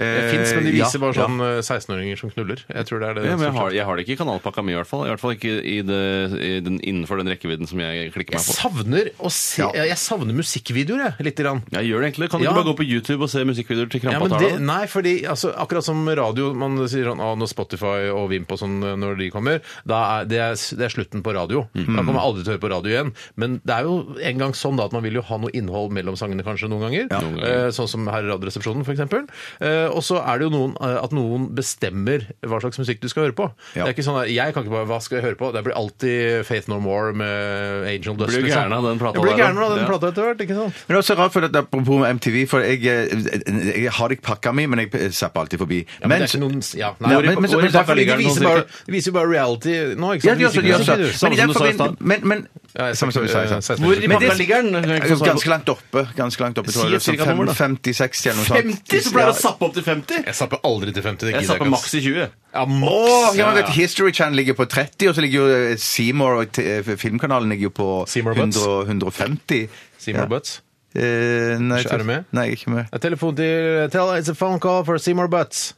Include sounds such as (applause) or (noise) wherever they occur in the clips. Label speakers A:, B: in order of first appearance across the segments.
A: Det fins, men de viser
B: ja,
A: bare sånn eh, 16-åringer som knuller. Jeg tror det er det.
C: Ja, men jeg har, jeg har det ikke i kanalpakka mi, i hvert fall. I hvert fall ikke i det, i den, innenfor den rekkevidden som jeg klikker
A: jeg
C: meg på.
A: savner å se
B: Ja.
A: Jeg savner musikkvideoer, jeg, lite grann.
C: Jeg gjør det egentlig. Kan du
A: Ja.
C: ikke bare gå på YouTube og se musikkvideoer
A: Ja,
C: til
A: men
C: Krampa
A: det,
C: tar deg?
A: nei, fordi altså, akkurat som radio, man sier sånn ah, når Spotify og Vimp og sånn eh, når de kommer, da er, det, er, det er slutten på radio.
C: Mm.
A: Da kommer jeg aldri til å høre på radio igjen. Men det er jo en gang sånn da at man vil jo ha noe innhold mellom sangene kanskje noen ganger.
C: Noen
A: Eh,
C: ganger.
A: sånn som her i Radioresepsjonen f.eks. Eh, og så er det jo noen, eh, at noen bestemmer hva slags musikk du skal høre på.
B: Ja.
A: Det er ikke sånn der, Jeg kan ikke bare Hva skal jeg høre på? Det blir alltid Faith No More med Angel Dust.
C: Blir du
A: liksom.
C: gæren av den plata
A: Jeg blir
C: der,
A: gæren av den
C: ja.
A: plata etter hvert, ikke sant?
B: Men det er også rart for at apropos med MTV, for jeg, eh, jeg har det ikke pakka mi, men jeg zapper alltid forbi.
A: Ja, men, det er ikke noen ja, nei,
B: Ja,
A: men,
B: men- men- men-
A: derfor, de,
C: ligger det noen
A: viser bare, de viser jo bare reality nå, ikke
B: Ja,
A: sant?
B: de også, de
A: Ikke
B: også.
A: sant?
B: Men i den
C: Samme som du sa i stad.
B: forbindelse- Men, men
A: Ja, jeg- Sånn
B: Samme som vi sa i stad.
A: eh,
C: Hvor i
B: Men det-
C: pakka ligger den? Jeg kan ikke
B: Ganske
C: svare på-
B: langt oppe. Ganske langt oppe, tror jeg.
C: Si et cirka nummer, da.
B: 50-60 eller noe sånt.
C: 50, så pleier jeg å
B: Ja.
C: zappe opp til 50!
A: Jeg sapper aldri til 50. Det
C: Jeg
A: gidder
C: zapper
A: ikke,
C: maks
A: ass.
C: i 20.
A: Ja,
B: Åh,
A: maks!
B: ja, men vet, du, History Channel ligger på 30, og så ligger jo eh, Seymour og te- eh, Filmkanalen ligger jo på
A: Seymour Butts.
B: 100, 150.
A: Seymour Butts.
B: Eh, nei,
A: Er du med?
B: Nei, jeg er ikke med.
A: Ja, Telefon til Tell it's a phone call for Seymour Butts.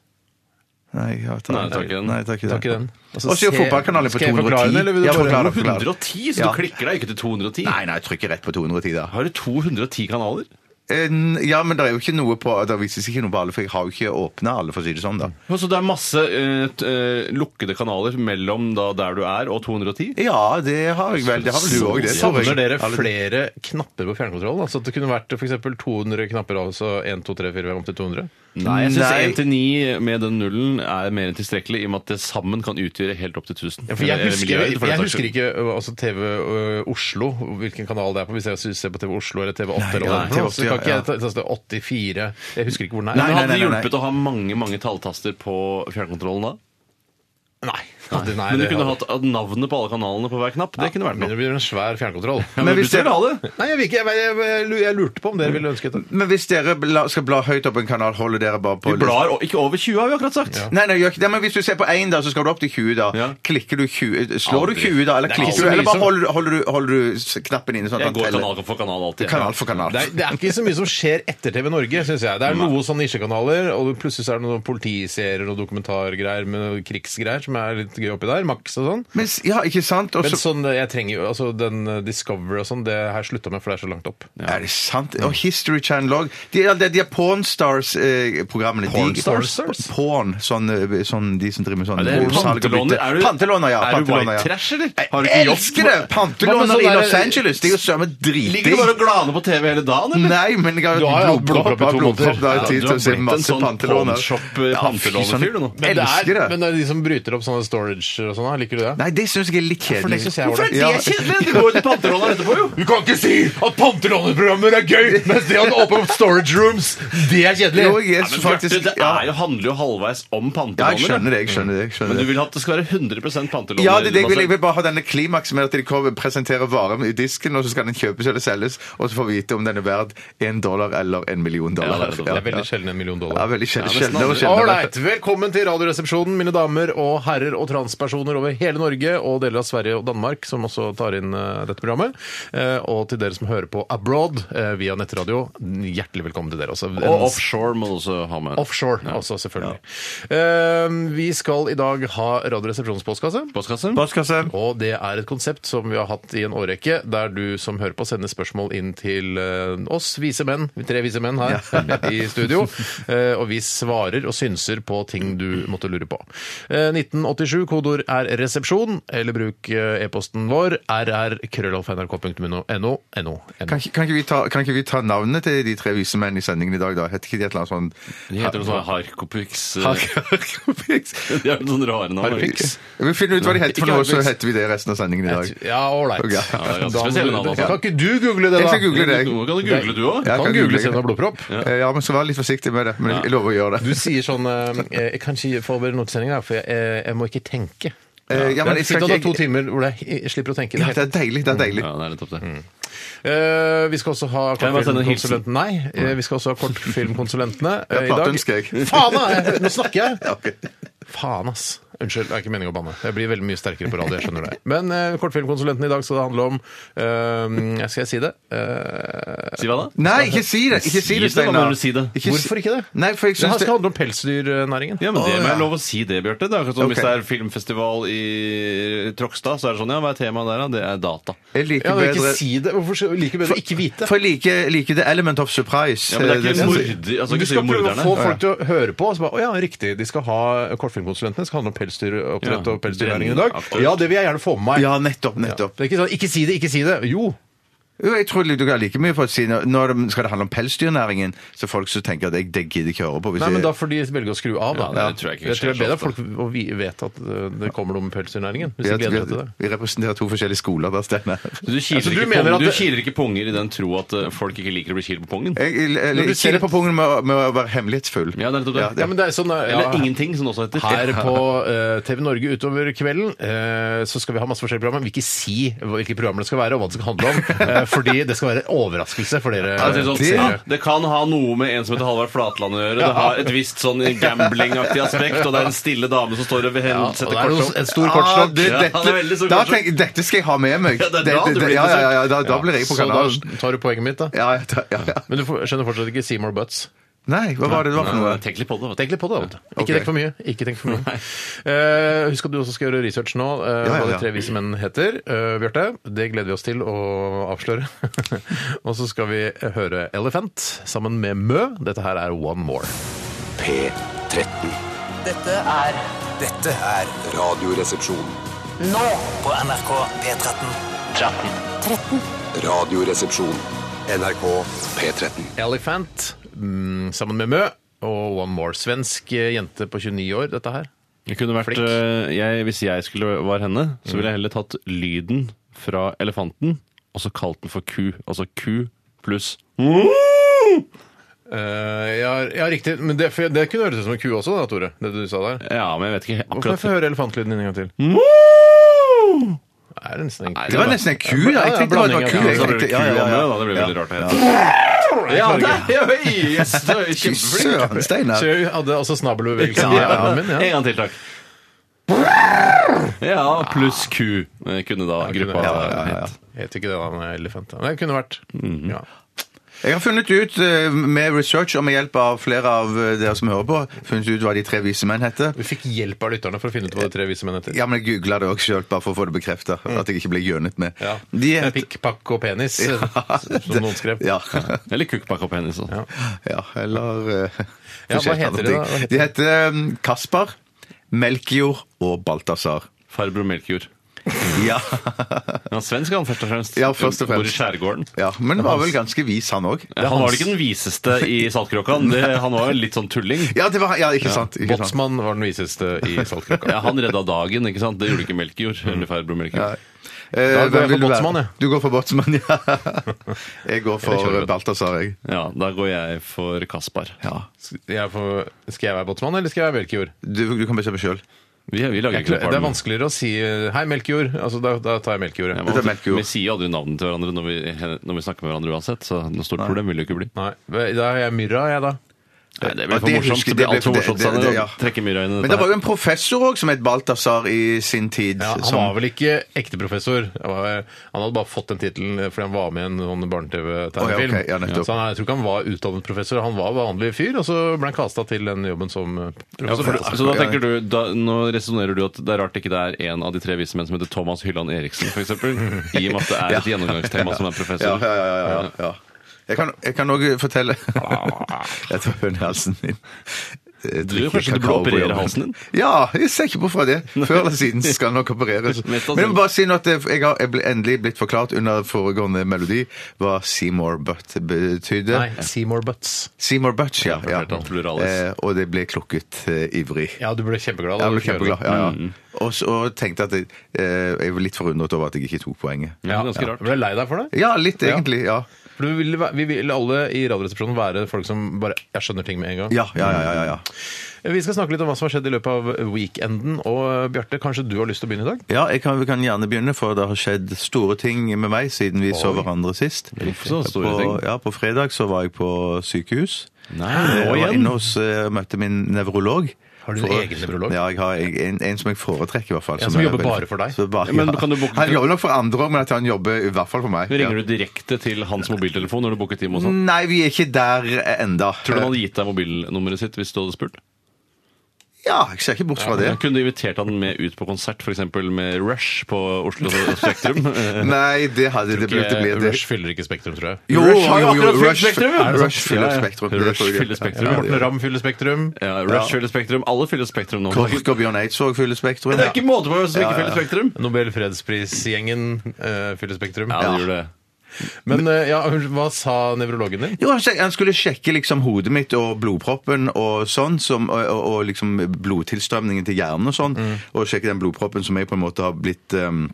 B: Nei, jeg har
C: Nei, takk i den.
B: Nei, takk i
A: Takk i den.
B: Og så er jo
A: se-
B: fotballkanalen på
A: Skal jeg
B: 210.
A: forklare den, eller vil du
B: Ja,
A: bare-
B: forklar den, forklar den.
C: 110, så
B: Ja.
C: du klikker deg ikke til 210.
B: Nei, nei, jeg trykker rett på 210, da.
C: Har du 210 kanaler?
B: Eh, n- Ja, men det er jo ikke noe på Det vises ikke noe på alle, for jeg har jo ikke åpna alle, for å si det sånn, da.
C: Ja, Så det er masse eh, t- eh, lukkede kanaler mellom da, der du er, og 210?
B: Ja, det har jeg vel. Det har vel du òg, det. tror jeg.
A: Savner dere
B: Alle-
A: flere knapper på fjernkontrollen? Altså at det kunne vært for eksempel 200 knapper, altså 1, 2, 3, 4, 5, opp til 200?
C: Nei, jeg syns
B: Nei.
C: 1 til 9 med den nullen er mer enn tilstrekkelig, i og med at det sammen kan utgjøre helt opp til 1000.
A: Ja, for jeg
C: Eller
A: husker,
C: milliarder,
A: jeg,
C: for den saks
A: husker
C: skyld.
A: ikke ø, altså TV ø, Oslo, hvilken kanal det er på, hvis jeg ser på TV Oslo eller TV 8 eller noe
B: nei,
A: sånt.
B: TV8,
A: Så kan ikke
B: ja.
A: jeg ta- ta- ta 84 Jeg husker ikke hvor den er.
C: Men
B: Nei, nei,
C: hadde
B: nei,
C: det
B: nei.
C: hjulpet å ha mange mange talltaster på fjernkontrollen da?
A: Nei. Nei, nei,
C: Men du
A: det
C: kunne
A: hadde-
C: hatt at navnet på alle kanalene på hver knapp. Det kunne vært
A: Men
C: noe.
A: det blir en svær fjernkontroll.
C: Ja,
B: Men
C: men
B: hvis
C: du skal
B: det-
C: ha det.
A: Nei, jeg, vil ikke, jeg, jeg, jeg, lu- jeg lurte på om dere ville ønsket det.
B: Men hvis dere bla, skal bla høyt opp en kanal, holder dere bare på
C: Vi blar o- ikke over 20, har vi akkurat sagt.
B: Nei, nei, gjør ikke det, men hvis du ser på 1, da, så skal du opp til 20, da.
C: Ja.
B: Klikker du 20 Slår
C: Aldri.
B: du 20, da? Eller
A: Det er
B: klikker
A: ikke så
B: du? Eller
A: mye
B: bare
A: som-
B: holder, holder, du, holder du s- knappen inne? Sånn
C: Jeg
B: at den
C: går
B: teller?
C: kanal for kanal alltid.
B: Kanal for kanal.
A: Det er, det er ikke så mye som skjer etter TV Norge, syns jeg. Det er noen sånne nisjekanaler, og plutselig så er det noen politiserier og dokumentargreier med noen krigsgreier som er litt gøy oppi der. Max og sånn.
B: Men, s- ja, ikke sant? Og
A: Men
B: så
A: sånn, jeg trenger jo altså den eh, Discovery og sånn, det har jeg slutta med, for det er så langt opp.
B: Er det sant? Og History Channel òg. De, er- de er Pornstars-programmene.
A: Pornstars?
B: Porn, sånn, eh, sånn, de som driver med sånn
C: Er det
B: salg og bytte.
C: pantelåner? Er du-
B: Pantelåner, ja.
C: er du white
B: pantelåner, ja.
C: trash, eller?
B: Jeg
C: Har du ikke jobb?
B: elsker det!
A: Hva med
B: Pantelåner
A: sånn
B: i
A: der-
B: Los Angeles. Det er jo søren
C: Ligger du bare og
B: driting.
C: glaner på TV hele dagen, eller?
B: Nei, men jeg har
A: Du har jo
B: jo
A: hatt
B: blodpropp.
A: blodpropp i to måneder.
B: blodpropp, da har jeg
C: Ja, du
B: tid til
C: har
B: å se
C: blitt en
B: masse
C: sånn
B: pantelåner.
C: pawnshop, eh,
B: Ja, fy søren.
C: pantelånerfyr, du nå.
A: Men det,
B: Elsker
A: er,
B: det.
A: men det er de som bryter opp sånne story porridge og sånn? da? Liker du det?
B: Nei, det syns jeg er litt
A: For det
B: kjedelig.
A: synes jeg var det.
B: Ja.
C: kjedelig? Du går jo til panteroller etterpå, jo.
A: Du kan ikke si at pantelåneprogrammer er gøy, mens det at åpne opp storage rooms, det er kjedelig.
B: Jo, jeg
C: Ja, men
B: er faktisk
C: Bjarte, det
B: ja.
C: er jo, handler jo halvveis om
B: ja, jeg
C: pantelåner.
B: skjønner det. jeg skjønner det, jeg
C: Men
B: skjønner
C: du
B: det.
C: vil at det skal være 100 pantelåner?
B: Ja, det, er det jeg, vil, jeg vil bare ha denne klimaksen med at de kommer, presenterer varen i disken, og så skal den kjøpes eller selges, og så får vi vite om den er verd én dollar eller en million
C: Ja,
B: dollar.
C: det er
A: Det er veldig sjelden en million
B: Ja,
A: dollar.
B: veldig sjelden.
C: Ja, nesten
B: sjeldnere og
C: aldri.
B: sjeldnere.
A: Alright, Velkommen til Radioresepsjonen, mine damer og herrer og transpersoner over hele Norge og deler av Sverige og Danmark, som også tar inn eh, dette programmet. Eh, og til dere som hører på abroad eh, via nettradio, hjertelig velkommen til dere også.
C: Og offshore må du også ha med.
A: Offshore også, selvfølgelig. Eh, vi skal i dag ha Radioresepsjonens postkasse.
C: Postkassen?
B: Postkasse.
A: Og det er et konsept som vi har hatt i en årrekke, der du som hører på sender spørsmål inn til eh, oss vise menn, vi tre vise menn her i studio, eh, og vi svarer og synser på ting du måtte lure på. Eh, 1987, kodeord er resepsjon, eller bruk eh, e-posten vår rr.krøllalfa.nrk.no. NO, NO.
B: Kan ikke, kan, ikke vi ta, kan ikke vi ta navnene til de tre vise menn i sendingen i dag, da? Heter ikke de et eller annet sånn
C: De heter noe sånn (laughs) Harkopix.
B: Harkopix?
C: De har noen sånne rare navn.
A: Harpix.
B: Vi finner ut hva de heter, for
A: Ikke
B: nå så
A: Harpix.
B: heter vi det resten av sendingen i dag.
A: Ja, ålreit.
B: Ok. Ja,
C: det er ganske
A: Da må
C: spesielle
A: du-
C: navn, altså.
A: Kan ikke du google det, da?
B: Jeg skal google det.
C: Nå kan du google, du òg.
B: Ja. jeg
A: Kan
B: kan
A: google
B: google
A: selv om du
B: det.
A: har blodpropp.
B: Eh, Ja, men så vær litt forsiktig med det. Men jeg lover å gjøre
A: Du
B: det.
A: sier sånn eh, Jeg kan ikke forberede noe til sendinga, for jeg, eh, jeg må ikke tenke.
B: Eh, ja, men jeg skal
A: Sitt og ta
B: ikke-
A: to timer hvor jeg he- slipper å tenke.
B: Ja, det er deilig. Det er deilig.
C: Ja, det er nettopp det.
A: Eh, vi skal også ha
C: jeg bare sende en
A: kortfilmkonsulenten- Nei, eh, vi skal også ha
B: (laughs)
A: kortfilmkonsulentene eh,
B: Jeg
A: i
B: prater
A: dag.
B: ønsker jeg.
A: (laughs) Faen, da! Nå snakker jeg!
B: (laughs) Ja, ok.
A: Faen, ass. Unnskyld, det er ikke meningen å banne. Jeg blir veldig mye sterkere på radio. jeg skjønner det. Men eh, kortfilmkonsulenten i dag skal det handle om eh, Skal jeg si det? Eh,
C: Si hva da?
B: Nei, ikke si det! Ikke si
C: Si
B: det,
C: det, da må
B: Steinar.
C: du si det.
A: Hvorfor ikke det?
B: Nei, for jeg
A: det
B: syns
A: her
B: det
A: skal handle om pelsdyrnæringen.
C: Ja, men
B: Å,
C: Det må
B: ja.
C: jeg lov å si det, Bjarte. Det er akkurat som
B: Ok.
C: Hvis det er filmfestival i Trokstad, så er det sånn Ja, hva er temaet der, da? Det er data.
B: Jeg
A: Ja,
B: liker
A: men ikke
B: bedre
A: si det. Hvorfor skal- liker bedre ikke vite?
B: For jeg liker, liker The Element of Surprise.
C: Ja, men det er
B: Eh,
C: ikke
B: som-
C: morder... Altså,
A: du
C: ikke
A: skal
C: si
A: prøve å få
C: morderne.
A: folk til å høre på. Og så bare, å ja, riktig, de skal ha Kortfilmkonsulentene skal handle om pelsdyroppdrett
C: Ja.
A: og pelsdyrnæringen i dag. Ja, det vil jeg gjerne få med meg.
B: Ja, nettopp. nettopp.
A: Det er ikke sånn 'ikke si det, ikke si det'. Jo.
B: Jo, jeg tror du kan like mye for å si når- Når det skal det handle om pelsdyrnæringen, så folk som tenker at jeg det gidder ikke høre på. Hvis
A: Nei, men
B: jeg-
A: da får de velge å skru av, da.
C: Ja, det tror jeg ikke
A: tror det er
C: skjer
A: bedre
C: så
A: at folk å vi- vet at uh, det kommer noe med pelsdyrnæringen. Hvis
B: vi,
A: de gleder seg til det.
B: vi, vi representerer to forskjellige skoler der,
A: (laughs)
B: Steinar.
C: Så Du kiler,
A: Altså, du
C: ikke
A: mener
C: pung-
A: at
C: du
A: det-
C: kiler ikke punger i den tro at eh, folk ikke liker å bli kilt på pungen?
B: Jeg, jeg, jeg,
A: Når du
B: jeg
A: ser
B: kiler
A: et-
B: på pungen med, å- med å være hemmelighetsfull.
C: Ja, det er nettopp det.
A: Ja, men det er sånn, uh, ja,
C: Eller ingenting, som det også
A: (laughs)
C: heter.
A: Her på eh, TV Norge utover kvelden eh, så skal vi ha masse forskjellige programmer. Vi vil ikke si hva- hvilke programmer det skal være, og hva det skal handle
C: (laughs)
A: om. eh, fordi det skal være en overraskelse for dere.
C: Ja, det, er sånn,
B: Det-
C: ja, det kan ha noe med en som heter Halvard Flatland å gjøre. Det har et visst sånn gamblingaktig aspekt, og det er en stille dame som står og ved-
A: Ja, og det
C: setter
A: er
C: kort
A: jo
C: opp.
A: en stor
B: Ah,
A: kortslokk.
B: det,
C: Ja,
B: dette,
C: han er veldig så
B: da
C: kortslokk.
B: tenker jeg, dette skal jeg ha med meg.
C: Ja, det er da du
B: Dette-
C: blir
B: ja, ja, ja, da, da
A: Ja,
B: blir jeg på
A: så
B: kanalen.
A: da tar du poenget mitt, da.
B: Ja, ja, da- ja, ja.
A: Men du får- skjønner fortsatt ikke Seymour Butts.
B: Nei, hva var det det var for noe?
C: Nei, Tenk litt på det. vet du.
A: Tenk litt på det. vet du. Ikke
B: Ok.
A: tenk for mye. Ikke tenk for mye. Eh, husk at du også skal gjøre research nå, eh,
B: Ja, ja,
A: hva de
B: ja.
A: tre vise menn heter. Eh, Bjarte, det gleder vi oss til å avsløre. (laughs) Og så skal vi høre Elephant sammen med Mø. Dette her er One More.
D: P13.
E: Dette er
F: Dette er Radioresepsjon.
E: nå på NRK P13.
F: Radioresepsjon.
D: NRK P13.
A: Elephant mm, sammen med Mø og One More. Svensk eh, jente på 29 år, dette her.
C: Det kunne vært,
A: Flink.
C: eh, jeg, hvis jeg skulle var henne, så ville jeg heller tatt lyden fra elefanten og så kalt den for ku. Altså ku pluss
A: Eh, ja, ja, riktig. Men det, for det kunne høres ut som en ku også, da, Tore. Det du sa der.
C: Ja, men jeg vet ikke
A: Hvorfor
C: akkurat
A: får jeg høre elefantlyden din en gang til? Er det nesten en
C: Nei,
A: ku?
B: Det var nesten en ku. da. Jeg
A: Ja,
B: tenkte det var-
A: blanding
B: det var
A: av
B: ku.
A: ku,
B: Jeg
C: Så blir det
B: tenkte-
C: ku
B: ja, ja,
C: og mø,
B: ja.
C: da. Det blir veldig rart. Ja, ja det er høy! Yes, det er
B: Fy
C: kjempeflink.
B: søren, Steinar.
A: Så jeg hadde altså snabelbevegelsen i
C: Ja, ja.
A: armen.
C: En
A: Ja.
C: gang til, takk. Ja, pluss Q eh, kunne da
A: kunne-
C: gruppa
A: ja,
B: ja, ja.
C: hett.
A: Heter ikke det da en elefant? da? Det kunne vært. Ja.
B: Jeg har funnet ut eh, med research og med hjelp av flere av eh, dere som hører på, funnet ut hva de tre vise menn heter.
A: Vi fikk hjelp av lytterne for å finne ut hva de tre vise menn heter.
B: Ja, men jeg googla det òg sjøl, bare for å få det bekrefta. At jeg ikke ble gjønet med.
A: Ja.
B: De
A: Med
B: het- (laughs)
A: Pikk, pakk og penis, som noen skrev.
B: Ja.
C: Eller kukkpakka penis. da.
B: ja, eller eh,
A: Ja, hva
B: forskjellige
A: heter
B: andre
A: de da? Hva
B: ting.
A: heter
B: De heter eh, Kaspar, Melkjord og Balthazar.
C: Farbror Melkjord.
B: Ja.
C: Men han er svensk, han, først og fremst.
B: Ja, først og
C: Bor
B: fremst.
C: i skjærgården.
B: ja. Men var vel ganske vis, han òg.
C: Han var ikke den viseste i Saltkråka. Han- det- Han var jo litt sånn tulling.
B: Ja, det var, ja, ikke sant. Ikke sant.
A: Båtsmann var den viseste i Saltkråka.
C: (laughs) Ja, han redda dagen, ikke sant? Det gjorde ikke Melkejord. Eller Farbro Melkejord.
B: Eh,
A: Da går jeg
B: hvem
A: for
B: vil du være?
A: Båtsmann, jeg.
B: Du går for Båtsmann, (laughs) ja. Jeg går
C: Eller
B: for
C: Kjølbø.
B: Balthazar, jeg.
C: Ja, da går jeg for Kaspar.
A: Jeg får, skal jeg være båtsmann, eller skal jeg være Melkejord?
B: Du, du kan bestemme sjøl.
C: Vi, vi lager
A: Jeg
C: ikke
A: kl- Det er
C: Leoparden.
A: vanskeligere å si eh, 'hei, Melkejord'. Altså, da, da tar jeg Melkejord.
C: Ja,
A: jeg.
C: men
B: Det er Melkejord.
C: Vi sier jo aldri navnene til hverandre når vi, når vi snakker med hverandre uansett, så noe stort problem vil det jo ikke bli.
A: Nei, Da er jeg Myrra, jeg, da.
C: Nei, det
B: Ja,
C: blir for
B: det
C: morsomt.
B: husker-
C: Det blir
B: det
C: altfor
B: blir-
C: morsomt
B: det- det-
C: Sanne,
B: det- ja.
C: å trekke myra inn i
B: Men det
C: dette.
B: var
C: her.
B: jo en professor òg som het Balthazar i sin tid.
A: Ja, han
B: som-
A: var vel ikke ekte professor. Han var- han hadde bare fått den tittelen fordi han var med i en sånn
B: Å,
A: barne-TV-tegnefilm.
B: ja, ok. Ja, nettopp.
A: så han, jeg tror ikke han var utdannet professor. Han var vanlig fyr, og så ble han kasta til den jobben som eh,
C: Ja, for,
A: professor.
C: så da tenker du, da, Nå resonnerer du at det er rart ikke det er en av de tre vise menn som heter Thomas Hylland Eriksen, f.eks. I og med at det
B: (laughs)
C: er et gjennomgangstema som er
B: ja,
C: professor.
B: ja, ja, ja, ja, ja. Jeg kan- Jeg kan òg fortelle
C: Ah,
B: Jeg tar hønehalsen din. Jeg
C: Du,
B: drikker
C: kanskje du
B: eh, kakao
C: burde
B: på
C: operere
B: jobben.
C: halsen din?
B: Ja, jeg ser ikke bort fra
C: (laughs)
B: det. Før eller siden skal den nok opereres. Men
C: Mest sannsynlig.
B: jeg må bare si noe at jeg har jeg ble endelig blitt forklart under foregående melodi hva Seymour Butt
A: Nei,
B: betydde.
A: Seymour Butts.
B: Seymour Butt, ja.
C: Jeg
B: ja.
C: fortalte han pluralis.
B: Eh, Og det ble klukket eh, ivrig.
A: Ja, du ble kjempeglad. da du
B: Jeg ble
A: fikk høre det.
B: kjempeglad. Ja, ja.
C: Mm.
B: Og så tenkte jeg at jeg, eh, jeg var litt forundret over at jeg ikke tok poenget.
C: Ja, ganske
A: Ja.
C: rart.
A: Ble du lei deg for det?
B: Ja, litt egentlig. Ja.
A: For du vil, vi vil alle i Radioresepsjonen være folk som bare jeg skjønner ting med en gang.
B: Ja, ja, ja, ja, ja, ja.
A: Vi skal snakke litt om hva som har skjedd i løpet av weekenden. Og eh, Bjarte, kanskje du har lyst til å begynne i dag?
B: Ja, jeg kan, vi kan gjerne begynne, for det har skjedd store ting med meg siden vi så hverandre sist.
C: Så store
B: på,
C: ting.
B: Ja, på fredag så var jeg på sykehus.
C: Nei,
B: Jeg
C: nå
B: var
C: igjen?
B: inne hos, eh, møtte min nevrolog.
A: Har du en egen nevrolog?
B: Ja, jeg har en, en, en som jeg foretrekker i hvert fall.
A: En som
B: er
A: jobber
B: veldig-
A: bare for deg?
B: Så bare-
C: Ja, men
B: ja.
C: kan du booke-
B: Han jobber nok for andre òg, men at han jobber i hvert fall for meg.
C: Ringer du direkte til hans mobiltelefon når du booker time og
B: Ja.
C: sånn?
B: Nei, vi er ikke der eh, enda.
C: Tror du han hadde gitt deg mobilnummeret sitt hvis du hadde spurt?
B: Ja, jeg ser ikke bort fra det.
C: Kunne du invitert han med ut på konsert, f.eks. med Rush på Oslo Spektrum? (laughs) Eh,
B: Nei, det hadde det blitt. Det blir det.
A: Rush fyller ikke Spektrum, tror jeg.
B: Jo,
C: Rush har jo akkurat fylt
B: Rush-
C: Spektrum, ja.
B: Er det sant? Rush fyller
C: Ja, ja.
B: Spektrum.
C: Rush
B: tror jeg.
C: fyller Spektrum.
B: Ja,
A: Morten
B: det-
A: Ramm fyller Spektrum.
C: Ja, Rush fyller Spektrum. Alle fyller Spektrum nå.
B: Kork og Bjørn Eidsvåg fyller Spektrum.
C: Det er ikke måte på hvem som ikke fyller Spektrum!
A: Nobel fredsprisgjengen eh, fyller Spektrum.
C: Ja, det gjør det.
A: Men eh, ja, hva sa nevrologen din?
B: Jo, han sjek- han skulle sjekke liksom hodet mitt og blodproppen og sånn, som, og, og, og liksom blodtilstrømningen til hjernen og sånn,
C: Mm.
B: og sjekke den blodproppen som jeg på en måte har blitt um,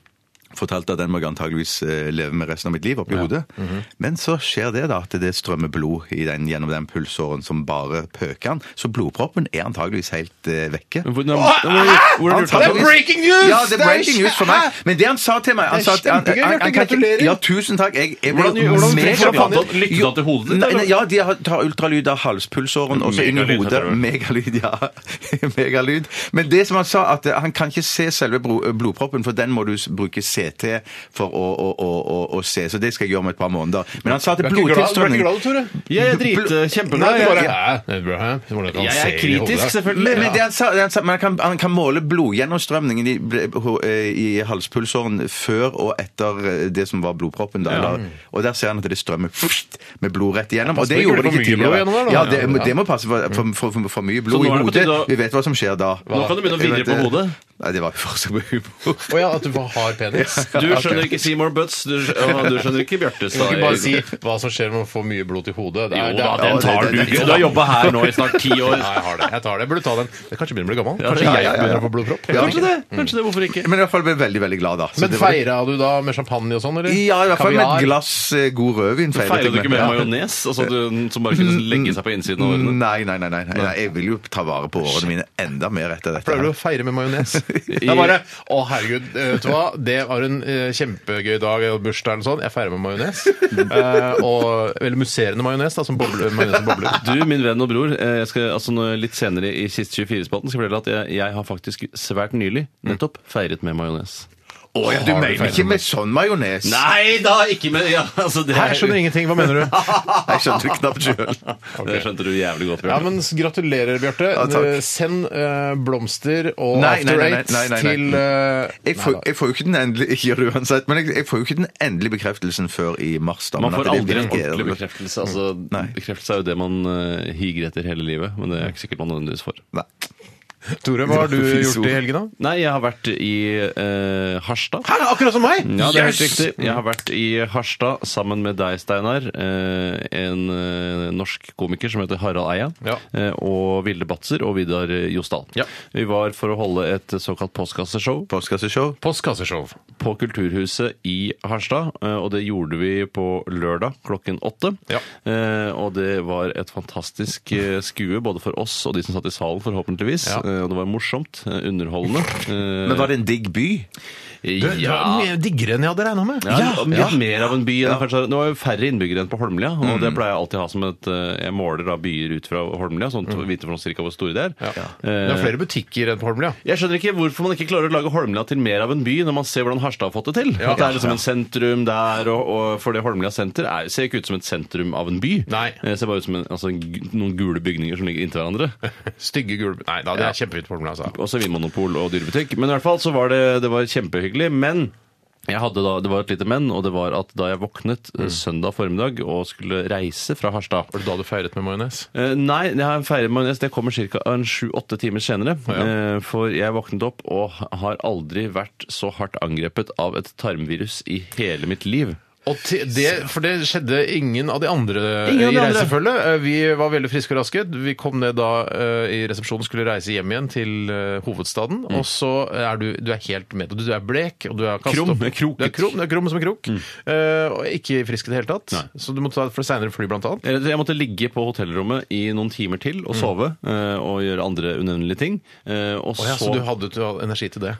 B: fortalt at den må jeg antageligvis eh, leve med resten av mitt liv oppi hodet.
C: Mm-hmm.
B: Men så skjer det da, at det strømmer blod i den, gjennom den pulsåren som bare pøker han, så blodproppen er antageligvis helt eh, vekke.
C: Men Hvordan, hvordan, hvordan lurte han
B: Antageligvis-
C: på det?
A: breaking news!
B: Ja, det er breaking news for meg. Men det han sa til meg han
A: Det er
B: sa at han-
A: kjempegøy,
B: han- han
A: Bjarte,
B: kan ikke-
A: gratulerer.
B: Ja, tusen takk. Jeg, jeg ble
C: Hvordan- hvordan-
B: mega-
C: Lyttet han- lyttet han til hodet ditt,
B: Nei, nei,
C: eller?
B: Ja, de har- tar ultralyd av halspulsåren og så inn i
C: Megalyd, heter
B: hodet.
C: det.
B: Megalyd, ja. (laughs) Megalyd. Men det som han sa, at eh, han kan ikke se selve bro- eh, blodproppen, for den må du s- bruke CT for å, å, å, å, å se. Så det skal jeg gjøre om et par måneder. Men han sa at
A: Du er ikke glad- du er ikke
B: blodtilstrømning
A: glad, Tore?
C: Jeg er drit eh,
A: Nei,
C: kjempeglad.
A: det er bare,
C: Jeg,
A: Hæ? Det er bra, hæ? Hvordan kan han
C: jeg
A: se
C: er
A: i
C: kritisk,
A: hodet?
C: selvfølgelig.
B: Men, men det han sa, det han sa, men han, kan, han kan måle blodgjennomstrømningen i, ble- ho- eh, i halspulsåren før og etter eh, det som var blodproppen. Da, eller- Og der ser han at det strømmer fft, med blod rett igjennom. Og
A: passer
B: det
A: ikke
B: gjorde det
A: det for
B: ikke
A: mye blod
B: tidligere.
A: gjennom der, da?
B: ja, det,
A: Ja.
B: det må passe for for, for, for, for mye blod
C: nå
B: i
C: er det på
B: hodet.
C: tide å-
B: Vi vet hva som skjer da.
C: Nå kan du begynne å
B: Jeg
C: vidre
B: vet,
C: på
B: eh,
C: hodet.
B: Nei, det var jo forsøk på humor.
A: Å ja, at du har penis?
C: Du skjønner ikke Seymour Butts, du, skj- og du skjønner ikke Bjartes.
A: Du kan ikke
C: da,
A: bare
C: i-
A: si hva som skjer når man får mye blod til hodet. Det
C: Jo
A: er- det
C: da,
A: er-
C: den
B: Ja,
C: tar
B: det-
C: du.
B: det-
C: ikke. Du har jobba her nå i snart ti år.
A: Ja, jeg har det. Jeg tar det. Jeg burde ta den. Jeg kanskje begynner å bli gammel.
C: Ja,
A: Kanskje
C: ja, ja,
A: jeg
B: ja, ja.
A: begynner å få blodpropp.
B: Ja.
C: Kanskje det. Kanskje det, Hvorfor ikke?
B: Men i hvert fall ble jeg veldig, veldig glad, da. Så
A: Men
B: det var-
A: feira du da med champagne og sånn, eller?
B: Ja, i hvert fall med
A: Kaviar?
B: et glass eh, god rødvin. feiret
C: Feirer
B: jeg
C: du ikke med
B: Ja.
C: majones, altså, du- som bare kunne legge seg på innsiden av årene?
B: Mm, Nei, nei, nei, nei, nei. nei. Jeg vil jo ta vare på årene mine enda mer etter dette.
A: Pleier du å feire med
B: (laughs)
A: majones? Det er bare Å, herregud, eh, vet du hva? Det var en eh, kjempegøy dag, eh, bursdag eller sånn. Jeg feirer med majones. Eh, og Eller musserende majones, da, som bobler. Majones som bobler.
C: Du, min venn og bror, eh, jeg skal, altså, nå- litt senere i siste 24-spalten skal jeg fortelle at jeg, jeg har faktisk svært nylig nettopp feiret med majones.
B: Å ja, du
A: Har du
B: mener
A: feil
B: ikke med sånn majones?
C: Nei da, ikke med ja, altså, det
A: Her skjønner ingenting. Hva mener
B: (laughs)
A: du?
B: Jeg skjønte knapt
C: (laughs)
B: sjøl.
C: Det skjønte du jævlig godt,
A: Ja,
C: Bjørn.
A: men s- Gratulerer, Bjarte.
B: Ja, takk.
A: Eh, Send eh, blomster og
B: Nei, nei,
A: After
B: nei, nei,
A: Eights
B: nei, nei, nei.
A: til eh,
B: Jeg får,
A: nei, da.
B: jeg får jo ikke den endelige ikke gjør det uansett, men jeg, jeg får jo ikke den endelige bekreftelsen før i mars. da.
C: Man
B: men at
C: får
B: det
C: aldri en
B: virker- Mm.
C: ordentlig bekreftelse. Altså,
B: Nei.
C: bekreftelse er jo det man eh, higer etter hele livet, men det er ikke sikkert man nødvendigvis får.
B: Nei.
A: Tore, hva har du
B: Fy
A: gjort
B: sol.
A: i helgen, da?
C: Nei, jeg har vært i eh, Harstad.
A: Her, akkurat som meg!
C: Ja, det er helt riktig. Jeg
B: Mm.
C: har vært i Harstad sammen med deg, Steinar. eh, En eh, norsk komiker som heter Harald Eia.
A: Ja.
C: eh, Og Vilde Batzer og Vidar Josdal.
A: Ja.
C: Vi var for å holde et såkalt postkasseshow
B: Postkasseshow.
A: Postkasseshow.
C: på Kulturhuset i Harstad. eh, Og det gjorde vi på lørdag klokken åtte.
A: Ja.
C: Eh, Og det var et fantastisk eh, skue både for oss og de som satt i salen, forhåpentligvis.
A: Ja.
C: Eh, Og det var morsomt, eh, underholdende. Eh,
B: Men var det en digg
C: (laughs)
B: by?
A: Du, det var mye diggere enn jeg hadde regna med.
C: Ja, ja, mer av en by. enn kanskje- Det var jo færre innbyggere enn på Holmlia. Og
A: Mm.
C: det pleier jeg alltid å ha som et eh, Jeg måler da byer ut fra Holmlia, sånn at vi vet for noe cirka hvor store det er.
A: Mm. Det er
C: Eh,
A: flere butikker enn på Holmlia.
C: Jeg skjønner ikke hvorfor man ikke klarer å lage Holmlia til mer av en by, når man ser hvordan Harstad har fått det til.
A: Ja.
C: At det er liksom en sentrum der, og, og for det Holmlia senter er, ser ikke ut som et sentrum av en by.
A: Nei.
C: Det ser bare ut som en, altså, en gu- noen gule bygninger som ligger inntil hverandre.
A: Stygge gule Nei da, det
C: Ja.
A: er kjempefint på Holmlia, altså.
C: Også vinmonopol og dyrebutikk. Men i hvert fall så var det, det var kjempehyggelig. Men jeg hadde da, det var et lite men, og det var at da jeg våknet
A: Mm.
C: eh, søndag formiddag og skulle reise fra Harstad
A: Var det da du feiret med majones?
C: Eh, Nei, det har en feire majones. Det kommer ca. sju-åtte timer senere. Eh, For jeg våknet opp og har aldri vært så hardt angrepet av et tarmvirus i hele mitt liv.
A: Og til det, for det skjedde ingen av de andre
C: Ingen av de
A: i
C: andre.
A: reisefølget. Eh, Vi var veldig friske og raske. Vi kom ned da eh, i resepsjonen, skulle reise hjem igjen til eh, hovedstaden. Og så er du, du er helt med. Du er blek, og du er kastet
C: Krum,
A: opp.
C: kroket.
A: Du er krum, du er krum som en krok. Eh, og ikke frisk i det hele tatt.
C: Nei.
A: Så du må ta et for seinere fly, blant annet.
C: Eller, Eh, Jeg måtte ligge på hotellrommet i noen timer til
A: Mm.
C: og sove eh, og gjøre andre unevnelige ting. Eh, Og
A: Å ja, så du hadde, du hadde energi til det?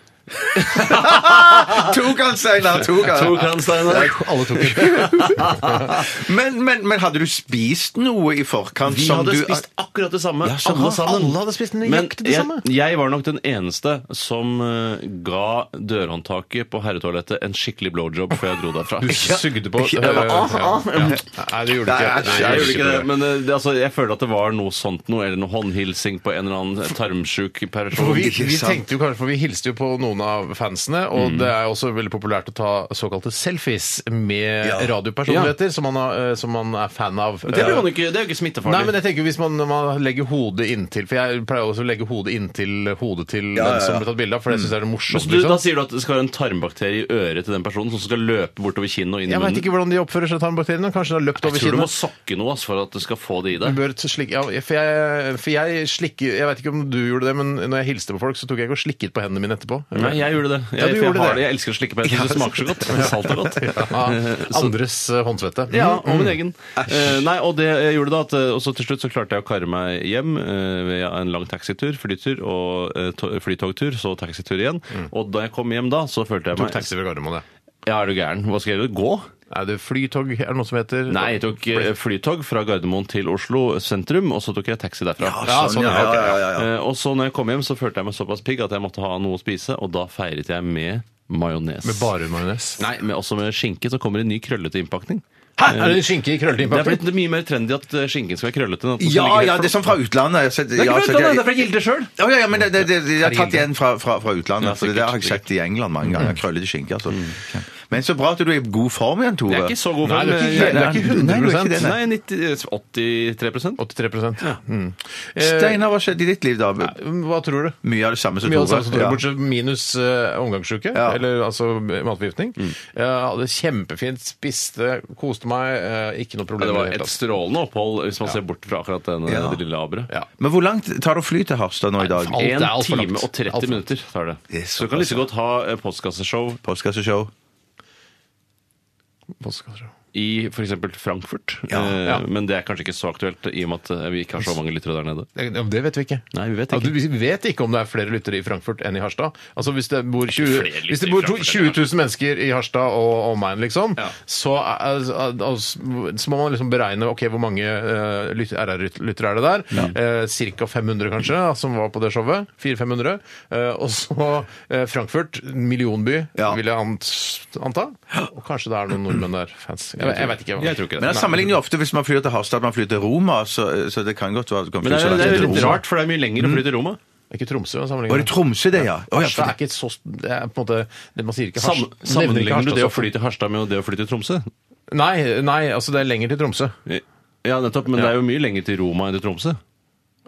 B: Tok han, Steinar! Tok
C: Tok han, Steinar?
A: Alle tok det.
B: Men, men, men hadde du spist noe i forkant
C: Vi
B: som
C: hadde
B: du
C: spist akkurat det samme.
A: alle
C: alle sammen.
A: alle hadde spist nøyaktig
C: Men
A: det samme.
C: jeg, jeg var nok den eneste som eh, ga dørhåndtaket på herretoalettet en skikkelig blowjob før jeg dro derfra.
A: Du sugde på
B: Ja,
A: eh,
B: ah, ah.
A: ja. Nei, det gjorde du ikke.
B: Nei,
A: Nei,
C: Jeg gjorde
A: det
C: ikke det, men eh, det, altså, jeg føler at det var noe sånt noe, eller noe håndhilsing på en eller annen tarmsjuk person.
A: For vi,
B: Ikke
A: vi
B: sant.
A: tenkte jo kanskje, for vi hilste jo på noen av fansene, og
C: Mm.
A: det er jo også veldig populært å ta såkalte selfies med
B: Ja.
A: radiopersonligheter som, man har, eh, som man er fan av. Eh,
C: Det, blir man ikke, det er jo ikke
A: Nei, men
C: smittefarlig.
A: jeg tenker hvis man, man legger hodet inntil For jeg pleier også å legge hodet inntil hodet til
B: Ja, ja,
A: den som
B: ja.
A: blir tatt bilde av, for det syns jeg er
C: Men
A: morsomt.
C: så du, da
A: liksom.
C: sier du at det skal være en tarmbakterie i øret til den personen som skal løpe bortover kinnet og inn i
A: Jeg veit
C: munnen?
A: ikke hvordan de oppfører seg, tarmbakteriene. Kanskje de har løpt
C: Jeg
A: over
C: tror du må
A: kinnet.
C: sokke noe ass, for at du skal få det i
A: Du
C: deg.
A: bør t- slikke, ja, for jeg, for jeg slikker Jeg vet ikke om du gjorde det, men når jeg hilste på folk, så tok jeg ikke og slikket på hendene mine etterpå.
C: Nei, jeg gjorde det. Jeg,
A: Ja, du
C: for jeg,
A: gjorde
C: har
A: det.
C: det. jeg elsker å slikke på det. Jeg synes det smaker så godt. Det salter (laughs) godt. Eh,
A: Ja,
C: så-
A: andres eh, håndsvette.
C: Ja, og min egen. Eh, nei, og det jeg gjorde da, at, eh, og så til slutt så klarte jeg å karre meg hjem eh, ved en lang taxitur, flytur og eh, to- flytogtur, så taxitur igjen. Og da jeg kom hjem da, så følte jeg
A: Tok
C: meg
A: taxi ved Gardermoen, jeg.
C: Ja, er du gæren? Hva skal jeg gjøre? Gå?
A: Er det flytog, er det noe som heter?
C: Nei, jeg tok eh, flytog fra Gardermoen til Oslo sentrum, og så tok jeg taxi derfra.
A: Ja, sånn, ja, ok, ja.
C: Eh, Og så når jeg kom hjem, så følte jeg meg såpass pigg at jeg måtte ha noe å spise, og da feiret jeg med majones.
A: Med bare majones.
C: Nei, men også med skinke. Så kommer en ny krøllete innpakning.
A: Hæ? Er det en skinke i krøllete
C: Det er
A: innpakning?
C: blitt mye mer trendy at eh, skinken skal være krøllete. enn at den skal
B: Ja,
C: ligge
B: ja,
C: helt
B: det er sånn fra utlandet. Jeg har sett-
C: Det er
B: ja,
C: ikke
B: sett-
C: fra utlandet, det er fra Gilde sjøl!
B: Ja, ja, ja, men det, det, det, jeg har tatt
A: Herregud.
B: igjen fra, fra, fra utlandet.
C: Ja,
B: for det
C: sikkert,
B: der har jeg sett i England mange ganger. Krøllete skinke, altså. Men så bra at du er i god form igjen, Tore.
C: Jeg er ikke så god
A: Nei,
C: form.
A: det er ikke helt- det er ikke
B: Nei, du er ikke
A: 100
B: det, nei.
C: Nei, 90, 83
A: 83 mm. eh,
B: Steinar, hva skjedde i ditt liv, da?
A: Hva tror du?
B: Mye av det samme som
A: Mye av det samme som Tore,
B: Ja.
A: bortsett fra minus eh, omgangsuke,
B: Ja.
A: eller altså matforgiftning. Jeg hadde kjempefint, spiste, koste meg, eh, ikke noe
C: Ja,
A: problem.
C: Det
A: i
C: var
A: hele
C: et
A: tatt.
C: strålende opphold, hvis man ser bort fra akkurat den,
B: Ja.
C: det lille aberet.
A: Ja.
B: Men hvor langt tar det å fly til Harstad nå i dag?
A: Alt er
C: En
A: alt for langt.
C: time og
A: Alt for
C: 30
A: langt.
C: minutter tar det.
B: Det er
C: Så du kan
B: såpass,
C: like godt ha eh, postkasseshow
B: Postkasseshow.
A: Postkasse.
C: i f.eks. Frankfurt,
B: Ja,
C: Eh,
A: ja.
C: men det er kanskje ikke så aktuelt i og med at eh, vi ikke har så mange lyttere der nede.
A: Det det vet vi ikke.
C: Nei, vi vet
A: Ja,
C: ikke.
A: du- vi vet ikke om det er flere lyttere i Frankfurt enn i Harstad. Altså Hvis det bor 20,
C: flere lyttere
A: hvis det
C: i
A: bor to-
C: Frankfurt enn
A: 20
C: i
A: 000 mennesker i Harstad og omegn, liksom,
C: Ja.
A: så, er, er- er- så må man liksom beregne ok, hvor mange eh, lyt- RR-lyttere er det der. Eh, Cirka 500, kanskje, da, som var på det showet. 400-500. Eh, og så eh, Frankfurt, millionby,
B: Ja.
A: vil jeg ant anta. Og kanskje det er noen nordmenn der, fans. Jeg, jeg vet ikke.
C: Jeg tror ikke
B: Men
C: det.
B: jeg sammenligner jo ofte hvis man flyr til Harstad, man flyr til Roma, så, så det kan godt være at du kan
C: Men
B: fly
C: det
B: så
C: er,
B: langt
C: det er
B: til
C: litt
B: Roma.
C: rart, for det er mye
A: Mm.
C: lenger å fly til Roma.
A: Det er ikke Tromsø å sammenligne
B: Var det Tromsø, det, ja? Å, ja, for
A: Harstad er
B: det-
A: ikke et så det er på en måte, det Man sier ikke
C: Sam,
A: Harstad- nevner ikke
C: sammenligner du
A: Harstad
C: det å
A: så-
C: fly til Harstad med det å fly til Tromsø?
A: Nei, nei, altså det er lenger til Tromsø.
C: Ja, nettopp, men det er jo mye lenger til Roma enn til Tromsø.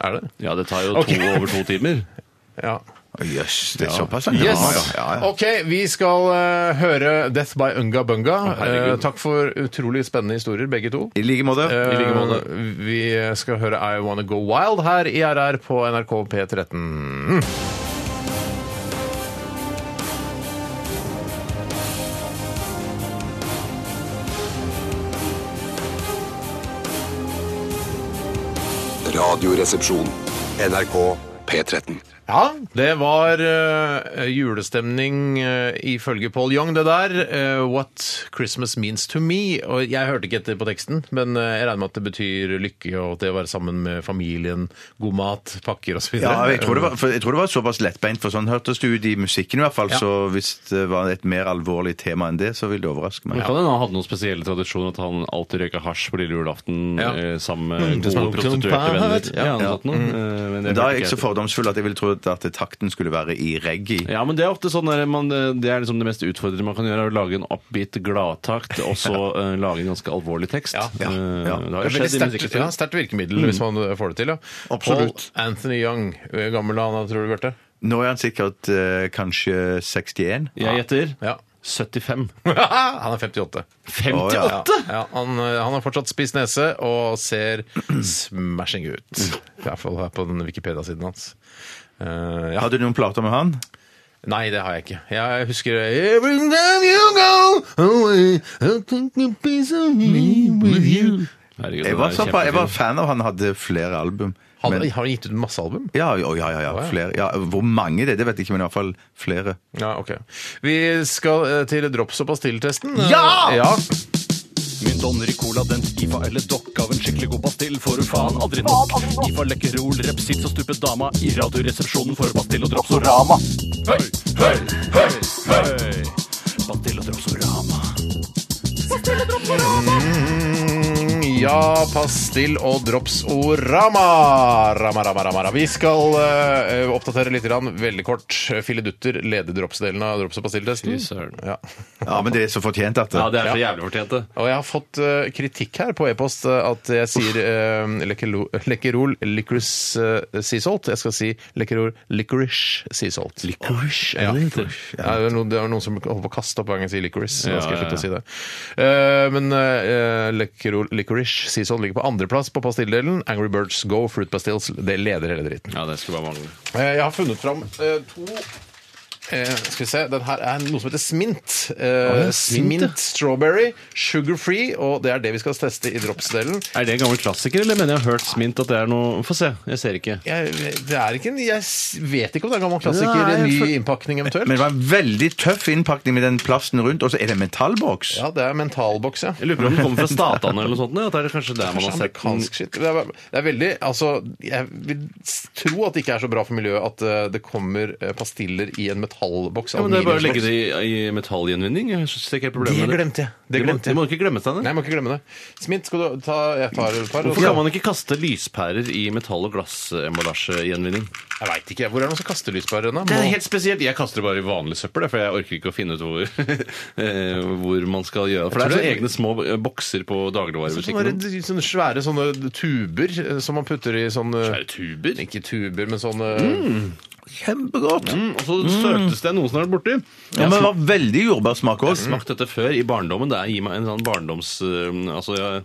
A: Er det?
C: Ja, det tar jo
A: Ok.
C: to over to timer.
A: (laughs) Ja.
B: Jøss, det er såpass? ja.
A: Yes.
B: Ja, ja, ja.
A: OK, vi skal eh, høre Death by Unga Bunga.
C: herregud.
A: Eh, takk for utrolig spennende historier, begge to.
B: I like måte.
A: Eh,
C: like måte.
A: vi skal høre I Wanna Go Wild her i RR på NRK P13.
F: Radioresepsjon.
D: NRK P13.
A: Ja, det var eh, julestemning eh, ifølge Paul Young, det der. eh, What Christmas Means To Me. Og jeg hørte ikke etter på teksten, men eh, jeg regner med at det betyr lykke og det å være sammen med familien, god mat, pakker osv.
B: Ja, jeg tror, det var, for jeg tror det var såpass lettbeint, for sånn hørtes det ut i musikken i hvert fall.
A: Ja.
B: Så hvis det var et mer alvorlig tema enn det, så vil det overraske meg.
C: Men kan hende han hadde noen spesielle tradisjoner, at han alltid røyka hasj på lille julaften
A: Ja.
C: eh, sammen med
A: det
C: gode
A: smaker som
C: prostituerte venner.
A: pært.
C: Ja, noe
B: Ja.
C: sånt noe. Eh, men det
B: Men da
C: hørte
B: er jeg ikke så
C: jeg.
B: fordomsfull at jeg ville trodd at takten skulle være i reggae.
C: Ja, men det er ofte sånn der, man, det er liksom det mest utfordrende man kan gjøre, er å lage en oppgitt gladtakt, og så eh, lage en ganske alvorlig tekst.
A: Ja, ja,
C: Eh,
B: ja.
C: Det har
A: Det
C: jo
A: er veldig
C: skjedd i
A: sterkt, ja, Mm.
C: musikkhistorien.
A: sterkt virkemiddel hvis man får det til. Ja.
B: Absolutt.
A: Paul Anthony Young, hvor gammel er han tror du, Bjarte?
B: Nå er han sikkert eh, kanskje 61.
C: Jeg gjetter
A: Ja.
C: 75.
A: (laughs) han er 58.
C: 58?!
B: Å, ja.
A: Ja, han, eh, han har fortsatt spiss nese og ser smashing ut. I hvert fall her på den Wikipedia-siden hans. Eh, ja.
B: Hadde du noen plater med han?
A: Nei, det har jeg ikke. Jeg husker Every time you go away, I'll take a piece of me with you.
C: Herregud,
B: Jeg
C: det
B: var,
C: er
B: så, fa- jeg var
C: kjempefint.
B: fan av han, hadde flere album.
A: Han,
B: Men-
A: Har han gitt ut masse album?
B: ja, ja, ja, ja,
A: ja.
B: flere. ja. Hvor mange det er, det vet jeg ikke, men iallfall flere.
A: Ja, ok. Vi skal eh, til drops- og pastilltesten. Eh,
B: Ja!
A: ja!
G: Min donner i cola, den IFA eller dokk av en skikkelig god pastill får du faen aldri nok. IFA lekkerol, repsits og stupet dama i radioresepsjonen for pastill og dropsorama. Høy, høy, høy, høy. Pastill og dropsorama.
A: Mm, Ja, pastill og drops-orama. Rama, rama, rama, rama. Vi skal eh, oppdatere litt grann, veldig kort. eh, Filledutter leder dropsdelen av drops- og pastilltesten.
C: Fy søren.
A: Ja.
B: Ja, men det er så fortjent at
C: Ja,
B: det.
C: det er så jævlig fortjent, det.
A: Og jeg har fått eh, kritikk her på e-post eh, at jeg sier uh, Lekkerol licorice eh, sea salt. Jeg skal si Lekkerol licorice sea salt. Licorice? Ja. Ja, det, er noen, det er noen som holder på å kaste opp hver gang jeg sier licorice. så
C: Ja,
A: Da skal jeg
C: ja, ja.
A: slutte å si det. Eh, men uh, Lekkerol licorice sea salt ligger på andreplass på pastilledelen. Angry Birds Go Fruit Pastilles. Det leder hele dritten.
C: Ja, det skulle bare mangle.
A: Eh, Jeg har funnet fram eh, to eh, Skal vi se, den her er noe som heter smint. Eh, smint strawberry, sugar free, og det er det vi skal teste i drops-delen.
C: Er det en gammel klassiker, eller mener jeg har hørt smint at det er noe Få se, jeg ser ikke.
A: Jeg, det er ikke en, jeg s- vet ikke om det er en gammel klassiker
C: Nei,
A: i ny
C: for-
A: innpakning
B: Men det
A: eventuelt.
B: var en veldig tøff innpakning med den plasten rundt, og så er det en metallboks.
A: Ja, det er mentalboks, ja.
C: Jeg lurer på om den kommer fra Statene eller noe sånt. ja, At det er kanskje der man
A: Kanskje
C: har sett den.
A: amerikansk shit. Det er, det er veldig Altså, jeg vil s- tro at det ikke er så bra for miljøet at eh, det kommer eh, pastiller i en metallboks.
C: Ja, men det er bare å legge
A: aluminiumsboks.
C: det i, i metallgjenvinning. Jeg synes det er ikke er et problem
A: Det
C: med det.
A: glemte jeg. Det
C: Det må,
A: glemte
C: det
A: jeg.
C: må ikke glemme seg
A: Nei, jeg må ikke glemme det. Smint, skal du ta Jeg tar et par. og
C: Hvorfor
A: så-
C: kan man ikke kaste lyspærer i metall- og glassemballasjegjenvinning?
A: Jeg veit ikke. Hvor er det noen som kaster lyspærer ennå?
C: Det er helt spesielt. Jeg kaster det bare i vanlig søppel, for jeg orker ikke å finne ut hvor, (laughs) eh, hvor man skal gjøre det. For
A: Jeg
C: det er
A: tror
C: sånne
A: det-
C: egne små eh, bokser på
A: Sånne,
C: dagligvarebutikken.
A: d- sånne svære sånne tuber eh, som man putter i sånne
C: Er det tuber?
A: Ikke tuber, men sånne
B: Kjempegodt!
C: Mm, og så søtes det noen som har vært borti.
B: Ja, men det var veldig jordbærsmak
C: Jeg har
B: òg.
C: smakt dette før i barndommen. Det er- gir meg en sånn barndoms... eh, Altså, jeg,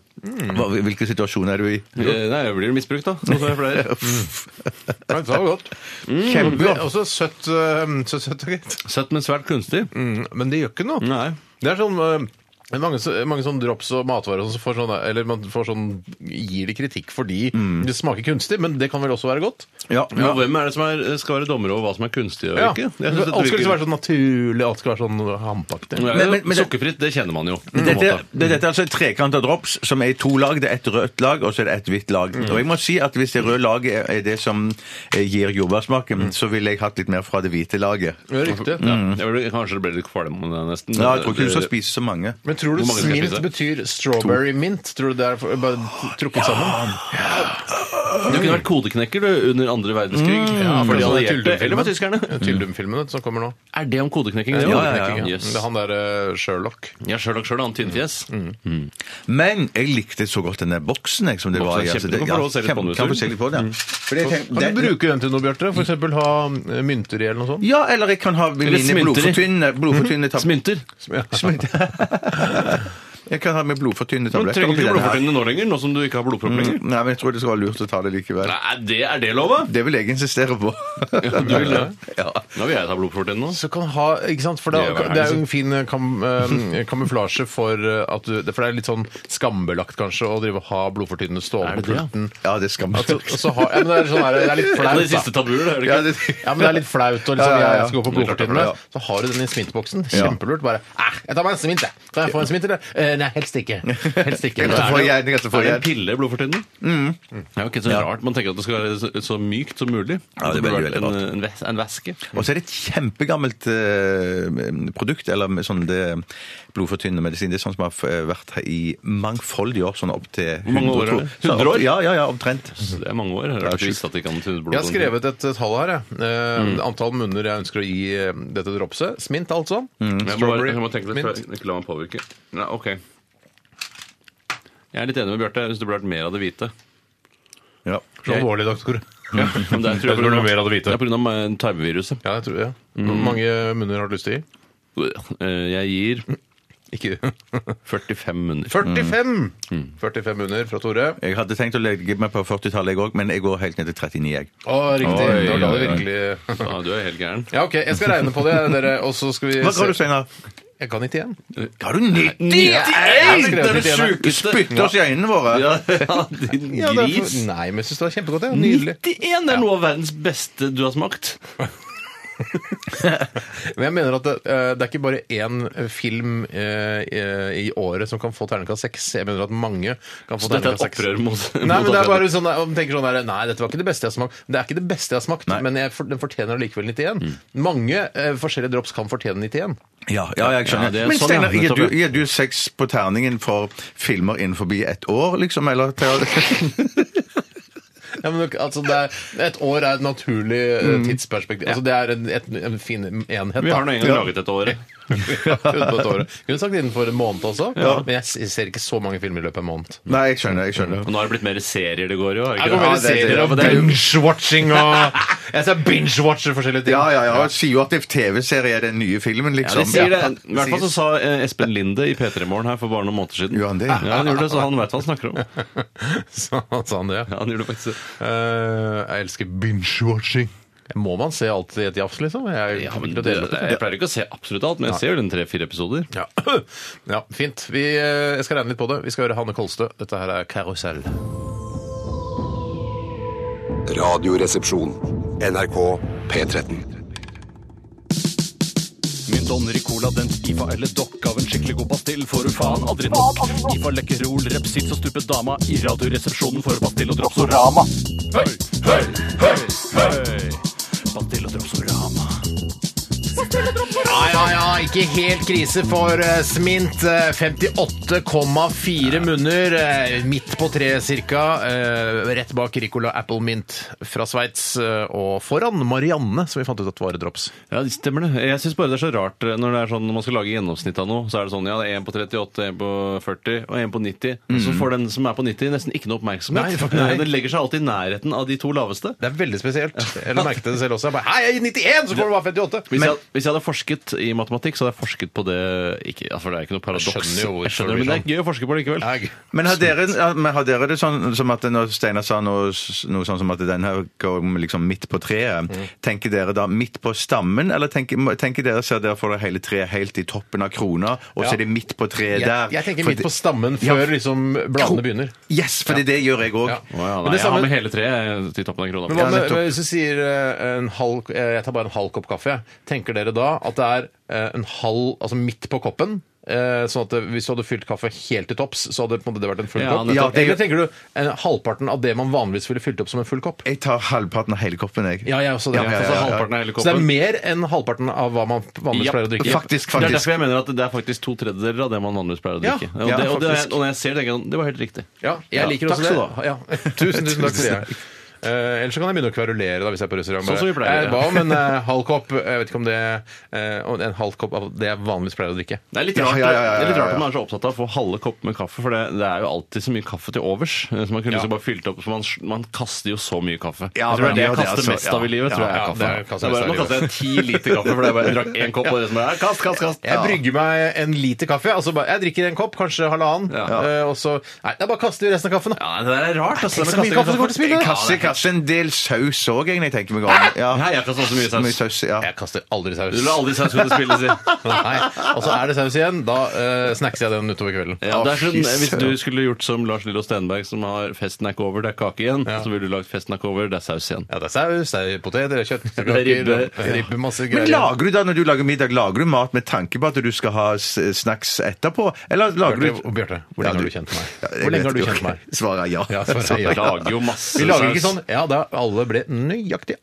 B: Hvilken situasjon er du i?
C: eh, nei, jeg blir misbrukt, da. Sånn som jeg (laughs) pleier.
A: Nei, Det var godt.
B: Kjempegodt.
A: Mm. Også søtt, eh, så søtt og greit.
C: Søtt, men svært kunstig.
A: Mm, Men det gjør ikke noe.
C: Nei.
A: Det er sånn eh, det er mange, så- mange sånn drops og matvarer og sånn som får sånn, eller man får sånn, gir det kritikk fordi
C: Mm.
A: det smaker kunstig, men det kan vel også være godt?
B: Ja,
C: Men
B: ja.
C: hvem er det som er, skal være dommer over hva som er kunstig og ikke? Jeg synes dette
A: Alt skal
C: virker-
A: liksom være sånn naturlig, alt skal være sånn hampaktig.
C: Ja,
B: Men- men- men-
C: Sukkerfritt, det kjenner man jo. på en
B: Dette,
C: måte.
B: det, dette er altså et trekant av drops som er i to lag. Det er et rødt lag og så er det et hvitt lag.
C: Mm.
B: Og jeg må si at Hvis det røde laget er- er det som eh, gir jordbærsmaken, så ville jeg hatt litt mer fra det hvite laget.
A: Ja, Riktig.
C: Mm. Ja, jeg ble, kanskje det ble litt kvalm om det nesten.
B: Ja, jeg tror ikke du skal spise så mange.
A: Men tror du
C: Hvor mange skal jeg
A: smint
C: spise?
A: betyr strawberry mint? Tror du det er for, bare trukket sammen?
C: Du kunne vært kodeknekker du, under andre verdenskrig.
A: Ja, for
C: for
A: det er
C: de
A: sånn
C: allierte,
A: Tyldum-filmen.
C: eller var tyskerne.
A: Tyldum-filmen som kommer nå.
C: Er det om kodeknekking? det?
A: Kodeknekking, ja.
C: Yes.
A: Det er han der eh, Sherlock.
C: Ja, Sherlock Sherlock, han tynnfjes.
B: Men jeg likte så godt den der boksen. Jeg, som det
C: Boksen
B: var,
C: er
B: i, altså,
C: kjempe-
B: det-
C: du kan
B: ja,
C: få lov å se litt på den, hvis
B: kjempe- kan
C: du Mm.
B: få se litt på den. ja. Fordi jeg tenker-
A: Kan
B: det-
A: du bruke den til noe, Bjarte? For eksempel ha eh, mynter i, eller noe sånt?
B: Ja, eller jeg kan ha mine
C: smynter i.
B: blodfortynnende
C: (laughs)
B: blodfortynnende tab-
C: Smynter.
B: (laughs) Jeg kan ha med blodfortynnende
C: Men
B: tabletter
C: trenger du ikke
B: oppi den her. Mm.
C: blodfortynnende nå lenger, nå som du ikke har blodpropp lenger?
B: Nei, men jeg tror det skal være lurt å ta det likevel.
C: Nei, det er det lov, da?
B: Det vil jeg insistere på.
C: Du vil det?
B: (laughs) Ja.
C: Nå vil jeg ta blodfortynnende nå.
A: Så kan ha, ikke sant? For da,
C: Det er jo
A: det er jo en fin eh, kam, eh, (laughs) kamuflasje for eh, at du For det er litt sånn skambelagt, kanskje, å drive og ha blodfortynnende
C: Er
A: stående på
C: det det, ja? Altså,
A: pulten.
B: Mm, Ja, det skal vi
A: At du- og så ha- ja, men det er sånn her, det er litt
C: Det er de
A: flaut,
C: siste
A: da.
C: tabuer, det er det
B: Ja,
C: ikke?
B: det,
A: Ja, men det er litt flaut og liksom,
B: Ja, ja, ja.
A: jeg skal gå på blodfortynnende. Så har du den i smintboksen. Kjempelurt. Bare «Ah, 'Jeg tar meg en smint, jeg'. Kan jeg få en smint, eller? «Eh, nei, helst ikke. Helst
B: (laughs)
A: ikke.
B: Jeg får gjerne, jeg
C: Er
B: får
C: det en
B: gjerne.
C: pille blodfortynnende? Ja, ok, så rart. Man tenker at det skal være så, så mykt som mulig.
B: Ja, det er veldig, veldig
C: en,
B: rart.
C: en, væs- en væske.
B: Og så er det et kjempegammelt eh, produkt, eller med sånn det blodfortynnende medisin. Det er sånn som har f- vært her i mangfoldige år, sånn opp til 100
C: mange år er det? 100 år?
B: Ja, ja, ja, omtrent.
C: Så Det er mange år. Jeg har ikke
B: sjukt.
C: visst at de kan tunne blod.
A: Jeg har skrevet et tall her, jeg. Eh, Antall munner jeg ønsker å gi eh, dette dropset. Smint, altså.
C: Jeg må, bare, jeg må tenke litt før jeg ikke la meg påvirke. Nei, ok. Jeg er litt enig med Bjarte. Jeg syns det burde vært mer av det hvite.
B: Ja.
A: Så alvorlig, doktor.
C: Ja, men det er, tror jeg,
A: Jeg tror det er mer av det hvite.
C: Det er på grunn av eh, tarmviruset.
A: Ja, jeg tror det. Hvor mange munner har du lyst til å gi?
C: Eh, Jeg gir (laughs)
A: Ikke
C: 45 munner.
A: 45! 45 munner fra Tore.
B: Jeg hadde tenkt å legge meg på 40-tallet, jeg òg, men jeg går helt ned til 39, jeg.
A: Å, riktig.
C: Oi,
A: Da la det
C: oi, oi.
A: virkelig (laughs)
C: Ja, du er helt gæren.
A: Ja, OK, jeg skal regne på det, dere. Og så skal vi
B: Hva sa du,
A: se-
B: Steinar?
A: Jeg kan ikke igjen.
B: Har du 90?
A: Jeg skrev
C: Det er
A: det
C: det
A: igjen, jeg.
B: Du spytter oss i øynene våre.
C: Ja, ja, din
A: Ja, det er for-
C: gris.
A: Nei, men jeg syns det var kjempegodt. Ja. Nydelig.
C: 91 er noe av verdens beste du har smakt.
A: Men jeg mener at det, eh, det er ikke bare én film eh, i året som kan få terningkast seks. Jeg mener at mange kan få
C: Så dette er
A: terningkast
C: et
A: seks.
C: opprør mot, mot
A: Nei, men det er
C: akkurat
A: bare sånn, der- om man tenker sånn der, Nei, dette var ikke det beste jeg har smakt. Det er ikke det beste jeg har smakt, men jeg, for, den fortjener allikevel 91.
C: Mm.
A: Mange eh, forskjellige drops kan fortjene 91.
B: Ja, ja, jeg
C: Ja,
B: skjønner.
C: det er
B: Men
C: sånn,
B: Steinar,
C: ja.
B: gir du,
C: Nettopp, ja.
B: gir du seks på terningen for filmer innenfor ett år, liksom? Eller
C: (laughs)
B: til,
A: Ja, men ok, altså, det er, et år er et naturlig eh, tidsperspektiv. Altså, det er en, et, en fin enhet.
C: Mm. Vi
A: da.
C: har nå en gang
A: Ja.
C: laget dette året.
A: (laughs) Ja, utenpå et år. Kunne sagt innenfor en måned også, men jeg s- ser ikke så mange filmer i løpet av en måned.
B: Nei, jeg skjøner. jeg skjønner.
C: Og nå har det blitt mer serier det går i òg.
A: Jeg går mer i
B: det- det-
A: serier
B: ja,
A: og
B: men det er jo-
A: binge-watching og Jeg ser binge-watcher forskjellige ting.
B: Ja,
A: (laughs)
B: ja, ja. Sier jo at det er TV-serie er den nye filmen,
C: Ja,
B: liksom.
C: de sier det. I hvert fall så sa
B: Sier-
C: eh, Espen Linde i P3 Morgen her for bare noen måneder siden.
B: Gjorde han det?
C: Ja, han gjorde det, så han veit hva han snakker om. Ja,
A: Sa sa han det, Sånn, ja.
C: han gjorde det faktisk.
A: Eh, jeg elsker binge-watching. Må man se alt i et jafs, liksom? Jeg,
C: Ja, men det, jeg pleier ikke å se absolutt alt, men jeg ser jo den tre-fire episoder.
A: Ja. (clears throat) ja, fint. Vi, eh, jeg skal regne litt på det. Vi skal høre Hanne Kolstø. Dette her er Karusell.
F: Radioresepsjon.
D: NRK P13.
G: Mynt, donner i cola, den skifa eller dokk av en skikkelig god pastill får du faen aldri nok. Skifa lekkerol, repsits og stupet dama i radioresepsjonen for pastill og dropsorama. Høy, høy, høy, høy! Pastill og dropsorama.
A: Ja, ja, ja. Ikke helt krise for eh, Smint. Eh, 58,4 munner. eh, Midt på treet cirka. Eh, Rett bak Ricola Apple Mint fra Sveits. eh, Og foran Marianne, som vi fant ut at var drops.
C: Ja, det stemmer det. Jeg syns bare det er så rart eh, når det er sånn, når man skal lage gjennomsnitt av noe, så er det sånn ja, det er en på 38, en på 40 og en på 90. Og så får den som er på 90, nesten ikke noe
A: Mm. Nei,
C: oppmerksomhet.
A: fuck,
C: (laughs)
A: nei.
C: Den legger seg alltid i nærheten av de to laveste.
A: Det er veldig (laughs) spesielt. Jeg merket det selv også. Jeg bare, Hei, jeg er 91, så får du bare 58!
C: Hvis, jeg, hvis jeg hadde forsket i matematikk, så hadde jeg forsket på det ikke, altså, For det er ikke noe paradoks.
A: Jeg skjønner jo hvorfor
C: Jeg skjønner,
A: det
C: men
A: blir
C: det er gøy å forske på det likevel.
A: Jeg-
B: Men har, dere, ja, men har dere det sånn som at når Steinar sa noe, s- noe sånn som at den her går liksom midt på treet,
A: Mm.
B: tenker dere da midt på stammen, eller tenker, må- tenker dere ser dere for dere hele treet helt i toppen av krona, og
A: Ja.
B: så er det midt på treet
A: Jeg,
B: der?
A: jeg tenker
B: For
A: midt
B: det-
A: på stammen
B: Ja.
A: før liksom bladene begynner.
B: Yes, for det gjør jeg òg.
A: Ja.
C: Å ja,
A: Men
C: nei,
A: det
C: jeg har
A: samme-
C: med hele treet til toppen av krona.
A: Men hva
B: Ja,
A: med,
B: nettopp.
A: hvis du sier eh, en halv, eh, jeg tar bare en halv kopp kaffe, jeg. tenker dere da at det er eh, en halv, altså midt på koppen, eh, Sånn at det- Hvis du hadde fylt kaffe helt til topps, så hadde på en måte det vært en full
C: Ja,
A: kopp?
C: nettopp.
B: Ja, det-
A: Eller tenker du eh, halvparten av det man vanligvis ville fylt opp som en full kopp?
B: Jeg tar halvparten av hele koppen, jeg.
A: Ja, jeg også det.
B: Ja, ja, ja, ja.
C: Altså halvparten av hele
A: Så det er
C: koppen.
A: mer enn halvparten av hva man vanligvis
C: Ja,
A: pleier å drikke?
B: Faktisk,
C: Det er
B: faktisk.
C: derfor jeg mener at det er faktisk to tredjedeler av det man vanligvis pleier å
A: Ja,
C: drikke. og,
B: ja,
C: det, og, det,
B: faktisk.
C: og når jeg ser det, tenker jeg det var helt riktig.
A: Ja, jeg
C: Ja,
A: liker
C: takk
A: også
C: skal
A: det. Ja. (laughs) Tusen, tusen takk for
C: (laughs)
A: det. Eh, ellers så kan jeg begynne å kverulere da, hvis jeg er på restaurant.
C: Sånn som vi pleier,
A: Eh,
C: ja.
A: Hva om en eh, halv kopp Jeg vet ikke om det eh, om En halv kopp av det jeg vanligvis pleier å drikke.
C: Det er litt
B: Ja,
C: rart,
B: ja, ja, ja, ja,
C: Det er litt rart
B: ja.
C: at man er så opptatt av å få halve kopper med kaffe, for det, det er jo alltid så mye kaffe til overs. eh, Så man kunne liksom bare fylt opp, for man, man kaster jo så mye kaffe.
B: Ja,
C: jeg tror det er det
B: man
C: jeg
B: gjør det,
C: kaster
B: altså.
C: mest av i livet,
B: Ja,
C: tror jeg
A: ja,
C: er
A: det
C: kaffe.
A: er- kaster mest av
C: Det er bare,
A: i
C: man kaster ti liter kaffe, for det er bare jeg drakk én kopp, og det som er kast, kast, kast.
A: Jeg brygger meg en liter kaffe. Altså bare, jeg drikker en kopp, kanskje halvannen.
C: Ja.
A: eh, og så Nei, det er bare å kaste i resten av kaffen. da.
C: Ja, det er rart, altså.
A: Tenk så mye kaffe som går til spille.
B: Kasse, kasse en del saus òg, jeg tenker meg om. Ja.
C: Nei, jeg kaster også mye saus.
B: Mye saus ja.
A: Jeg kaster aldri
C: Du
A: saus.
C: lar aldri saus gå til spille, si.
A: (laughs) Nei. Og så er det saus igjen. Da eh, snackser jeg den utover kvelden.
C: Ja, det er
B: Å, fy
C: sånn, hvis du
B: søren.
C: skulle gjort som Lars Lillo Stenberg, som har 'Festen er ikke over, det er kake igjen', så ville du lagt 'Festen er ikke over, det er saus igjen'.
A: Ja, det er saus, det er poteter, det er
C: Det
A: kjøttkaker,
C: er ribbe.
A: ribbe, masse
B: Men
A: greier.
B: lager du da, når du lager middag, lager du mat med tanke på at du skal ha s- snacks etterpå? Eller lager
A: Bjarte,
B: du
A: Bjarte, hvor lenge har du kjent meg?
B: jeg
A: Hvor lenge
B: vet
A: har du
B: jo
A: kjent
B: ikke.
A: meg?
B: (laughs) Svaret er ja.
A: Ja, svaret er ja.
C: Vi lager jo masse
A: Vi lager ikke
C: saus.
A: sånn Ja, da alle ble nøyaktig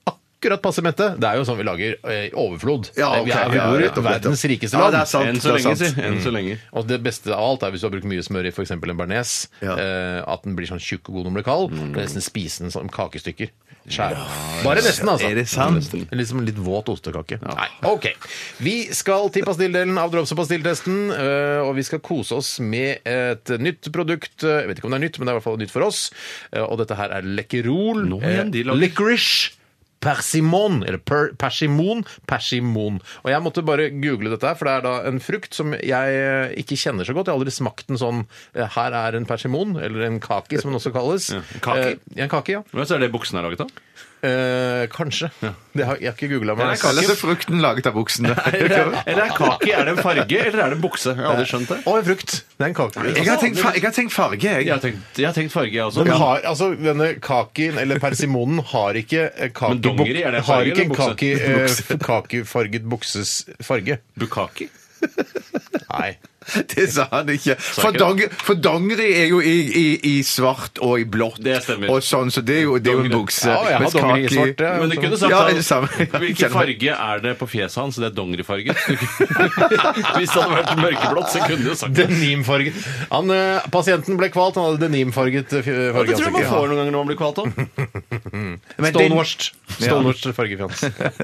A: akkurat passe mette. Det er jo sånn vi lager eh, i overflod.
B: Ja,
A: Eh,
B: ok,
A: vi er-
B: ja,
A: vi
B: ja,
A: bor i
B: ja.
A: verdens rikeste
B: Ja,
A: land.
B: det er sant.
C: Enn så
B: det er
C: lenge, si.
B: sant.
C: Enn så lenge.
A: Og det beste av alt er hvis du har brukt mye smør i f.eks. en bearnés,
B: Ja. Mm.
A: eh, at den blir sånn tjukk og god når den blir kald. Det er nesten spise den som kakestykker. Skjær. Bare nesten, altså.
B: Er det sant?
A: Det er Liksom en litt våt ostekake. Nei, ok. Vi skal til pastilldelen av Drops- og pastilltesten, øh, og vi skal kose oss med et nytt produkt. Jeg vet ikke om det er nytt, men det er i hvert fall nytt for oss. Eh, Og dette her er Lekkerol. eh,
C: Nå igjen, de lager-
A: Licorice. Persimon, eller per, persimon, persimon. Og jeg måtte bare google dette her, for det er da en frukt som jeg eh, ikke kjenner så godt. Jeg har aldri smakt den sånn eh, Her er en persimon, eller en kaki, som den også
C: (laughs)
A: kalles.
C: kaki?
A: Eh, ja, en kaki, ja.
C: Men så er det buksene er laget av?
A: Eh, kanskje. Det har, jeg har ikke googla meg.
B: Jeg kaller det altså frukten laget av
A: (laughs)
B: buksene.
C: Eller er kake er det en farge, eller er det en bukse? Jeg har aldri skjønt det.
A: Og en frukt. Det er en kake.
B: Jeg har tenkt, fa jeg har tenkt farge, jeg.
C: Jeg har tenkt, jeg har tenkt farge, jeg også.
A: Den
C: Ja.
A: har, altså, denne kakien, eller persimonen, har ikke eh, kake,
C: Men dongeri, er det en
A: har
C: farge
A: ikke en
C: eller bukse?
A: kaki, eh, f- kakefarget bukses farge.
C: Bukaki?
A: Nei.
B: (laughs) Det sa han ikke.
C: ikke
B: For,
C: det?
B: dong for dongeri er jo i, i, i svart og i blått.
C: Det stemmer.
B: Og sånn, så det er jo, det er jo en
C: Dongeri.
B: bukse.
A: Ja, jeg har
B: Mens
A: dongeri i
B: kaki-
A: svart, ja.
C: Men du kunne sagt
B: Ja,
C: at-
B: det er det samme. Ja,
C: Hvilken
B: kjenner meg.
C: farge er det på fjeset hans? Det er dongerifarge. (laughs) Hvis det hadde vært mørkeblått, så kunne du sagt det.
A: Denimfarget han, eh, Pasienten ble kvalt, han hadde denimfarget eh, f-
C: Ja, Det
A: farge.
C: tror jeg man
A: Ja.
C: får noen ganger når man blir kvalt òg.
B: Men den-
A: Stonewashed. Stonewashed fargefjans.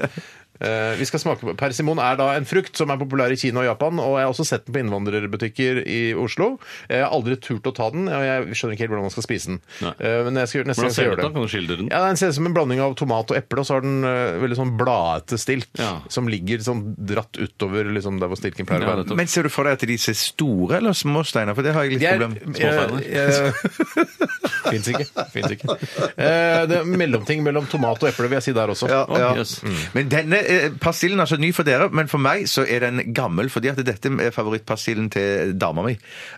B: (laughs)
A: Eh, vi skal smake på Persimon er da en frukt som er populær i Kina og Japan, og jeg har også sett den på innvandrerbutikker i Oslo. Jeg har aldri turt å ta den, og jeg skjønner ikke helt hvordan man skal spise den.
C: Nei.
A: Eh, men jeg skal gjøre- neste gang
C: Hvordan
A: skal jeg
C: ser det ut da?
A: gjøre det.
C: Kan du skildre den?
A: Ja, Den ser ut som en blanding av tomat og eple, og så har den eh, veldig sånn bladete stilk
C: Ja.
A: som ligger sånn dratt utover liksom, der hvor stilken pleier å
C: Ja,
A: være.
C: nettopp.
B: Men ser du for deg at de ser store eller små steiner? For det har jeg litt
A: De er-
B: problem med.
C: Småsteiner.
A: eh, eh, Fins ikke. Fins ikke. Eh, det er mellomting mellom tomat og eple, vil jeg si der også.
B: Ja, ja.
C: yes.
B: Mm. Men denne eh, persillen er altså ny for dere, men for meg så er den gammel, fordi at dette er favorittpersillen til dama mi.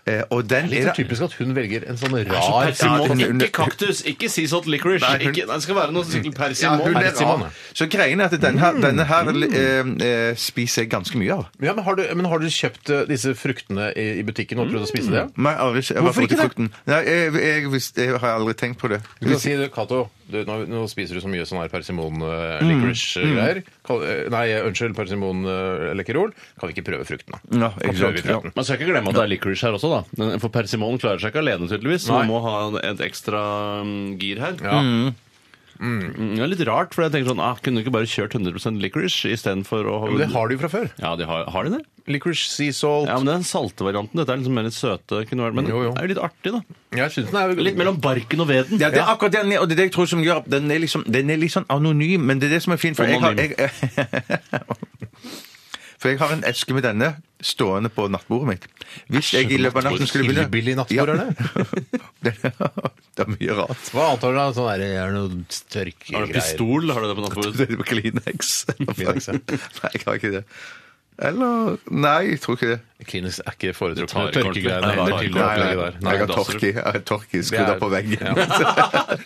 B: Eh, Og den
A: Litt
B: er
A: så typisk at hun velger en sånn
C: Så
A: rar
C: Persimon,
B: Ja,
C: ikke kaktus, ikke sea salt licorice.
B: Nei, hun-
C: Ikke, nei, det skal være noe skikkelig
B: Ja, hun
C: persimon.
B: er
A: Persimon,
B: rar. Så greien er at denne her,
A: Mm.
B: denne her eh, eh, spiser jeg ganske mye av.
A: Ja, men, har du, men har du kjøpt eh, disse fruktene i, i butikken og prøvd å spise det?
B: Nei, aldri, jeg har
A: Hvorfor
B: fått i
A: ikke det?
B: frukten. Nei, jeg, jeg, visst- jeg har aldri tenkt på det.
A: Du kan si, du, Cato, du, nå, nå spiser du så mye sånn her eh,
B: Mm.
A: persimon-licorice-greier. eh, Nei, unnskyld, persimon-lekkerol. Kan vi ikke prøve frukten, da?
B: Ja,
A: Kan
B: ikke
A: prøve
B: sant.
A: frukten.
C: Man skal ikke glemme at det er licorice her også, da. Den- For persimonen klarer seg ikke alene, tydeligvis. Så
A: Nei.
C: man må ha et ekstra mm, gir her.
A: Ja.
C: Mm, Det er litt rart, for jeg tenker sånn ah, Kunne du ikke bare kjørt 100 licorice istedenfor å
A: Men det har du jo fra før.
C: Ja, de har, har de det?
A: Licorice, sea salt
C: Ja, men det er den salte varianten. Dette er liksom mer litt søte. Kunne vært, men
A: Jo, jo.
C: det er jo litt artig, da.
A: Jeg synes den er
C: Litt mellom barken og veden.
B: Ja, det er akkurat den, og det er det jeg tror som gjør at Den er liksom, den er litt sånn anonym, men det er det som er fint. For jeg har, jeg, (laughs) for jeg har en eske med denne stående på nattbordet mitt. Hvis jeg i løpet av natten skulle begynne
A: Hillebilly nattbord, er
B: (laughs) det? det er mye rart.
A: Hva annet har du da? Sånn der, er det noe
C: Har du
A: tørkegreier?
C: pistol? Har du det på nattbordet?
B: Det er Kleenex.
A: Kleenex, ja.
B: Nei, jeg har ikke det. Eller Nei, jeg tror ikke det.
A: Klinisk er
C: (laughs)
A: ikke
C: tar
A: foretrukne
C: ikke ordentlig.
A: tørkegreiene
C: Nei,
A: heller
C: nei,
A: til det
C: nei, nei,
A: opplegget der.
B: jeg har
A: da-
C: dasser.
B: torki, jeg har torki
A: Det
B: (laughs) skrudd
A: er-
B: opp på veggen.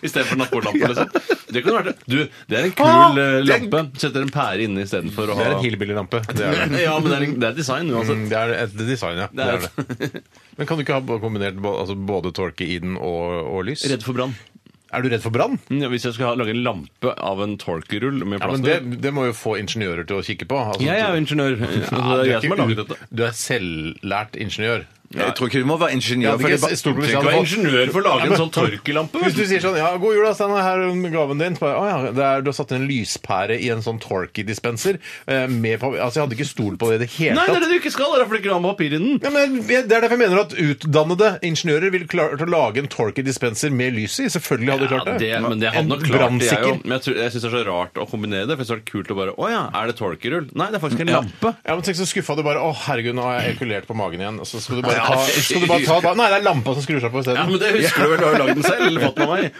C: Istedenfor nattbordlampe, liksom? Det kunne vært Du, det er en kul eh, lampe. Setter en pære inne istedenfor å
A: Det
C: ha
A: er en hillbilly-lampe. Det er
C: (laughs)
A: det.
C: Ja, men det er, en, det er design uansett.
A: Mm, det er et design, ja. Det
C: er
A: er det. (laughs) Men kan du ikke ha bo- kombinert bo- altså både tåke i den og, og lys?
C: Redd for brann.
A: Er du redd for brann?
C: Mm, Ja, hvis jeg skulle ha, lage en lampe av en torkerull med
A: Ja, men
C: plaster
A: det, det må jo få ingeniører til å kikke på. Altså,
C: Jeg er jo
A: (laughs)
C: ingeniør.
A: Ja,
C: Altså, det er
A: du,
C: jeg som har
A: er
C: laget
A: ikke,
C: dette.
A: u- du er selvlært ingeniør.
B: Jeg tror ikke du må være
A: Ja,
B: ingeniør. for
A: det
B: det
A: er
B: er
A: et stort
B: bare-
A: problem.
C: Du er ingeniør for å lage en sånn torkelampe.
A: Hvis du sier sånn ja, 'God jul, da, Steinar. Her er gaven din.' Så Bare, å, ja, det er, du har satt en lyspære i en sånn Torky-dispenser. Eh, med papir- altså, jeg hadde ikke stolt på det i det hele
C: Nei, det er
A: tatt.
C: det du ikke skal! Det er derfor det ikke er med papir i den.
A: Ja, men jeg- det er derfor jeg mener at utdannede ingeniører ville klart å lage en Torky-dispenser med lys i. Selvfølgelig hadde de
C: Ja,
A: klart det.
C: det, men det
A: En
C: hadde nok klart det, jeg jo.
A: brannsikker.
C: Men jeg, tror- jeg syns det er så rart å kombinere det. For jeg synes det er kult å bare Å ja, er det torkerull? Nei, det er faktisk en lampe.
A: Ja, men tenk så skuffa du bare Å, herregud, nå har jeg ekulert på magen igjen. Og Så skal du bare
C: Ja,
A: ta,
C: fy.
A: skal du bare ta da- Nei, det er lampa som skrur seg på
C: Ja, men
A: isteden.
C: det husker du vel, du har jo lagd den selv, eller fått med meg.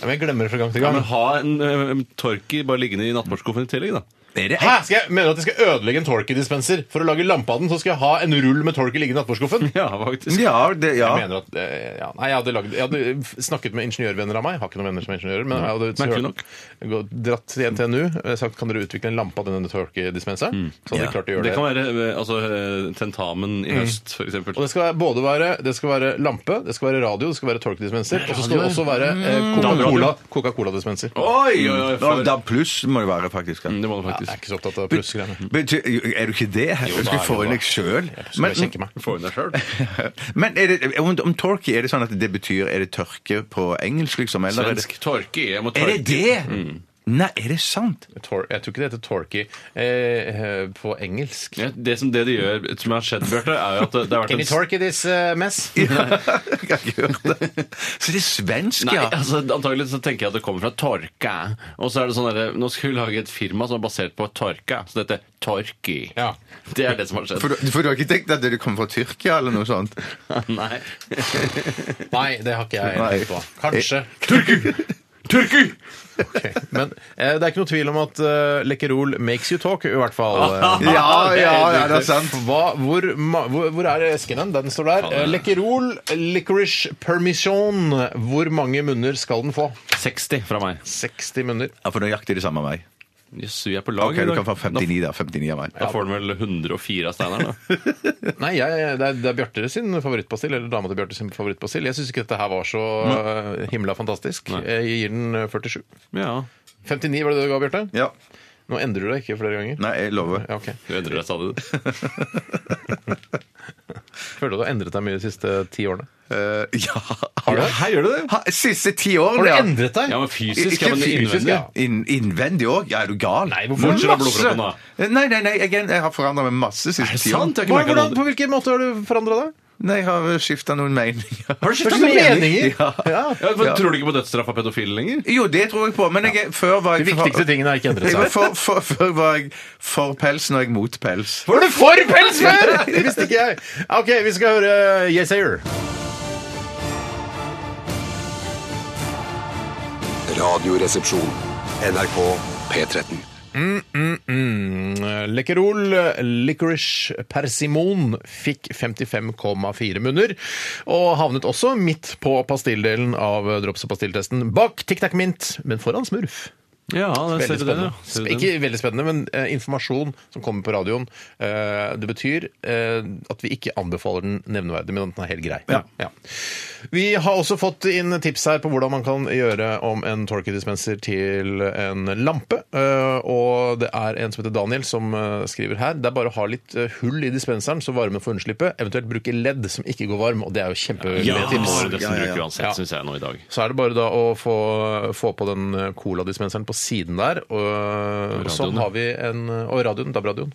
A: Ja, men jeg glemmer det fra gang til
C: Ja,
A: gang.
C: men ha en uh, torki bare liggende i nattbordskuffen i tillegg, da.
A: Hæ? Skal jeg, mener du at jeg skal ødelegge en Torky-dispenser? For å lage lampe av den, så skal jeg ha en rull med Torky liggende i nattbordskuffen?
C: Ja, faktisk.
B: Ja, det, ja.
A: Jeg mener at, eh, ja, nei, jeg hadde, lagd, jeg hadde f- snakket med ingeniørvenner av meg. Jeg har ikke noen venner som er ingeniører. Men jeg hadde
C: Merkelig nok.
A: gå- dratt til NTNU og eh, sagt kan dere utvikle en lampe av denne Torky-dispenseren. Så hadde de klart å gjøre
C: Mm. Det
A: det.
C: kan være eh, altså, eh, tentamen
B: Mm.
C: i høst, for eksempel.
A: Og det skal både være, det skal være lampe, det skal være radio, det skal være torkedispenser, og så skal det også være eh, Coca-Cola-
C: Mm.
A: Coca-Cola-dispenser.
C: Oi, oi, oi!
B: Da,
C: for-
B: da pluss må det være, faktisk. Ja.
C: Mm, Det må du
A: Jeg er
C: faktisk.
A: ikke så opptatt av plussgreiene.
B: Betyr, er du ikke det?
A: Jo,
B: Du
A: da er
B: skal få
A: det
B: inn
A: da.
B: deg sjøl.
A: Skal jeg sjekke meg.
C: Få inn deg sjøl.
B: Men er det, om, om torky, er det sånn at det betyr Er det tørke på engelsk, liksom? Eller er det,
C: (laughs) Svensk torki. Jeg må Mm.
B: er
C: torki.
B: det det?
A: Mm.
B: Nei, er
A: (laughs)
B: det sant?
A: Tor jeg tror ikke det heter torky eh, eh, på engelsk.
C: Ja, det som det de gjør, som har skjedd, Bjarte, er jo at det har vært
A: Can you
C: en
A: torky this eh, mess?
B: Jeg har ikke hørt det. Så det er svensk,
C: Nei,
B: ja.
C: altså antagelig så tenker jeg at det kommer fra torka. Og så er det sånn derre Nå skal vi lage et firma som er basert på torka, så dette er Torki.
A: Ja.
C: Det er det som har skjedd.
B: For du, for du har ikke tenkt at det kommer fra Tyrkia eller
A: (laughs)
B: noe sånt?
C: Nei.
A: Nei, det har ikke jeg
B: Nei.
A: tenkt på. Kanskje.
C: Turku!
A: Men eh, det er ikke noe tvil om at eh, Lekkerol makes you talk, i hvert fall. (laughs) Eh,
B: Ja, ja, ja, det er sant.
A: Hva, hvor, ma- hvor, hvor er esken den? Den står der.
C: Ja, det er-
A: Eh, Lekkerol licorice permission. Hvor mange munner skal den få?
C: 60 fra meg.
A: 60 munner.
B: Ja, For nøyaktig det samme av meg.
C: Jøss, vi er på lag.
B: Ok,
C: i
B: Du
C: dag.
B: kan få 59, da. 59 av meg.
C: Da får den vel 104 av
B: (laughs)
C: Steinar, da.
A: Nei, jeg, det er, det er Bjarte sin favorittpastill, eller dama til Bjarte sin favorittpastill. Jeg syns ikke dette her var så eh, himla fantastisk.
C: Nei.
A: Eh, Jeg gir den eh, 47.
C: Ja.
A: 59 var det det du ga, Bjarte?
B: Ja.
A: Nå endrer du deg ikke flere ganger.
B: Nei, jeg lover.
A: Ja, ok.
C: Du endrer deg stadig.
A: Føler du at du har endret deg mye de siste ti årene?
B: Eh, ja. (laughs)
A: du det?
B: Her gjør du det? Ha, siste ti
A: Har
B: årene,
A: du
B: ja.
A: endret deg?
C: Ja, men fysisk, ja, men
A: fysisk,
C: innvendig.
A: ja.
B: Inn, innvendig òg? Ja, er du gal?
A: Nei, hvorfor? Bortsett fra
B: Masse!
C: blodproppen, da.
B: Nei, nei, nei, jeg, jeg har forandra meg masse siste
C: Er det
B: ti år.
C: sant? Jeg har ikke
A: Hvor-
C: merket
A: hvordan,
C: noe.
A: på hvilken måte har du forandra deg?
B: Nei, jeg har skifta noen meninger.
C: Har du skiftet
A: Hva slags meninger?
B: Ja.
C: Ja, for,
B: Ja.
C: Tror du ikke på dødsstraff av pedofile lenger?
B: Jo, det tror jeg på, men jeg, før var jeg
A: De viktigste tingene har ikke endret
B: Jeg var
A: seg.
B: for, for, før var jeg for pels, nå er jeg mot pels.
A: Var du for pels
B: (laughs)
A: før?! (laughs) Det visste ikke jeg. OK, vi skal høre eh, Yes Ayer.
F: Radioresepsjon. NRK P13.
A: Mm, Lekkerol licorice persimon fikk 55,4 munner, og havnet også midt på pastilldelen av drops- og pastilltesten. Bak Tic Tac Mint, men foran Smurf.
C: Ja, det
A: Veldig spennende. Sp- Ikke veldig spennende, men eh, informasjon som kommer på radioen. eh, det betyr eh, at vi ikke anbefaler den nevneverdig, men at den er helt grei. Ja. Vi har også fått inn tips her på hvordan man kan gjøre om en torkedispenser til en lampe. eh, og det er en som heter Daniel som eh, skriver her. Det er bare å ha litt eh, hull i dispenseren så varmen får unnslippe. Eventuelt bruke ledd som ikke går varm, og det er jo
C: Ja,
A: kjempegodt
C: det
A: tips.
C: må du nesten bruke uansett,
A: Ja.
C: syns jeg nå i dag.
A: Så er det bare da å få, få på den eh, coladispenseren på siden der. Og, og så
C: radioen,
A: har vi en Og radioen. DAB-radioen.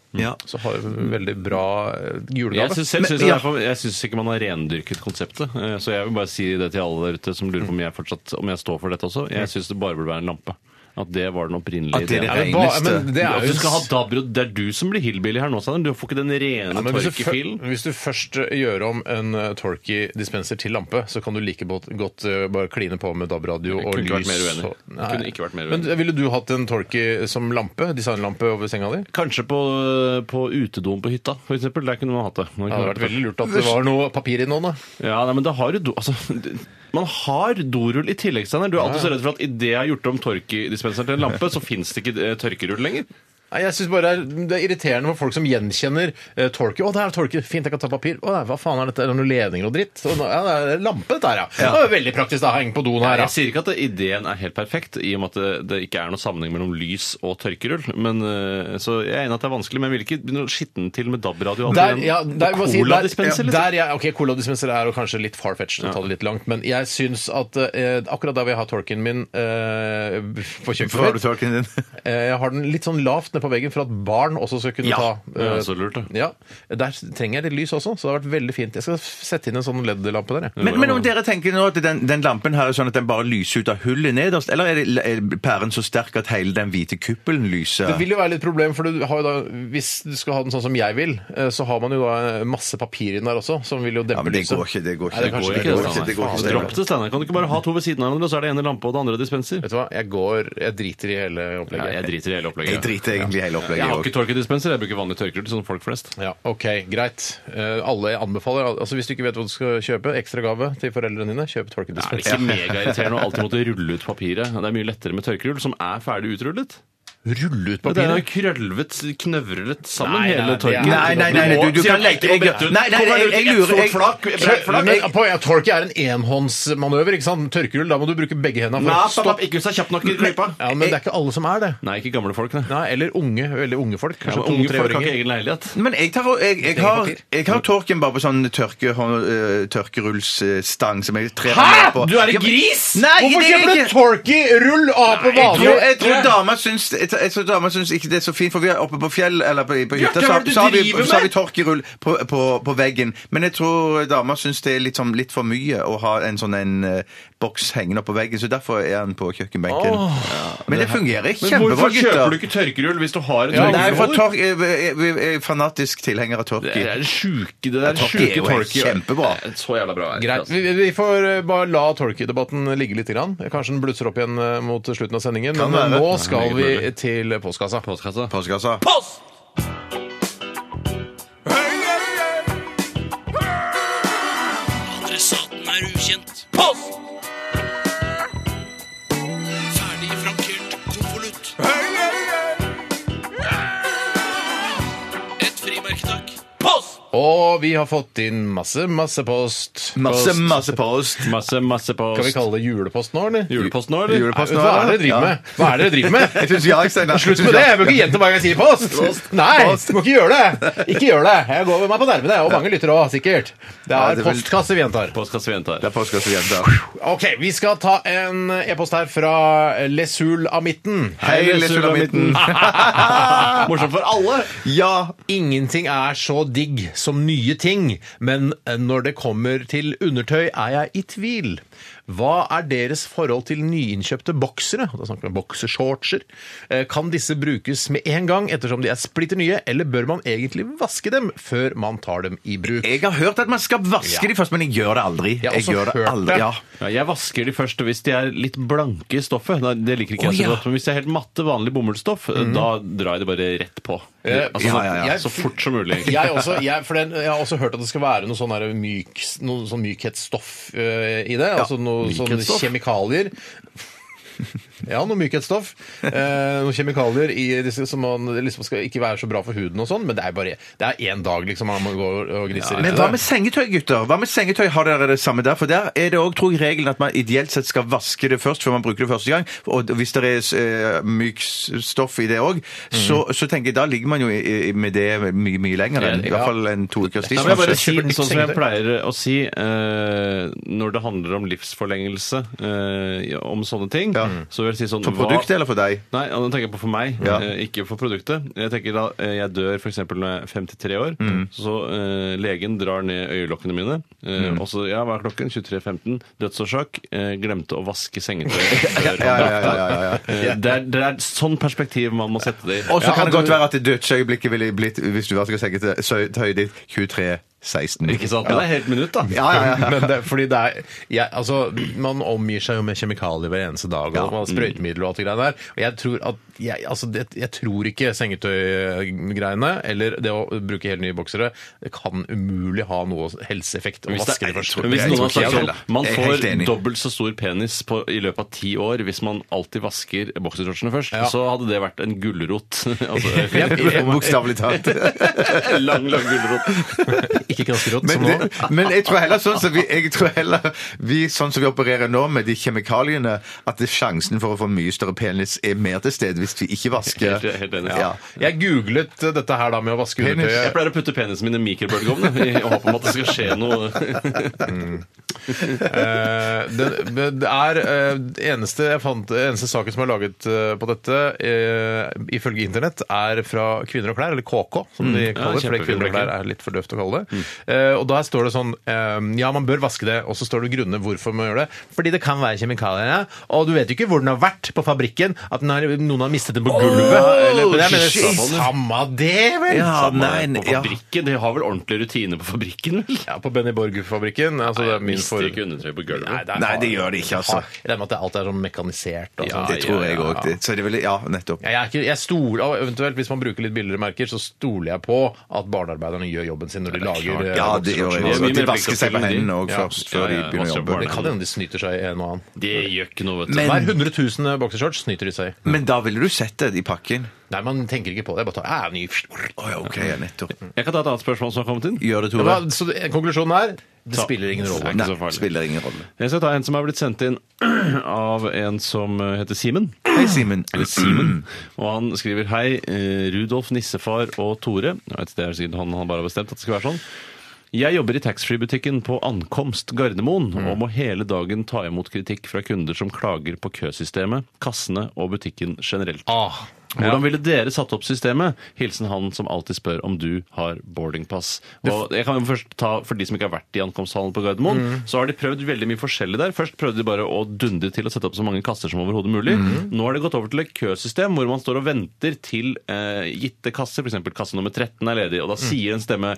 A: Så har vi en veldig bra eh,
C: Jeg
A: julegave.
C: syns, selv,
A: Men-
C: synes jeg,
A: ja.
C: derfor, jeg synes ikke man har rendyrket konseptet. eh, Så jeg vil bare si det til alle der ute som lurer på om jeg, fortsatt, om jeg står for dette også. Jeg syns det bare burde være en lampe. At det var den opprinnelige
B: At det er
C: ideen.
B: det
A: Ja, men, ba-
B: eneste.
A: men det
C: At
A: er
C: du
A: jo
C: skal ha dabro, det er du som blir hillbilly her nå, Steinar. Du får ikke den rene
A: Ja, men hvis, du
C: torkefilen.
A: fø- hvis du først eh, gjør om en eh, Torky-dispenser til lampe, så kan du like godt, godt eh, bare kline på med DAB-radio
C: Jeg
A: og
C: kunne
A: lys.
C: ikke vært mer uenig.
A: og-
C: Jeg
A: Nei.
C: kunne ikke vært mer uenig.
A: Men eh, ville du hatt en Torky som lampe? Designlampe over senga di?
C: Kanskje på, på utedoen på hytta, for eksempel. Der kunne man hatt det. Man
A: Det
C: kunne
A: hadde
C: hatt
A: vært veldig lurt at det var noe papir i noen, da.
C: Ja, nei, men da (laughs) har du do... Altså, man har dorull i tillegg, Steinar. Du er alltid så redd for at idet jeg har gjort om oljedispenseren til en lampe, så fins det ikke eh, tørkerull lenger.
A: Nei, jeg synes bare det er- Det er irriterende for folk som gjenkjenner eh, tolke. 'Å, det er tolke. Fint, jeg kan ta papir.' Å, nei, hva faen er dette? Er det noen ledninger og dritt? Å, nå- ja, det er lampe, dette her, ja. Det var jo veldig praktisk da, henge på doen her, ja.
C: Jeg sier ikke at det- ideen er helt perfekt, i og med at det, det ikke er noen sammenheng mellom lys og tørkerull. Men, eh, så jeg er enig at det er vanskelig, men jeg vil ikke begynne å skitne til med DAB-radio. og
A: Der,
C: alt igjen.
A: ja, der,
C: Og
A: må jeg si,
C: Coladispenser,
A: der,
C: liksom.
A: der, jeg- ok, Coladispenser er jo kanskje litt far-fetched å ta det litt langt, men jeg syns at eh, akkurat der hvor jeg har tolken min eh, på
B: Hva
A: kjøkkenet
B: har du
A: mitt,
B: tolken din?
A: eh, jeg har den litt sånn lavt ned på veggen for at barn også skal kunne
C: liksom.
A: ta
C: Ja,
A: eh,
C: det er også lurt, det.
A: ja, Der trenger jeg litt lys også, så det har vært veldig fint. Jeg skal sette inn en sånn LED-lampe der, jeg.
B: Men, men om dere tenker nå at den, den lampen her er sånn at den bare lyser ut av hullet nederst, eller er, det, er pæren så sterk at hele den hvite kuppelen lyser?
A: Det vil jo være litt problem, for du har jo da, hvis du skal ha den sånn som jeg vil, eh, så har man jo da masse papir inn der også, som vil jo dempe
B: Ja, men det
A: lyset.
B: går ikke, det
A: Nei,
B: går ikke.
A: det kanskje
C: Går ikke,
A: det
C: det,
A: går ikke,
C: Steinar.
A: det går ikke,
C: Faen,
A: Steinar.
C: Dropp det, Steinar. Kan du ikke bare ha to ved siden av hverandre, så er det ene lampe og det andre dispenser?
A: Vet du hva, jeg går Jeg driter i hele
C: Ja,
A: opplegget.
C: jeg driter i hele opplegget.
B: Jeg driter egentlig i hele
C: Jeg
B: opplegget
C: har
B: òg.
C: ikke tørkedispenser, jeg bruker vanlig tørkerull som folk flest.
A: Ja, ok, greit. Eh, alle anbefaler altså Hvis du ikke vet hva du skal kjøpe, ekstra gave til foreldrene dine, kjøp
C: Det er
A: tolkedispenser.
C: ikke megairriterende å alltid måtte rulle ut papiret. Det er mye lettere med tørkerull, som er ferdig utrullet.
A: (laughs) Rulle ut
C: Det er jo
A: papiret!
C: krølvet, knøvlet sammen
A: Nei, nei,
C: hele
A: det er-
C: tørkerullet.
B: Nei, nei, nei, nei, du, du kan legge deg Nei, nei, jeg, jeg lurer jeg,
A: Men poenget er at Tolke er en enhåndsmanøver. ikke sant? Tørkerull, da må du bruke begge hendene. for å stoppe-
C: ikke hvis du er kjapp nok i klypa.
A: Ja, Men det er ikke alle som er det.
C: Nei, ikke gamle folk, nei.
A: Nei, Eller unge. Veldig unge folk.
C: Ja,
A: Kanskje
C: men unge folk har ikke
A: to-treåringer.
C: egen leilighet.
B: Men jeg, tar, jeg, jeg, har, jeg har tørken bare på sånn tørke, øh, tørkerullsstang som jeg trer ned på. Ja, men-
A: Hvorfor
B: Nei, det er
A: kjøper
B: ikke-
A: du Torky-rull av på
B: Jeg tror,
A: vanlig?
B: jeg tror dama syns, jeg tror- jeg tror dama syns ikke det er så fint, for vi er oppe på fjell eller på, på
C: hva
B: hytta, så,
C: er det du
B: så, har vi,
C: driver
B: så har vi
C: med?
B: tørkerull på, på, på veggen. Men jeg tror dama syns det er litt, sånn, litt for mye å ha en sånn en eh, boks hengende opp på veggen, så derfor er han på kjøkkenbenken. Ja, men det fungerer kjempebra,
C: Hvorfor kjøper du
B: gutter.
C: ikke tørkerull hvis du har et
A: Ja,
B: Nei, for eh,
C: tørkerull?
B: tørk, jeg, jeg, jeg er fanatisk tilhenger av
C: Det
B: tørke.
C: er sjuke det der.
B: Ja, tørke er
C: Sjuke
B: jo helt
C: tørke.
B: kjempebra.
C: Det er Så jævla bra. er det ikke,
A: Greit.
C: altså.
A: Vi, vi får eh, bare la Torky-debatten ligge litt. Grann. Kanskje den blusser opp igjen eh, mot slutten av sendingen.
B: Kan
A: Men
B: være.
A: nå
C: Ja,
A: skal
C: meget
A: vi
C: mulig.
A: til postkassa.
C: Postkassa.
B: Postkassa.
H: Adressaten er ukjent. Post! Ferdig frankert konvolutt. Et frimerke, takk. Post!
A: Og vi har fått inn masse, masse post.
B: Masse,
A: post.
B: masse post.
C: Masse, masse
A: Skal vi
C: post.
A: kalle det julepost nå, eller?
C: Julepost nå, eller?
B: Julepost nå,
A: Hva er det dere
B: ja.
A: driver med? Hva er det dere driver
B: (laughs) Jeg
A: med?
B: syns ja, jeg, Steinar.
A: Slutt med det! Jeg må ikke gjenta hver gang jeg sier post! Nei, du må ikke gjøre det! Ikke gjør det! Jeg går meg på nervene, og mange lytter òg, sikkert. Det
B: Ja,
A: er
B: det er vel-
A: postkasse vi gjentar.
C: Postkasse vi hentar.
B: Det er postkasse igjen, da.
A: Ok, vi skal ta en e-post her fra Lesul av midten.
B: Hei, Lesulamitten. (laughs)
C: Morsomt for alle!
B: Ja.
A: Ingenting er så digg som nye ting, men eh, når det kommer til undertøy, er jeg i tvil. Hva er deres forhold til nyinnkjøpte boksere? Da snakker vi om boksershortser. Eh, Kan disse brukes med en gang ettersom de er splitter nye, eller bør man egentlig vaske dem før man tar dem i bruk?
B: Jeg har hørt at man skal vaske
A: Ja.
B: de først, men jeg gjør det aldri.
A: Jeg har også
B: gjør
A: hørt det.
B: Ja.
C: Ja, jeg vasker de først hvis de er litt blanke i stoffet. Nei, det liker ikke
B: Å,
C: jeg så
B: ja.
C: godt. Men hvis det er helt matte, vanlig bomullsstoff, da drar jeg det bare rett på.
A: Eh,
C: altså,
B: Mhm. ja, ja, ja.
C: Så fort som mulig. egentlig.
A: Jeg, også, jeg, for den, jeg har også hørt at det skal være noe sånn, der myk, noe sånn mykhetsstoff eh, i det. altså noe sånn
C: mykhetsstoff.
A: kjemikalier. Ja, noe mykhetsstoff. Eh, noen kjemikalier i disse som man liksom skal ikke være så bra for huden og sånn, men det er bare det er én dag liksom man må gå og gnisse litt.
B: Men
A: i
B: hva
A: det.
B: med sengetøy, gutter? Hva med sengetøy? Har dere det samme der? For der er det òg, tror jeg, regelen at man ideelt sett skal vaske det først før man bruker det første gang. Og hvis det er eh, mykt stoff i det òg, så, så tenker jeg da ligger man jo i, i- med det mye, mye lenger enn i
C: Ja.
B: hvert fall en to ukers tid.
C: Ja, men jeg bare si,
A: kjøper nytt
C: sånn som jeg
A: sengetøy.
C: pleier å si eh, når det handler om livsforlengelse, eh, om sånne ting,
B: Ja.
C: så vil jeg si sånn
B: For
C: hva-
B: produktet eller for deg?
C: Nei, ja, nå tenker jeg på for meg,
B: Ja.
C: eh, ikke for produktet. Jeg tenker da eh, jeg dør f.eks. når jeg er 53 år,
B: Mm.
C: så eh, legen drar ned øyelokkene mine, eh,
B: Mm.
C: og så ja, hva er klokken? 23.15, dødsårsak, eh, glemte å vaske
B: (laughs)
C: sengetøyet. før
B: Ja, ja,
C: han
B: ja, ja, ja, ja.
C: drakk. (laughs) Eh, Det er, det er sånn perspektiv man må sette det i.
B: Og så
C: Ja.
B: kan det godt være at det dødsøyeblikket ville blitt, hvis du vasker sengetøyet ditt, 23.16.
C: Ikke sant? Men det er helt minutt, da.
B: Ja, ja, ja.
A: (laughs) Men det, fordi det er jeg, altså, Man omgir seg jo med kjemikalier hver eneste dag, og man har sprøytemidler og alt det greiene der. Og jeg tror at jeg, altså, det, jeg tror ikke sengetøygreiene eller det å bruke helt nye boksere det kan umulig ha noe helseeffekt å
C: Hvis,
A: vaske
C: det,
A: det først.
C: hvis
B: Jeg
C: noen
B: tror
C: har
B: ikke
C: sagt
B: jeg
C: sånn
B: heller.
C: Man
B: Jeg er
C: får
B: helt enig.
C: dobbelt så stor penis på, i løpet av ti år hvis man alltid vasker boksershortsene først,
A: Ja.
C: så hadde det vært en gulrot. (laughs)
A: Ja,
C: altså,
B: (laughs) Bokstavelig talt.
C: lang, lang gulrot.
A: Ikke ganske rått som
B: Men,
A: nå.
B: det, men jeg tror heller sånn som vi, jeg tror heller vi sånn som vi opererer nå med de kjemikaliene, at det, sjansen for å få mye større penis er mer til stede hvis vi ikke vasker.
C: Helt- helt enig.
B: Ja.
A: Jeg googlet eh, dette her da med å vaske
B: Penis.
C: Jeg
A: undertøyet.
C: pleier å putte penisen min i mikrobølgeovnen i håp om at det skal skje noe.
A: Eh, Det, det er eh, det eneste, jeg fant, det eneste saken som er laget eh, på dette, eh, ifølge internett, er fra Kvinner og klær, eller KK, som
B: Mm.
A: de kaller det. fordi
C: kjempefin
A: Kvinner og klær er litt for døvt å kalle det. Eh, Og der står det sånn eh, Ja, man bør vaske det, og så står det grunner hvorfor man gjør det. Fordi det kan være kjemikalier i det, og du vet jo ikke hvor den har vært på fabrikken. At den har, noen har mistet den på gulvet. eller, men jeg
C: shit.
A: mener, sånn, samme det, vel!
B: Ja,
A: Samme
B: nei,
C: På
B: ja.
C: fabrikken, De har vel ordentlig rutine på fabrikken, vel?
A: Ja, på Benny Borg-fabrikken. Altså, det er min
C: Mister
A: for...
C: ikke undertøy på gulvet.
A: Nei, det,
B: Nei, det gjør det ikke, altså.
A: Jeg regner med at det alt er sånn mekanisert. Og sånt.
B: Det tror jeg òg. Så det er vel Ja, nettopp.
A: Ja, jeg, er ikke, jeg stoler, og eventuelt Hvis man bruker litt billigere merker, så stoler jeg på at barnearbeiderne gjør jobben sin når de lager eh,
B: Ja, det gjør jeg
C: er
B: også.
C: mye
B: At de
C: mer
B: vasker seg på
C: pliktoppfyllende.
B: hendene òg
A: Ja.
B: først, før
C: Ja,
B: de
C: ja,
B: begynner å
C: vasker
B: jobbe.
A: Det kan hende de snyter seg i en og annen.
C: Det gjør ikke noe, vet du.
B: Men-
A: Hver 100 000 boxershorts snyter de seg i.
B: Men da ville du sett det i pakken.
A: Nei, man tenker ikke på det. Jeg bare tar, "Ja, ny.
B: Å ja, OK, ja, nettopp.
C: Jeg kan ta et annet spørsmål som har kommet inn.
B: Gjør det,
A: Det
B: Tore.
A: var- Så det- konklusjonen er det spiller ingen rolle.
C: Nei.
B: Nei, spiller ingen rolle.
C: Jeg skal ta en som er blitt sendt inn (clears throat) av en som heter Simen.
B: Hei, Simen.
C: Eller Simen. Og han skriver Hei, eh, Rudolf, nissefar og Tore. Jeg vet, det er sikkert han, han bare har bestemt at det skal være sånn. Jeg jobber i taxfree-butikken på ankomst Gardermoen og må hele dagen ta imot kritikk fra kunder som klager på køsystemet, kassene og butikken generelt.
A: Ah,
C: Hvordan ville dere satt opp systemet? Hilsen han som alltid spør om du har boardingpass. Og jeg kan jo først ta For de som ikke har vært i ankomsthallen på Gardermoen,
A: Mm.
C: så har de prøvd veldig mye forskjellig der. Først prøvde de bare å dundre til og sette opp så mange kasser som overhodet mulig.
A: Mm.
C: Nå har det gått over til et køsystem hvor man står og venter til eh, gitte kasser, f.eks. kasse nummer 13 er ledig, og da sier en stemme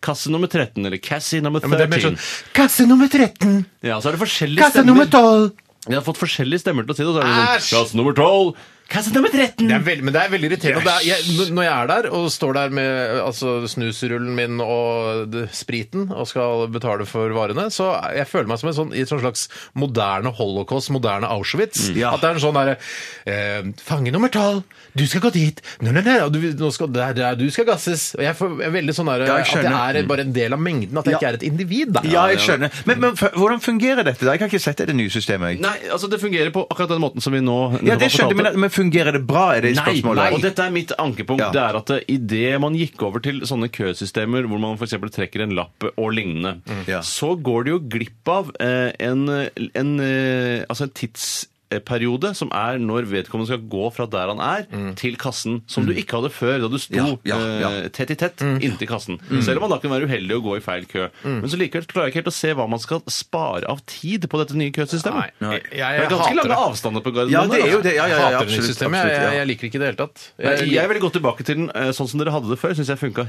C: Kasse nummer 13, eller Cassie nummer
A: Mm. men det er mer
C: 13. Ja,
A: sånn Kasse nummer 13!
C: så er det forskjellige
A: Kasse
C: stemmer.
A: nummer 12!
C: De har fått forskjellige stemmer til å si det. og Så er det
A: Æsj!
C: sånn, kasse nummer 12! Kasse nummer 13!
A: Det er veldig, men det er veldig irriterende. Det er, jeg, n- når jeg er der og står der med altså, snusrullen min og d- spriten og skal betale for varene, så er- jeg føler meg som en sånn, i et sånn slags moderne holocaust, moderne
B: Mm.
A: Auschwitz. At det er en sånn derre eh, Fange nummer tolv, du skal gå dit! Nei, nei, nei, og du, nå skal, der, der, du skal gasses! Og jeg får jeg er veldig sånn derre
B: Ja,
A: At
B: jeg
A: jeg
B: skjønner.
A: er bare en del av mengden, at jeg
B: Ja.
A: ikke er et individ. Da.
B: Ja, jeg skjønner. Men, men f- hvordan fungerer dette? da? Jeg har ikke sett det, det nye systemet. jeg.
C: Nei, altså det fungerer på akkurat den måten som vi nå
B: Ja, det skjønte jeg, men, men fungerer det bra, er det
C: Nei,
B: spørsmålet?
C: og dette er mitt ankepunkt.
B: Ja.
C: Det er at eh, idet man gikk over til sånne køsystemer hvor man f.eks. trekker en lapp og lignende,
B: Mm. Ja.
C: så går du jo glipp av eh, en, en, eh, altså en tidsperiode som er når vedkommende skal gå fra der han er, til kassen, som du ikke hadde før, da du sto
B: Mm. Ja, ja, Mm. ja.
C: eh, tett i tett inntil kassen. Selv om man da kan være uheldig og gå i feil kø.
B: Mm.
C: Men så likevel klarer jeg ikke helt å se hva man skal spare av tid på dette nye køsystemet.
A: Nei, jeg- jeg
C: det er ganske
A: hater
C: lange
A: det.
C: avstander på Gardermoen.
B: Ja, det er jo
C: altså.
B: det. Ja, ja, ja,
A: Hater det nye
B: absolutt.
A: systemet.
B: absolutt,
A: jeg,
B: ja.
A: jeg, jeg liker ikke det i det hele tatt.
C: Nei, jeg ville gått tilbake til den eh, sånn som dere hadde det før. Syns jeg
A: Ja,
C: funka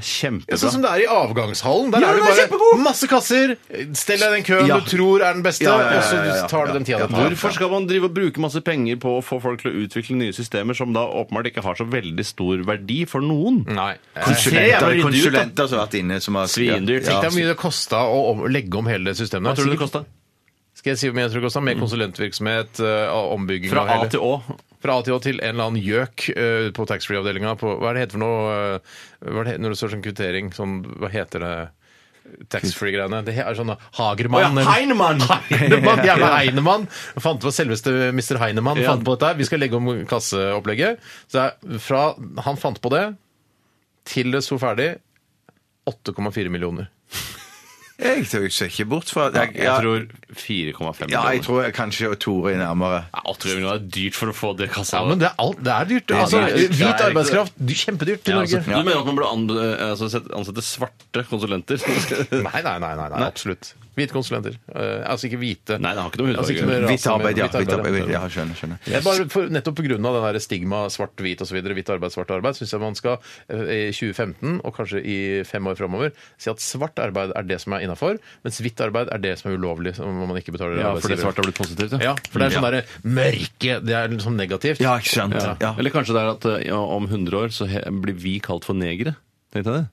A: Sånn som det
C: kjempebra.
A: er i avgangshallen. Der
C: Ja,
A: er det
C: den er
A: bare
C: kjempegod!
A: masse kasser. Stell deg den køen
B: Ja.
A: du tror er den beste,
B: Ja, ja, ja, ja, ja,
A: og
B: ja.
A: så tar du den tida
B: Ja,
A: det tar.
C: Hvorfor skal man drive og bruke masse penger på å få folk til å utvikle nye systemer som da åpenbart ikke har så veldig stor verdi for noen?
A: Nei.
C: Se, jeg var
B: Konsulenter,
C: ryddig ut, da.
B: konsulenter som har vært inne som har
C: Svindyrt.
A: Tenk
B: Ja,
A: deg
B: ja.
A: hvor mye det kosta å om- legge om hele det systemet.
C: altså. Hva tror du det
A: Sikkert-
C: kosta?
A: Skal jeg si hvor mye jeg tror det kosta? Med konsulentvirksomhet, eh, ombygging
C: Fra
A: av
C: A
A: hele-
C: til Å.
A: Fra A til Å til en eller annen gjøk eh, på taxfree-avdelinga på Hva er det heter for noe eh, hva er det, he- Når det står sånn kvittering, sånn Hva heter det? Taxfree-greiene. Det he- er sånn Hagermann eller-
C: eh, (laughs) Heinemann!
A: (laughs) Heinemann, jævla Heinemann fant på selveste Mr. Heinemann
C: Ja.
A: fant på dette. her. Vi skal legge om kasseopplegget. Så det er fra han fant på det, til det sto ferdig, 8,4 millioner.
B: Jeg tror jeg ser ikke bort fra jeg, ja,
C: Jeg tror 4,5
B: ja, jeg
C: millioner.
B: tror jeg kanskje Tore er nærmere.
C: Ja, 8 millioner er dyrt for å få det kassa.
A: Ja, men det er, alt, det er dyrt. Altså,
C: det er dyrt. Det
A: hvit
C: er
A: arbeidskraft, dy- kjempedyrt i
C: Ja, altså,
A: Norge.
C: du mener at man burde an, eh, altså, sette- ansette svarte konsulenter?
A: Nei,
C: (laughs)
A: nei, nei, nei, nei, absolutt. Hvite konsulenter. Eh, altså ikke hvite
C: Nei, det har ikke noe med
A: Altså ikke
C: hudfarge.
A: noe med
B: Hvitt
A: rase, men
B: arbeid, ja.
A: hvitt
B: Hvitt
A: arbeid,
B: arbeid, ja, skjønner, skjønner.
A: Jeg bare for, nettopp pga. stigma svart-hvit osv., hvitt arbeid, svart arbeid, syns jeg man skal eh, i 2015, og kanskje i fem år framover, si at svart arbeid er det som er innafor, mens hvitt arbeid er det som er ulovlig, som om man ikke betaler
C: Ja, fordi
A: arbeidsgiver.
C: svart har blitt positivt,
A: Ja, for det er sånn derre mørke Det er liksom negativt.
B: Ja, ikke sant. Ja.
C: Eller kanskje det er at eh, ja, om 100 år så he, blir vi kalt for negere. Tenkte jeg det?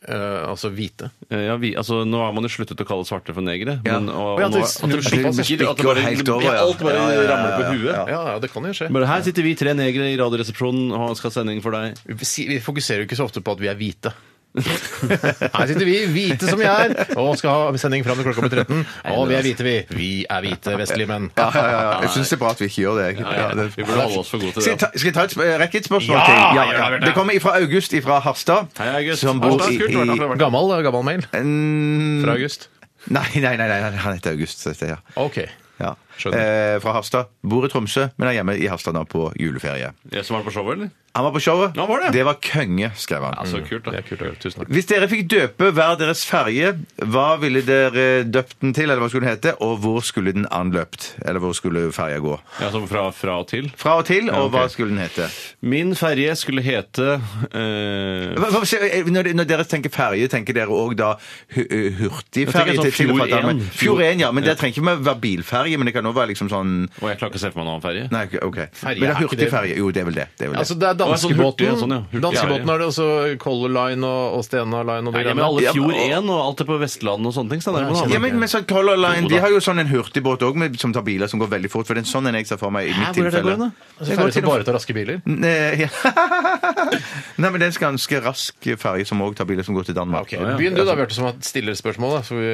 A: Eh, altså hvite.
C: Eh, Ja, vi, altså, nå har man jo sluttet å kalle svarte for negere.
B: Ja.
C: Men,
A: Å,
C: og,
A: ja,
C: og
A: det
C: nå, at det
A: snur-
C: bikker, at det
B: går
C: bare,
B: helt over, ja.
C: alt bare
B: Ja, ja, ja, ja,
C: ramler på
B: ja.
C: huet.
A: Ja, ja, det kan jo skje.
C: Men her sitter vi tre negere i Radioresepsjonen og skal ha sending for deg.
A: Vi si- vi fokuserer jo ikke så ofte på at vi er hvite. Her sitter vi, hvite som vi er, og skal ha sending fram til klokka blir 13. Og vi er hvite, vi. Vi er hvite vestlige menn.
B: Ja, ja, ja. Jeg syns det er bra at vi ikke gjør det. egentlig. Ja, det-
C: Vi burde holde oss for gode til
B: Skal
C: det.
B: jeg ta, skal jeg ta et sp- eh, rekke et spørsmål
A: Ja,
B: til?
A: gjør det, Bjarte.
B: Det kommer fra August fra Harstad.
C: Hei, August.
B: Som bor
C: Harstad,
B: i,
C: kult,
B: i
C: Bjarte.
A: Gammel, eh, gammel mail
B: Mm,
A: fra August.
B: Nei, nei, nei, nei, han heter August. så det er-
A: OK.
B: Ja. Ja.
A: Skjønner.
B: Eh, fra Harstad. Bor i Tromsø, men er hjemme i Harstad nå på juleferie.
C: Jeg som er på showet, eller?
B: Han var på showet.
C: Ja, han var det.
B: var konge, skrev han.
C: Ja, så kult, da.
A: Det er kult. August. Tusen takk.
B: Hvis dere fikk døpe hver deres ferge, hva ville dere døpt den til, eller hva skulle den hete, og hvor skulle den anløpt? Eller hvor skulle ferja gå?
C: Ja, som fra, fra og til.
B: Fra og til, og
C: Ja, ok.
B: hva skulle den hete?
C: Min ferje skulle hete eh,
B: Hva- hva- se, Når de- når dere tenker ferge, tenker dere òg da hu- hu- hurtigferge?
C: Jeg tenker sånn
B: til- til og fra
C: Fjord 1.
B: Drammen? Fjord 1, ja. Men det trenger ikke med å være bilferge, men det kan òg være liksom sånn
C: Og jeg klarer ikke å se for meg en annen ferje.
B: Nei, ok,
A: Ferge
B: OK. Men det
A: er
B: er
A: ikke det.
B: hurtigferge. Jo, det er vel det. det, er vel det.
A: Altså, det er
C: sånn hurtig,
A: danskebåten.
C: ja, sånn, ja. Hurtig,
A: Danskebåten
C: ja, ja.
A: er det også Color Line og, og Stena Line og de
C: Nei, men alle Fjord 1 og alt det på Vestlandet og sånne ting. Så det er
A: Ja,
C: noe
B: ja,
C: annet.
B: men, men sånn Color
C: Jo
B: Line
C: da.
B: de har jo sånn en hurtigbåt òg, som tar biler som går veldig fort. For det er en sånn en jeg ser for meg i mitt
C: hvor er det
B: tilfelle.
C: gående?
A: Altså, ferger som bare tar raske biler.
B: Nei, ja. (laughs) Nei, men det er en ganske rask ferge som òg tar biler som går til Danmark.
A: Ok, Begynn du da, Bjarte, som stiller spørsmål. Da, så vi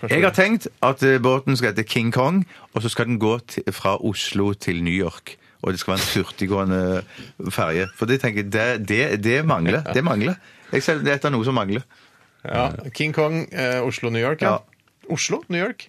A: kanskje-
B: Jeg har tenkt at eh, båten skal hete King Kong, og så skal den gå til, fra Oslo til New York. Og det skal være en hurtiggående ferge. For det tenker jeg, det, det, det mangler. Det mangler. Jeg ser det er noe som mangler.
A: ja. King Kong, eh, Oslo, New York.
B: Ja.
A: Ja. Oslo, New York.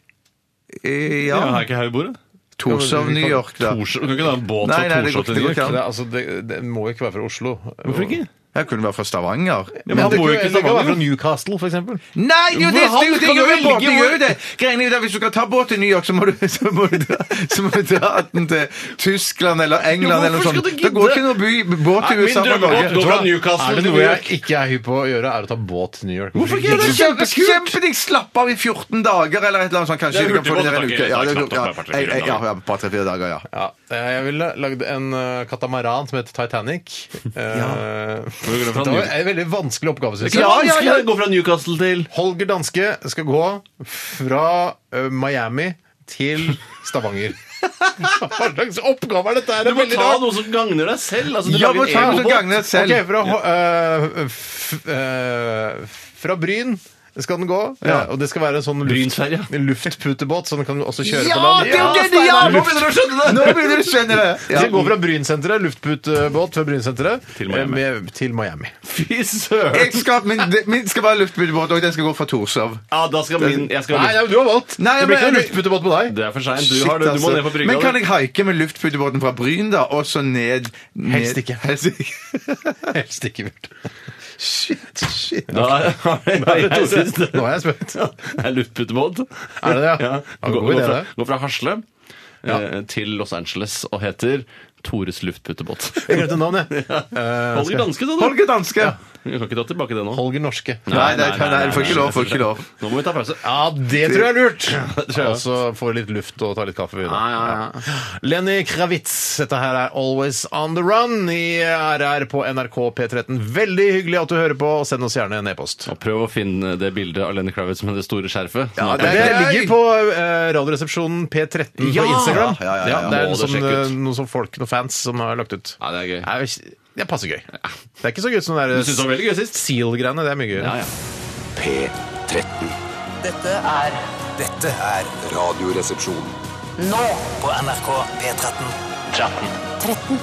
B: Eh,
C: Ja,
B: Ja,
C: er ikke her vi bor, da?
B: Torshov, New York, da.
C: Torshov- Du kan ikke ha en båt
B: Nei,
C: fra
B: nei, det
C: Torshov
B: går
C: til
B: ikke-
C: New
B: det
C: York.
B: går ikke an.
A: Det, er- altså, det, det må ikke være fra Oslo.
C: Hvorfor ikke?
B: Jeg kunne være fra Stavanger.
C: men han
A: det,
C: bor jo ikke i
A: det kan være
C: Stavanger.
A: fra Newcastle, for eksempel.
B: Nei, det er jo det, det,
C: Hvor
B: er jo
C: han
B: det,
C: kan du
B: gjør jo båten,
C: velge
B: gjør jo
C: hvor-
B: det. Greiene er jo at Hvis du skal ta båt til New York, så må du, (laughs) så må du, dra, så må du dra den til Tyskland eller England eller noe
C: hvorfor skal du
B: sånt. Det går
C: gidde?
B: ikke noe by, båt
C: Nei,
B: til
C: min
B: USA
C: drømmebåt
B: fra Norge.
C: går fra
A: Er
C: Newcastle
A: det
C: til New
A: noe jeg
C: York.
A: ikke er hypp på å gjøre, er å ta båt til New York.
B: Hvorfor ikke? Det er kjempekult! Kjempedigg! Slapp av i 14 dager eller et eller annet sånt. Kanskje
C: Det er
B: vi kan få det ned en
C: hurtigbåt,
B: uke. Ja, det
C: takk. Det er
B: er, ja,
C: knapt nok, det er
B: ja,
C: bare
B: ja, ja, bare tre-fire dager, ja.
A: Ja, jeg ville lagd en eh, katamaran som heter Titanic.
C: (laughs)
A: Eh, det var en veldig vanskelig oppgave, syns jeg.
B: Ja, ja, ja.
C: Gå fra Newcastle til
A: Holger Danske skal gå fra eh, Miami til
C: (laughs)
A: Stavanger. Hva slags oppgave er dette? her?
C: Du
A: Det er
C: må
A: veldig
C: ta
A: rart.
C: noe som gagner deg selv. Altså, du
B: Ja,
C: lager
B: men ta
C: en
B: noe som
C: egobåt.
B: gagner deg selv.
A: Ok, fra, eh, f, eh, fra Bryn skal den gå,
B: Ja.
A: og det skal være en sånn luft,
C: Brynsferja.
A: luftputebåt, så den kan også kjøre
B: Ja,
A: på land.
B: det er jo det det
A: Steinar!
B: gjør! Nå begynner du å skjønne det! Nå begynner du å skjønne det!
A: Vi skal gå fra Brynsenteret, luftputebåt fra Brynsenteret,
C: Til Miami.
A: eh, Med, til Miami.
C: Fy søren!
B: Jeg skal, min, min skal være luftbåt, og den skal gå fra Torshov.
C: Ja, da skal min jeg skal
A: Nei, nei, du har valgt!
B: Nei,
A: det blir ikke
B: men-
A: noen luftputebåt på deg.
C: Det er for seint. Du,
B: Shit,
C: har det. du må
B: altså.
C: ned på brygga.
B: Men kan
C: du.
B: jeg haike med luftputebåten fra Bryn, da, og så ned,
A: Helst
B: ned
A: ikke.
B: Helst ikke.
A: Helst ikke (laughs) Bjarte.
B: Shit, shit.
C: Da har jeg, jeg synes det
A: Nå er jeg spent.
C: er luftputebåt.
A: Er det det, ja? Ja,
C: Gå,
A: god idé,
C: gå, fra,
A: det.
C: gå fra Hasle eh, til Los Angeles og heter Tores luftputebåt.
A: Jeg glemte navnet.
C: (laughs)
A: jeg. Eh,
C: Holger danske, sa du?
B: Holger Danske!
C: Vi kan ikke ta tilbake det nå.
A: Holger Norske.
B: Nei, nei, nei, nei, du får ikke lov, får ikke lov. (laughs)
C: Nå må vi ta pause.
A: Ja, det tror jeg er
C: (laughs)
A: lurt. Og så få litt luft og ta litt kaffe. Ja, Lenny Kravitz, dette her er Always On The Run i RR på NRK P13. Veldig hyggelig at du hører på, og send oss gjerne en e-post.
C: Og prøv å finne det bildet av Lenny Kravitz med det store skjerfet. Sånn som er
B: Ja,
C: på-
A: Det
B: gøy!
A: ligger på eh, Radioresepsjonen P13
C: Ja!
A: på Instagram.
B: Ja, ja, ja, ja.
A: det er noen
C: Må du sjekke ut.
A: sånn, noen sånn folk, noen fans, som har lagt ut.
C: Ja, det er gøy.
A: Det er, det er passe gøy. Det er ikke så gøy som det
C: Du synes det var veldig gøy
A: der
C: sist?
A: Seal-greiene. Det er mye gøy.
C: Ja, ja.
F: P13.
E: Dette er
F: Dette er Radioresepsjonen.
E: nå på NRK P13.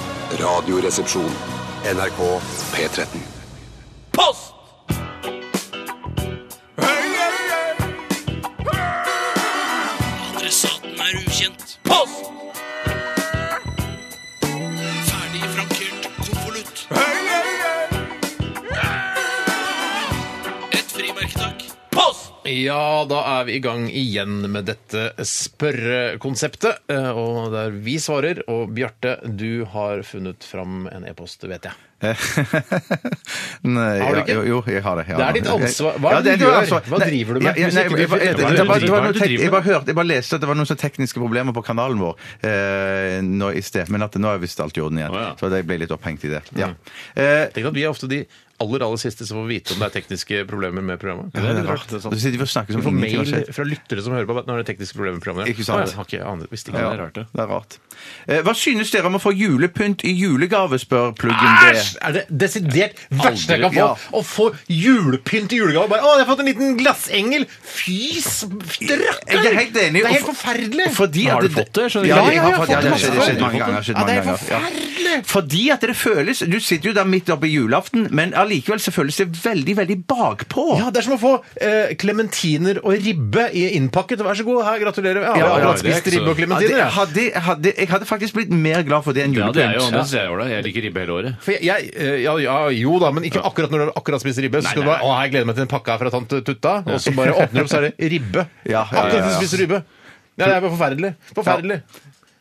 F: Radioresepsjon. NRK P13.
H: Post! Adressaten er ukjent. Post! Ferdig frankert konvolutt. Et frimerke, takk. Post!
A: Ja, da er vi i gang igjen med dette spørrekonseptet. eh, Og der vi svarer. Og Bjarte, du har funnet fram en e-post, vet jeg.
B: Nei,
A: Har du ikke?
B: ja, jo, jo, jeg har det. Ja.
A: Det er ditt ansvar. Hva er det
B: Ja,
A: du
B: er
A: gjør?
B: ansvar.
A: Hva
B: Nei,
A: driver du med?
B: Ja, ja,
A: Hvis
B: nei,
A: ikke
B: jeg,
A: du får-
C: Hva er
B: jeg, jeg,
C: det du
B: jeg,
C: driver- hva er det du driver
B: jeg bare hørte, jeg bare leste at det var noen sånne tekniske problemer på kanalen vår eh, nå i sted, men at nå er visst alt i orden igjen.
C: Å, ja. Mm.
B: Så jeg ble litt opphengt i det. Ja. Eh,
A: Tenk at vi er ofte de aller aller siste som får vite om det er tekniske problemer med programmet.
B: det er
C: litt rart,
B: rart.
C: det er sånn. sant.
B: Så sitter vi og snakker
A: Vi
B: som
A: får
B: ingenting har
A: mail
B: skjedd.
A: fra lyttere som hører på at nå er det tekniske problemer med programmet.
B: Ikke sant?
A: Å, jeg har ikke anet, visste ikke
B: Ja,
A: det.
C: er rart, det.
B: det er rart. Eh, Hva synes dere om å få julepynt i julegave, spør pluggen det.
A: Æsj! Er det desidert verste jeg kan få?
B: Ja.
A: Å få julepynt i julegave. Bare, 'Å, jeg har fått en liten glassengel'. Fy rakkeren!
B: Jeg er helt enig.
A: Det er helt
B: Og-
A: forferdelig.
B: Fordi
C: Har
B: at
C: du fått det? Skjønner
B: Ja,
C: ikke.
B: jeg har fått det. Ja, det har
A: masse.
B: skjedd- det har skjedd mange ganger. Skjedd
A: Ja, det
B: mange
A: er
B: ganger. Ja.
A: forferdelig.
B: Fordi at det føles Du sitter jo der midt oppe i julaften, men allikevel så føles det veldig, veldig bakpå.
A: Ja, Det er som å få eh, klementiner og ribbe i innpakket. Vær så god, her, gratulerer. Jeg har
B: Ja, ja,
A: akkurat
C: det er
A: spist
C: ikke så-
A: ribbe og
B: Hadde,
A: klementiner. jeg.
B: hadde, hadde, jeg hadde faktisk blitt mer glad for det enn
C: Ja,
B: julepynt.
C: det er jo, det synes jeg er ålreit. Jeg liker ribbe hele året.
A: For jeg, jeg, eh, ja, ja, jo da, men ikke akkurat når du har akkurat spist ribbe. Så skal du bare, å, jeg gleder meg til en pakke her fra tante Tutta, og så bare åpner du opp, så er det ribbe.
B: (laughs) Ja, ja, ja,
A: Akkurat som
B: ja.
A: du spiser ribbe. Ja, det er bare forferdelig. Forferdelig.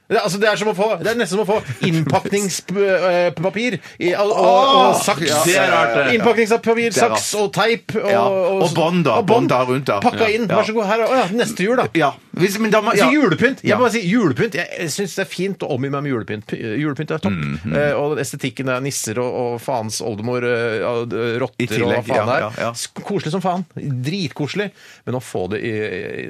A: Det, er- altså, det, er som å få, det er nesten som å få innpakningspapir i, og, og, og saks.
B: ja, det er rart, det.
A: Innpakningspapir,
B: Det er rart.
A: saks og teip. Og,
B: Ja, og bånd, da.
A: og bånd.
B: Bånd da rundt, da.
A: Pakka inn.
B: Ja.
A: Vær så god, her er å, ja, neste jul, da.
B: Ja. Hvis, men da må, ja.
A: Så Altså, julepynt. Jeg
B: Ja.
A: må bare si julepynt. Jeg, jeg syns det er fint å omgi meg med julepynt. Py- Julepynt er topp.
C: Mm,
A: Eh, og estetikken er nisser og, og faens oldemor, eh, ja, d- rotter
B: I tillegg,
A: og hva faen det
B: ja,
A: er.
B: ja, ja.
A: S- Koselig som faen. Dritkoselig. Men å få det i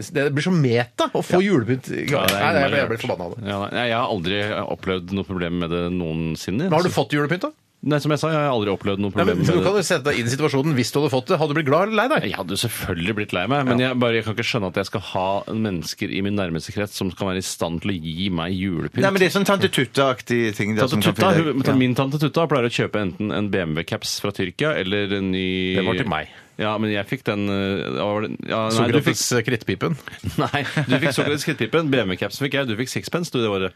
A: Det blir så meta å få julepynt. i-
C: Ja, det er
A: Nei, jeg,
C: innmari
A: jeg blir
C: rart.
A: forbanna av det.
C: Ja, nei, jeg har aldri opplevd noe problem med det noensinne.
A: Men har du fått julepynt, da?
C: Nei, som jeg sa, jeg har aldri opplevd noe
A: Ja, men,
C: problem
A: du
C: med
A: kan
C: det.
A: jo sette deg inn i situasjonen hvis du hadde fått det. Hadde du blitt glad eller lei deg?
C: Jeg hadde jo selvfølgelig blitt lei meg, men jeg, bare, jeg kan ikke skjønne at jeg skal ha mennesker i min nærmeste krets som kan være i stand til å gi meg julepynt.
B: Nei, men det er sånn Tante Tutta-aktig ting. der
C: Tante
B: som kan
C: Tutta,
B: finne-
C: hun,
B: Ja.
C: Min tante Tutta pleier å kjøpe enten en BMW-caps fra Tyrkia eller en ny
A: Det var til meg.
C: Ja, men jeg fikk den eh, hva var det? ja, nei, du fikk,
A: Sukkerfis eh, krittpipen.
C: nei, du fikk såkalt skrittpipen. BMW-capsen fikk jeg, du fikk sixpence du det året.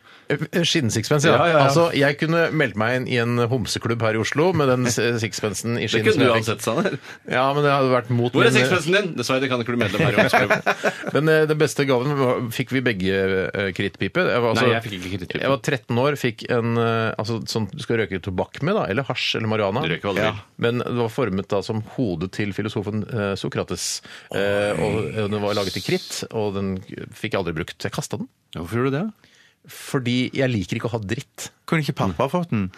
A: Skinnsixpence, ja.
C: Ja, ja, ja.
A: Altså, jeg kunne meldt meg inn i en homseklubb her i Oslo med den s- sixpencen i
C: Det
A: skinn. som
C: kunne du
A: jeg fikk.
C: ansett, Sander.
A: Ja, men det hadde vært mot
C: Hvor er
A: min- (laughs)
C: sixpencen din? eh, Dessverre kan ikke bli medlem her i Ungdomsklubben.
A: Den, eh, den beste gaven var- fikk vi begge eh, krittpipe. Jeg var,
C: Nei, jeg fikk ikke krittpipe.
A: Jeg var 13 år, fikk en eh, altså, sånn du skal røyke tobakk med, da, eller hasj eller marihuana.
C: Du røyker hva du vil.
A: Men det var formet da som hodet til filosofen eh, Sokrates. Eh, og eh, den var laget i kritt, og den fikk jeg aldri brukt. Jeg kasta den.
C: Hvorfor gjorde du det?
A: Fordi jeg liker ikke å ha dritt.
B: Kunne ikke pappa fått den?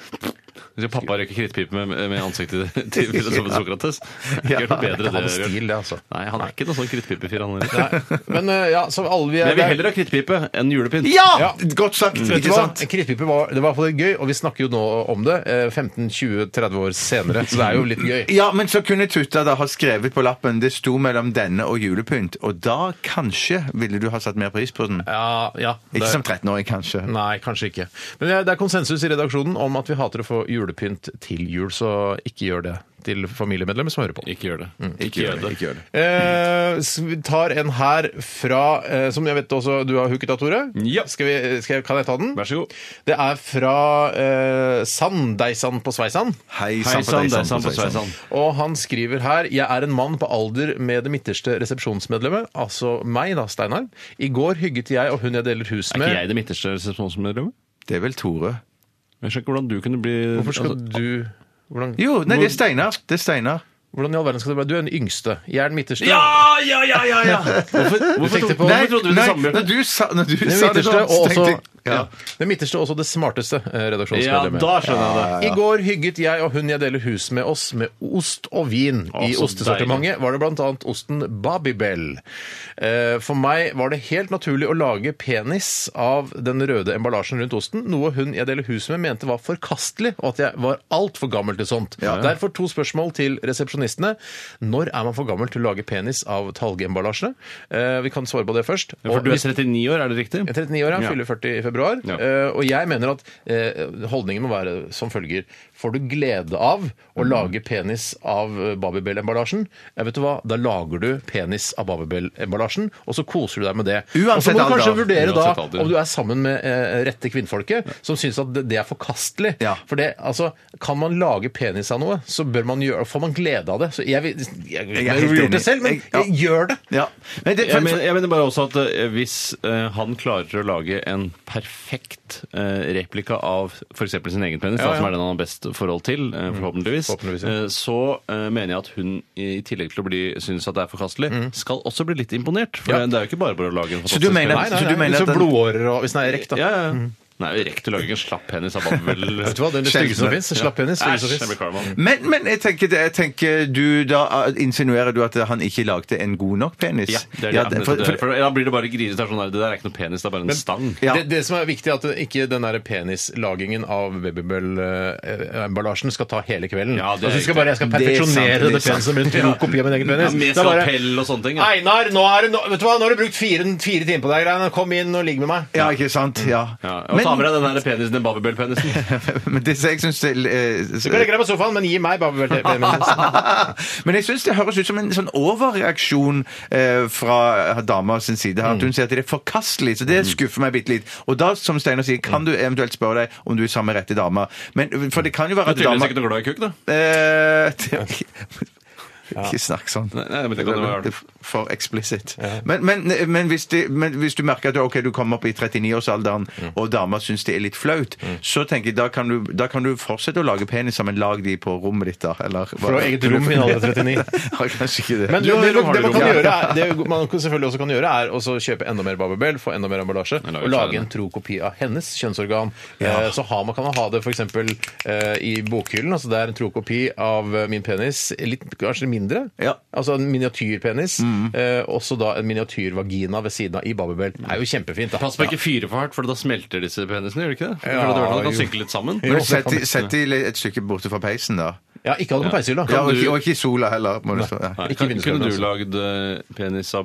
C: Hvis pappa røyker krittpipe med, med ansiktet (laughs) til filosofen Sokrates. Det er ikke noe bedre
A: Han
C: det.
A: er stil,
C: Bjørn.
A: det, altså.
C: Nei, han er ikke noen sånn krittpipefyr, han heller.
A: (laughs) Men eh, ja, så alle vi
C: Men
A: er
C: jeg vil heller ha krittpipe enn julepynt.
B: Ja!
A: Ja.
B: Godt sagt.
A: Vet du
B: Ikke
A: hva?
B: sant?
A: Krittpiper var, det var i hvert fall gøy, og vi snakker jo nå om det eh, 15-20-30 år senere, så det er jo litt gøy.
B: Ja, men så kunne Tutta da ha skrevet på lappen det sto mellom denne og julepynt, og da kanskje ville du ha satt mer pris på den.
A: (laughs) Ja, ja.
B: Ikke
A: det-
B: som 13-åring, kanskje.
A: Nei, kanskje ikke. Men det er- det er konsensus i redaksjonen om at vi hater å få julepynt til jul, så ikke gjør det til familiemedlemmer som hører på.
C: Ikke gjør det. Ikke gjør det.
A: Eh, s- vi tar en her fra eh, Som jeg vet også du har hooket av, Tore.
C: Ja.
A: Skal vi, skal jeg, kan jeg ta den?
C: Vær så god.
A: Det er fra eh, Sandeisan på Sveisan.
C: Hei
B: Hei sann på
C: sann,
B: deg,
C: det er
B: sann
C: sant på
B: på deg, sann.
C: sveisann.
A: Og han skriver her Jeg er en mann på alder med det midterste resepsjonsmedlemmet, altså meg, da, Steinar. I går hygget jeg og hun jeg deler hus
C: Er
A: med
C: ikke jeg det midterste resepsjonsmedlemmet?
B: Det er vel Tore.
C: Jeg skjønner ikke hvordan du kunne bli
A: Hvorfor skal
C: altså,
A: du hvordan,
B: Jo, nei, det er Steinar. Det er Steinar.
A: hvordan i all verden skal det være? Du er den yngste. Jeg er den midterste.
C: Ja, ja, ja, ja! ja. Hvorfor, hvorfor,
A: tenkte på-
C: hvorfor trodde du det samme?
B: når du sa, når du
A: Den
B: sa det
A: midterste,
B: sånn,
A: og
B: så
A: også,
B: tenkte jeg
A: ja.
B: ja.
A: den midterste og også det smarteste eh,
C: Ja,
A: redaksjonsmedlemmet.
C: da skjønner jeg det.
A: I går hygget jeg og hun jeg deler hus med oss med ost og vin.
C: Å,
A: I
C: så
A: ostesortimentet var det bl.a. osten Babybel. Eh, For meg var det helt naturlig å lage penis av den røde emballasjen rundt osten, noe hun jeg deler hus med mente var forkastelig, og at jeg var altfor gammel til sånt. Derfor to spørsmål til resepsjonistene. Når er man for gammel til å lage penis av talgemballasje? Eh, Vi kan svare på det først.
C: For
A: Og
C: du er
A: hvis-
C: 39 år, er det riktig?
A: jeg er 39 år, han
C: Ja.
A: fyller 40 i februar.
C: Ja.
A: Eh, og jeg mener at eh, holdningen må være som følger. Får du glede av å
B: Mm.
A: lage penis av eh, Babybel-emballasjen? Ja, vet du hva? Da lager du penis av Babybel-emballasjen, og så koser du deg med det. og så
B: Uansett
A: må du
B: alder.
A: kanskje vurdere da
C: Uansett alder.
A: om du er sammen med eh, rette kvinnfolket, som syns at det, det er forkastelig.
B: Ja.
A: For det, altså, kan man lage penis av noe, så bør man gjøre, får man glede av det. Så jeg, vil- jeg, jeg, jeg,
B: er
A: har
B: helt
A: gjort det
B: enig.
A: selv, men
B: Jeg- ja.
A: jeg gjør det.
B: Ja. Men det,
C: Jeg mener, jeg mener bare også at eh, hvis eh, han klarer å lage en perfekt eh, replika av f.eks. sin egen penis,
A: Ja,
C: da,
A: ja.
C: som er den han har best forhold til, eh, forhåpentligvis,
A: Forhåpentligvis, ja.
C: eh, så eh, mener jeg at hun, i i tillegg til å bli, synes at det er forkastelig, skal også bli litt imponert. For
A: Ja.
C: det er jo ikke bare bare å lage en
B: Så du
C: fantastisk
B: mener-
A: Nei,
C: penis.
A: nei,
B: Så du
A: nei.
B: mener
A: Så
B: at den-
A: blodårer og Hvis den er rekt, da. Mm.
C: Ja, ja. ja. Nei, det er rekt å lage en slapp penis av Babbel.
A: (laughs) Vet du hva, det er det styggeste som
B: Sjelden.
A: fins. Slapp penis. styggeste
C: Æsj,
A: som
C: jeg blir
A: finnes.
C: kvalm av den.
B: men, men jeg tenker, det- jeg tenker du, da eh, insinuerer du at han ikke lagde en god nok penis?
C: Ja, det er det,
B: Ja,
C: jeg mener,
B: for-
C: det
B: for-
C: er- for, da blir det bare grisete. Det er Sånn der, det der er ikke noe penis, det er bare en stang.
B: Ja.
A: Det, det som er viktig, er at ikke den der penislagingen av babybell-emballasjen skal ta hele kvelden.
C: Ja, det er
A: altså, jeg skal bare, jeg skal
B: riktig. Det er sant,
A: perfeksjonere
B: det er
A: det,
B: sant.
A: peniset med en tro kopi av min egen penis.
C: med
A: Det er bare-
C: skalpell og sånne ting. Ja.
A: Einar, nå, er det, nå, vet du hva, nå har du brukt fire, fire timer på deg. Greiene. Kom inn og ligg med meg.
B: ja, ikke sant? Ja.
C: Mm. Ja, og ta med deg
B: Men,
C: den der penisen, den
A: (laughs)
C: Babybel-penisen.
B: (laughs) men det jeg syns det, eh,
A: Du kan legge deg på sofaen, men gi meg babybell penis
B: (laughs) Men jeg syns det høres ut som en sånn overreaksjon eh, fra dama sin side. her, At
C: Mm.
B: hun sier at det er forkastelig. Så det skuffer meg bitte litt. Og da, som Steinar sier,
C: Mm.
B: kan du eventuelt spørre deg om du er samme rette dama. Men, for det kan jo være
C: Men
B: at
C: tydeligvis
B: dama
C: ikke noe glad i kukk, da.
B: Eh, (laughs) det- Ikke snakk sånn.
C: Nei, nei, men det kan jo være-
B: er For explicit. Men, men, men, hvis de, men hvis du merker at ok, du kommer opp i 39-årsalderen, og dama syns det er litt flaut, så tenker jeg da kan du, da kan du fortsette å lage peniser, men lag de på rommet ditt, da. Eller,
A: For å ha eget rom i en alder av 39.
B: (laughs) Ja, kanskje ikke det.
A: Men
C: Du har
A: det,
C: rom, har
A: det,
C: du
A: man kan
C: rom?
A: gjøre er, det man kan- selvfølgelig også kan gjøre, er også kjøpe enda mer Babybel, få enda mer emballasje,
C: lager
A: og lage
C: flere.
A: en tro kopi av hennes kjønnsorgan. Eh, Så har man, kan man ha det f.eks. Eh, i bokhyllen. altså Det er en tro kopi av eh, min penis, litt, kanskje mindre.
B: Ja.
A: Altså en miniatyrpenis. Eh, også da en miniatyrvagina ved siden av i Babybel. Det er jo kjempefint, da.
C: Pass på ikke fyre for hardt, for da smelter disse penisene, gjør de ikke det? For
A: Ja,
C: det kan
A: jo.
C: synke litt sammen.
B: Men
A: Jo,
B: sett,
A: det kan-
B: de- sett de litt- et stykke borte fra peisen, da.
A: Ja, ikke ha det på peishylla.
B: Ja, og,
C: du-
B: ikke, og ikke i sola heller. Må du stå.
C: Nei,
A: Ikke
C: kan-
A: vindueskarmen,
C: kunne du
A: altså.
C: lagd eh, penis av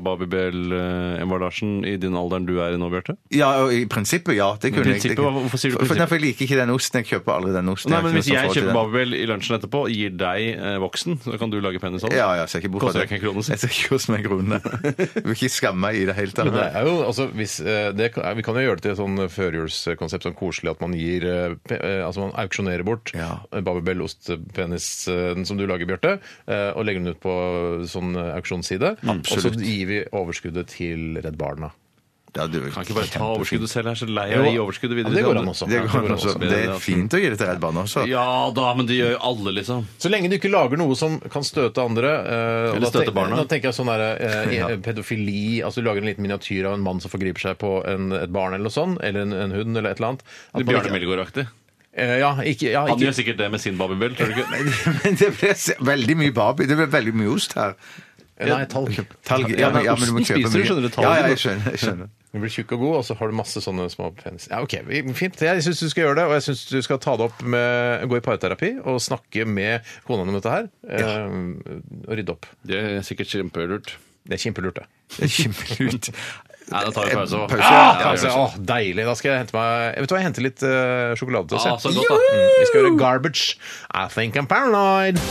C: Babybel-emballasjen i den alderen du er i nå, Bjarte?
B: Ja, og I prinsippet, ja. Det kunne jeg.
C: Prinsippet, hva- hvorfor sier du
B: For, for, nei,
C: prinsippet?
B: for jeg liker ikke den osten. Jeg kjøper aldri den osten.
C: Nei,
B: Jeg har
C: men
B: ikke
C: Hvis
B: noe
C: jeg
B: forhold til
C: kjøper
B: den.
C: Babybel i lunsjen etterpå og gir deg eh, voksen, så kan du lage penis av den?
B: Ja, ja, jeg ser ikke bort fra
C: Koster
B: det.
C: det ikke en krone, si?
B: Jeg ser ikke hvordan jeg
C: (laughs)
B: grunner. Jeg vil ikke skamme meg i det hele tatt.
A: Men det er jo, altså, hvis, eh, det, kan- vi kan jo gjøre det til et sånn førjulskonsept, sånn koselig at man gir eh, pe- eh, Altså man auksjonerer bort
B: Ja.
A: eh, Babybel-ostpenisen som du lager, Bjarte, eh, og legger den ut på sånn eh, auksjonsside. Og så gir vi overskuddet til Redd Barna.
B: Ja, du,
C: Kan ikke bare ta
B: kjempefint.
C: overskuddet selv, jeg er så lei av å gi
A: Jo,
C: overskuddet
A: ja,
C: videre.
A: det
C: til
A: går an
C: andre.
A: også.
B: Det,
A: Ja,
B: går an også. det er
C: altså.
B: fint å gi det til Redd Barna også.
C: Ja da, men det gjør jo alle, liksom.
A: Så lenge du ikke lager noe som kan støte andre eh, og
C: Eller
A: da
C: støte barna.
A: Da tenker jeg sånn der,
C: (laughs)
A: eh, i- pedofili Altså du lager en liten miniatyr av en mann som forgriper seg på en, et barn eller noe sånt, eller en, en hund eller et eller annet. At man
C: Bjarne
A: ikke-
C: Melgaard-aktig.
A: Eh, ja, ikke, ja,
C: Han
A: ikke,
C: gjør sikkert det med sin Babybel, tror du ikke?
B: (laughs) Men det ble se- veldig mye babi. Det ble veldig mye ost her.
A: Nei,
C: (laughs)
A: talg.
B: Talg. Ja, men, ja, men du må
C: Osten
B: kjøpe
C: spiser du,
B: mye.
C: skjønner du, talg.
B: Ja, ja, jeg skjønner. Jeg skjønner.
A: Du blir tjukk og god, og så har du masse sånne små penis. Ja, ok, vi- Fint. Jeg syns du skal gjøre det, og jeg syns du skal ta det opp med gå i parterapi og snakke med kona om dette her. eh, og rydde opp.
C: Det er sikkert kjempelurt.
A: Det er kjempelurt, det.
B: Det er Kjempelurt.
C: Nei, da tar vi pause. hva?
B: Pause,
C: Ja,
A: Ja,
C: ja,
A: altså,
C: ja.
A: åh, deilig. Da skal jeg hente meg Vet du hva, jeg henter litt eh, sjokolade til oss.
C: Ah,
A: jeg.
C: så godt, da.
A: Mm, Vi skal gjøre garbage. I think I'm paranoid.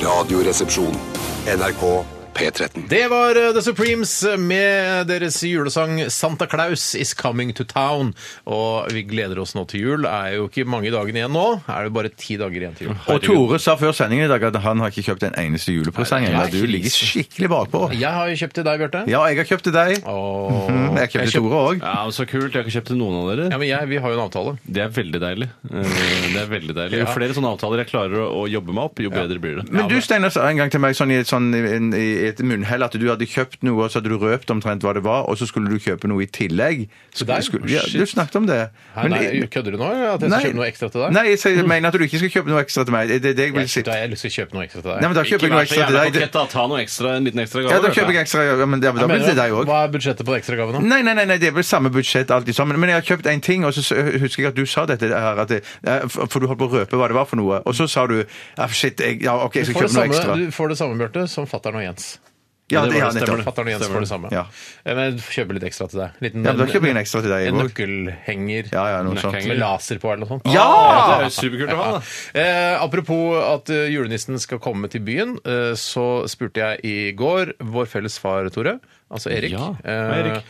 F: Radioresepsjon. NRK P13.
A: Det var eh, The Supremes med deres julesang 'Santa Claus Is Coming to Town'. Og vi gleder oss nå til jul. Det er jo ikke mange dagene igjen nå. Er det bare ti dager igjen til jul.
B: Og Tore sa før sendingen i dag at han har ikke kjøpt en eneste julepresang.
A: Nei, det er
B: Eller Du ligger
A: krise.
B: skikkelig bakpå.
A: Jeg har jo kjøpt til deg, Bjarte.
B: Ja, jeg har kjøpt til deg.
A: Åh.
B: Mm, Jeg har kjøpt til Tore òg.
C: Ja, men Så kult. Jeg har ikke kjøpt til noen av dere.
A: Ja, men jeg, vi har jo en avtale.
C: Det er veldig deilig. Eh, Det er veldig deilig. Jo flere sånne avtaler jeg klarer å, å jobbe meg opp, jo bedre blir det.
B: Men du, Steinar, sa en gang til meg sånn i, et sånn, i, i, i et munnhell at du hadde kjøpt noe, og så hadde du røpt omtrent hva det var, og så skulle du kjøpe noe i tillegg.
A: deg?
B: Skulle, skulle, ja,
A: Shit.
B: du snakket om det.
A: Nei,
B: Men-
A: nei, kødder du nå? At jeg skal kjøpe noe ekstra til deg?
B: Nei, jeg sier- jeg mener at du ikke skal kjøpe noe ekstra til meg. Det er det jeg vil
A: jeg,
B: si.
A: da, jeg skal kjøpe noe ekstra til deg.
B: Nei, men da kjøper jeg noe ekstra til deg. Det-
C: da. Ta noe ekstra, en liten ekstra gave.
B: Ja, da kjøper jeg ekstra. Ja, men da da
A: Hva
B: blir
A: mener
B: det
A: du?
B: deg òg.
A: Hva er budsjettet på ekstragave nå?
B: Nei, nei, nei, nei, det er vel samme budsjett alltid sammen. Men jeg har kjøpt en ting, og så s- husker jeg at du sa dette her, at det, eh, f- for du holdt på å røpe hva det var for noe. Og så sa du ja, shit, jeg, ja, OK, jeg
A: Du
B: skal
A: får det
B: kjøpe noe
A: samme,
B: ekstra.
A: du får det samme Bjarte, som fatter'n og Jens.
B: Ja, det, ja,
A: Stemmer det.
B: nettopp.
A: Fatter'n og Jens får det samme.
B: Ja.
A: Eh, Men kjøper litt ekstra til deg. Liten,
B: Ja, men da kjøper jeg en ekstra til deg, jeg
A: En
B: også.
A: nøkkelhenger
B: Ja, ja, noe sånt.
A: med laser på eller noe sånt. Ah,
B: Ja!
C: Det er jo superkult å ha, da.
A: Eh, apropos at eh, julenissen skal komme til byen, eh, så spurte jeg i går vår felles far, Tore, altså Erik,
C: Ja,
A: eh,
C: Erik.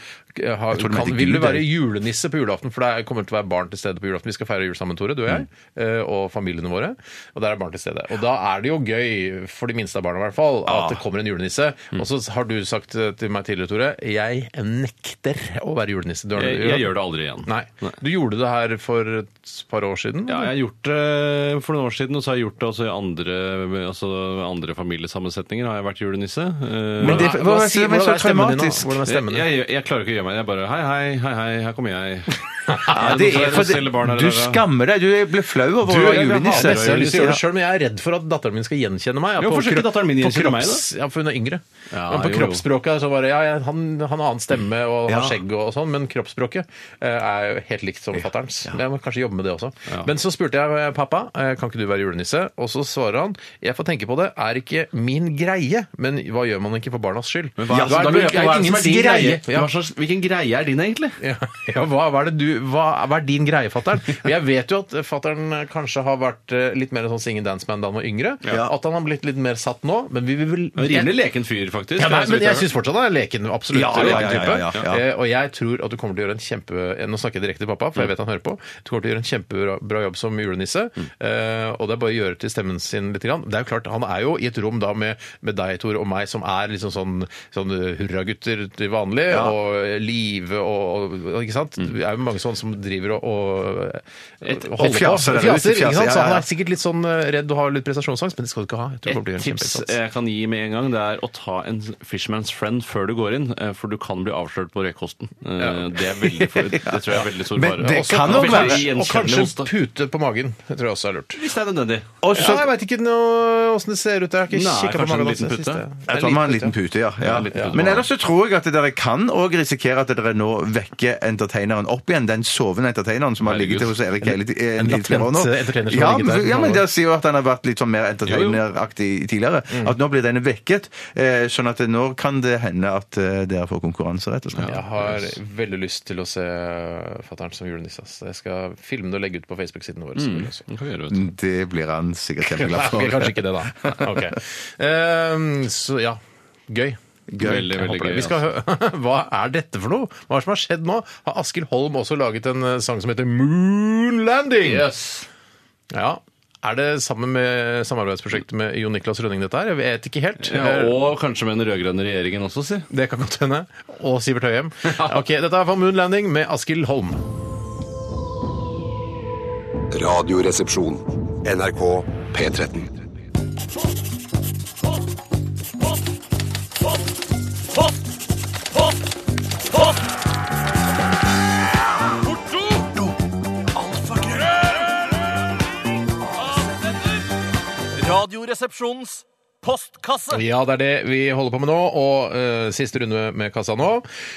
A: har,
B: tror det
A: kan,
B: heter
A: Vil du
B: Gud,
A: være
B: Erik.
A: julenisse på julaften? For det er- kommer til å være barn til stede på julaften. Vi skal feire jul sammen, Tore, du og jeg,
C: Mm.
A: eh, og familiene våre. Og der er barn til stede. Og da er det jo gøy, for de minste av barna i hvert fall, at
C: Ah.
A: det kommer en julenisse.
C: Mm.
A: Og så har du sagt eh, til meg tidligere, Tore, jeg nekter å være julenisse. Du har-
C: Eh, Jeg, jeg gjør det aldri igjen.
A: Nei. Du gjorde det her for et par år siden?
C: Ja, jeg har gjort det for noen år siden, og så har jeg gjort det også i andre, altså andre familiesammensetninger. har jeg vært julenisse. Eh,
B: Men det- hva- hva-
A: si-
B: hva- hva-
A: hvordan er stemmen din nå?
B: traumatisk.
A: Hvordan er stemmen din?
C: jeg, jeg, jeg klarer ikke å gjøre meg. Jeg bare Hei, hei, hei, hei, her kommer jeg.
B: Ja, det er for
C: Selger barn her,
B: Du
C: eller?
B: skammer deg. Du ble flau over å være julenisse.
A: Jeg har nesten lyst til å gjøre det
B: Ja.
A: selv, men jeg er redd for at datteren min skal gjenkjenne meg. Ja, på
C: Jo, hvorfor skal ikke
A: kropp-
C: datteren min
A: på
C: gjenkjenne meg,
A: kropps- Ja, for hun er yngre.
C: Ja,
A: men på
C: jo, jo.
A: kroppsspråket så bare, ja, ja, han, han har annen stemme og
B: Ja.
A: har skjegg og sånn, men kroppsspråket eh, er jo helt likt som fatterens. Jeg må kanskje jobbe med det også. Men så spurte jeg eh, pappa, eh, kan ikke du være julenisse? Og så svarer han, jeg får tenke på det, er ikke min greie, men hva gjør man ikke for barnas skyld?
C: Men hva er det som-
A: Da
C: da
A: det-
C: lurer jeg på,
A: er
C: hva er det som
A: ingens
C: er din
A: greie.
C: greie?
A: Ja.
C: Hva slags- Hvilken greie er din, egentlig?
A: Ja, ja hva, hva, er det du, hva, hva er din greie, fatter'n? Jeg vet jo at fatter'n kanskje har vært eh, litt mer en sånn sing and dance man da han var yngre. At han har blitt litt mer satt nå, men vi vil vel
C: Rimelig leken fyr, faktisk.
A: ja, nei, men jeg syns
C: synes
A: fortsatt han er leken. Absolutt.
B: Ja, ja, ja,
A: leken type.
B: ja, ja, ja.
A: Eh, Og jeg tror at du kommer til å gjøre en kjempe Nå snakker jeg direkte til pappa, for jeg vet han hører på. Du kommer til å gjøre en kjempebra jobb som julenisse. eh, Og det er bare å gjøre til stemmen sin litt. Grann. Det er jo klart, Han er jo i et rom da med, med deg, Tor, og meg, som er liksom sånn, sånn eh, hurragutter til vanlig, og eh, Live og, og Ikke sant?
B: Mm.
A: Det er jo mange sånne som driver og, og, og holder på.
B: fjaser, eller?
A: Fjaser, ikke
B: Fjaser,
A: sant? Så
B: ja, ja.
A: han er sikkert litt sånn eh, redd og har litt prestasjonsangst, men det skal du ikke ha. Jeg tror du kommer til å
C: Et
A: gjøre en
C: tips
B: eh,
A: kjempeinnsats.
C: jeg kan gi med en gang, det er å ta en Fishman's Friend før du går inn, eh, for du kan bli avslørt på røykosten. Eh, Det, er veldig, (laughs) for- det tror jeg er veldig stor
B: Men
C: fare.
B: det
C: Også- og
B: kan nok
C: veldig
B: være-
A: Og
C: gjenkjennelig
A: kanskje
C: hos deg.
A: en pute på magen. Det tror jeg også er lurt.
C: Hvis det er nødvendig.
B: Også-
A: ja, jeg veit ikke noe åssen det ser ut. Jeg har ikke
C: Nei,
A: kikka på
C: kanskje en
A: magen.
C: liten
A: siden sist,
C: pute.
A: jeg.
B: Jeg tror man har en liten pute, ja. ja.
C: en liten pute
B: Men
C: man har.
B: ellers så tror jeg at dere kan òg risikere at dere nå vekker entertaineren opp igjen. Den sovende entertaineren som har ligget
C: Herregud.
B: hos Erik hele
A: En
B: tiden.
A: latent entertainer som
B: ja,
A: har ligget der.
B: men- ja, men dere sier jo at han har vært litt sånn mer entertaineraktig tidligere.
A: Mm.
B: At nå blir den vekket. eh, Sånn at nå kan det hende at eh, dere får konkurranse, rett og slett.
A: Jeg har veldig lyst til å se fatter'n som julenisse. ass. Jeg skal filme det og legge ut på Facebook-sidene våre. selvfølgelig også.
C: Det kan vi gjøre, vet du.
B: Det blir han sikkert
A: Nei,
B: kjempeglad for.
A: ok, kanskje ikke det, da. Nei, (laughs) ok. Ehm, så ja. Gøy.
B: Gøy.
C: Veldig, veldig gøy. altså.
A: Vi skal hø (laughs) Hva er dette for noe? Hva er det som har skjedd nå? Har Askild Holm også laget en eh, sang som heter Moon Landing? Ja. Er det sammen med samarbeidsprosjektet med Jon Niklas Rønning dette her? Jeg vet ikke helt. Eh,
C: Ja, og kanskje med den rød-grønne regjeringen også, si.
A: Det kan godt hende. Og Sivert
C: (laughs)
A: Høyem. Ok, Dette er for Moon Landing med Askild Holm.
D: Radioresepsjon. NRK P13.
H: Radioresepsjonens postkasse.
A: (laughs) Ja, det er det vi holder på med nå. Og eh, siste runde med kassa nå.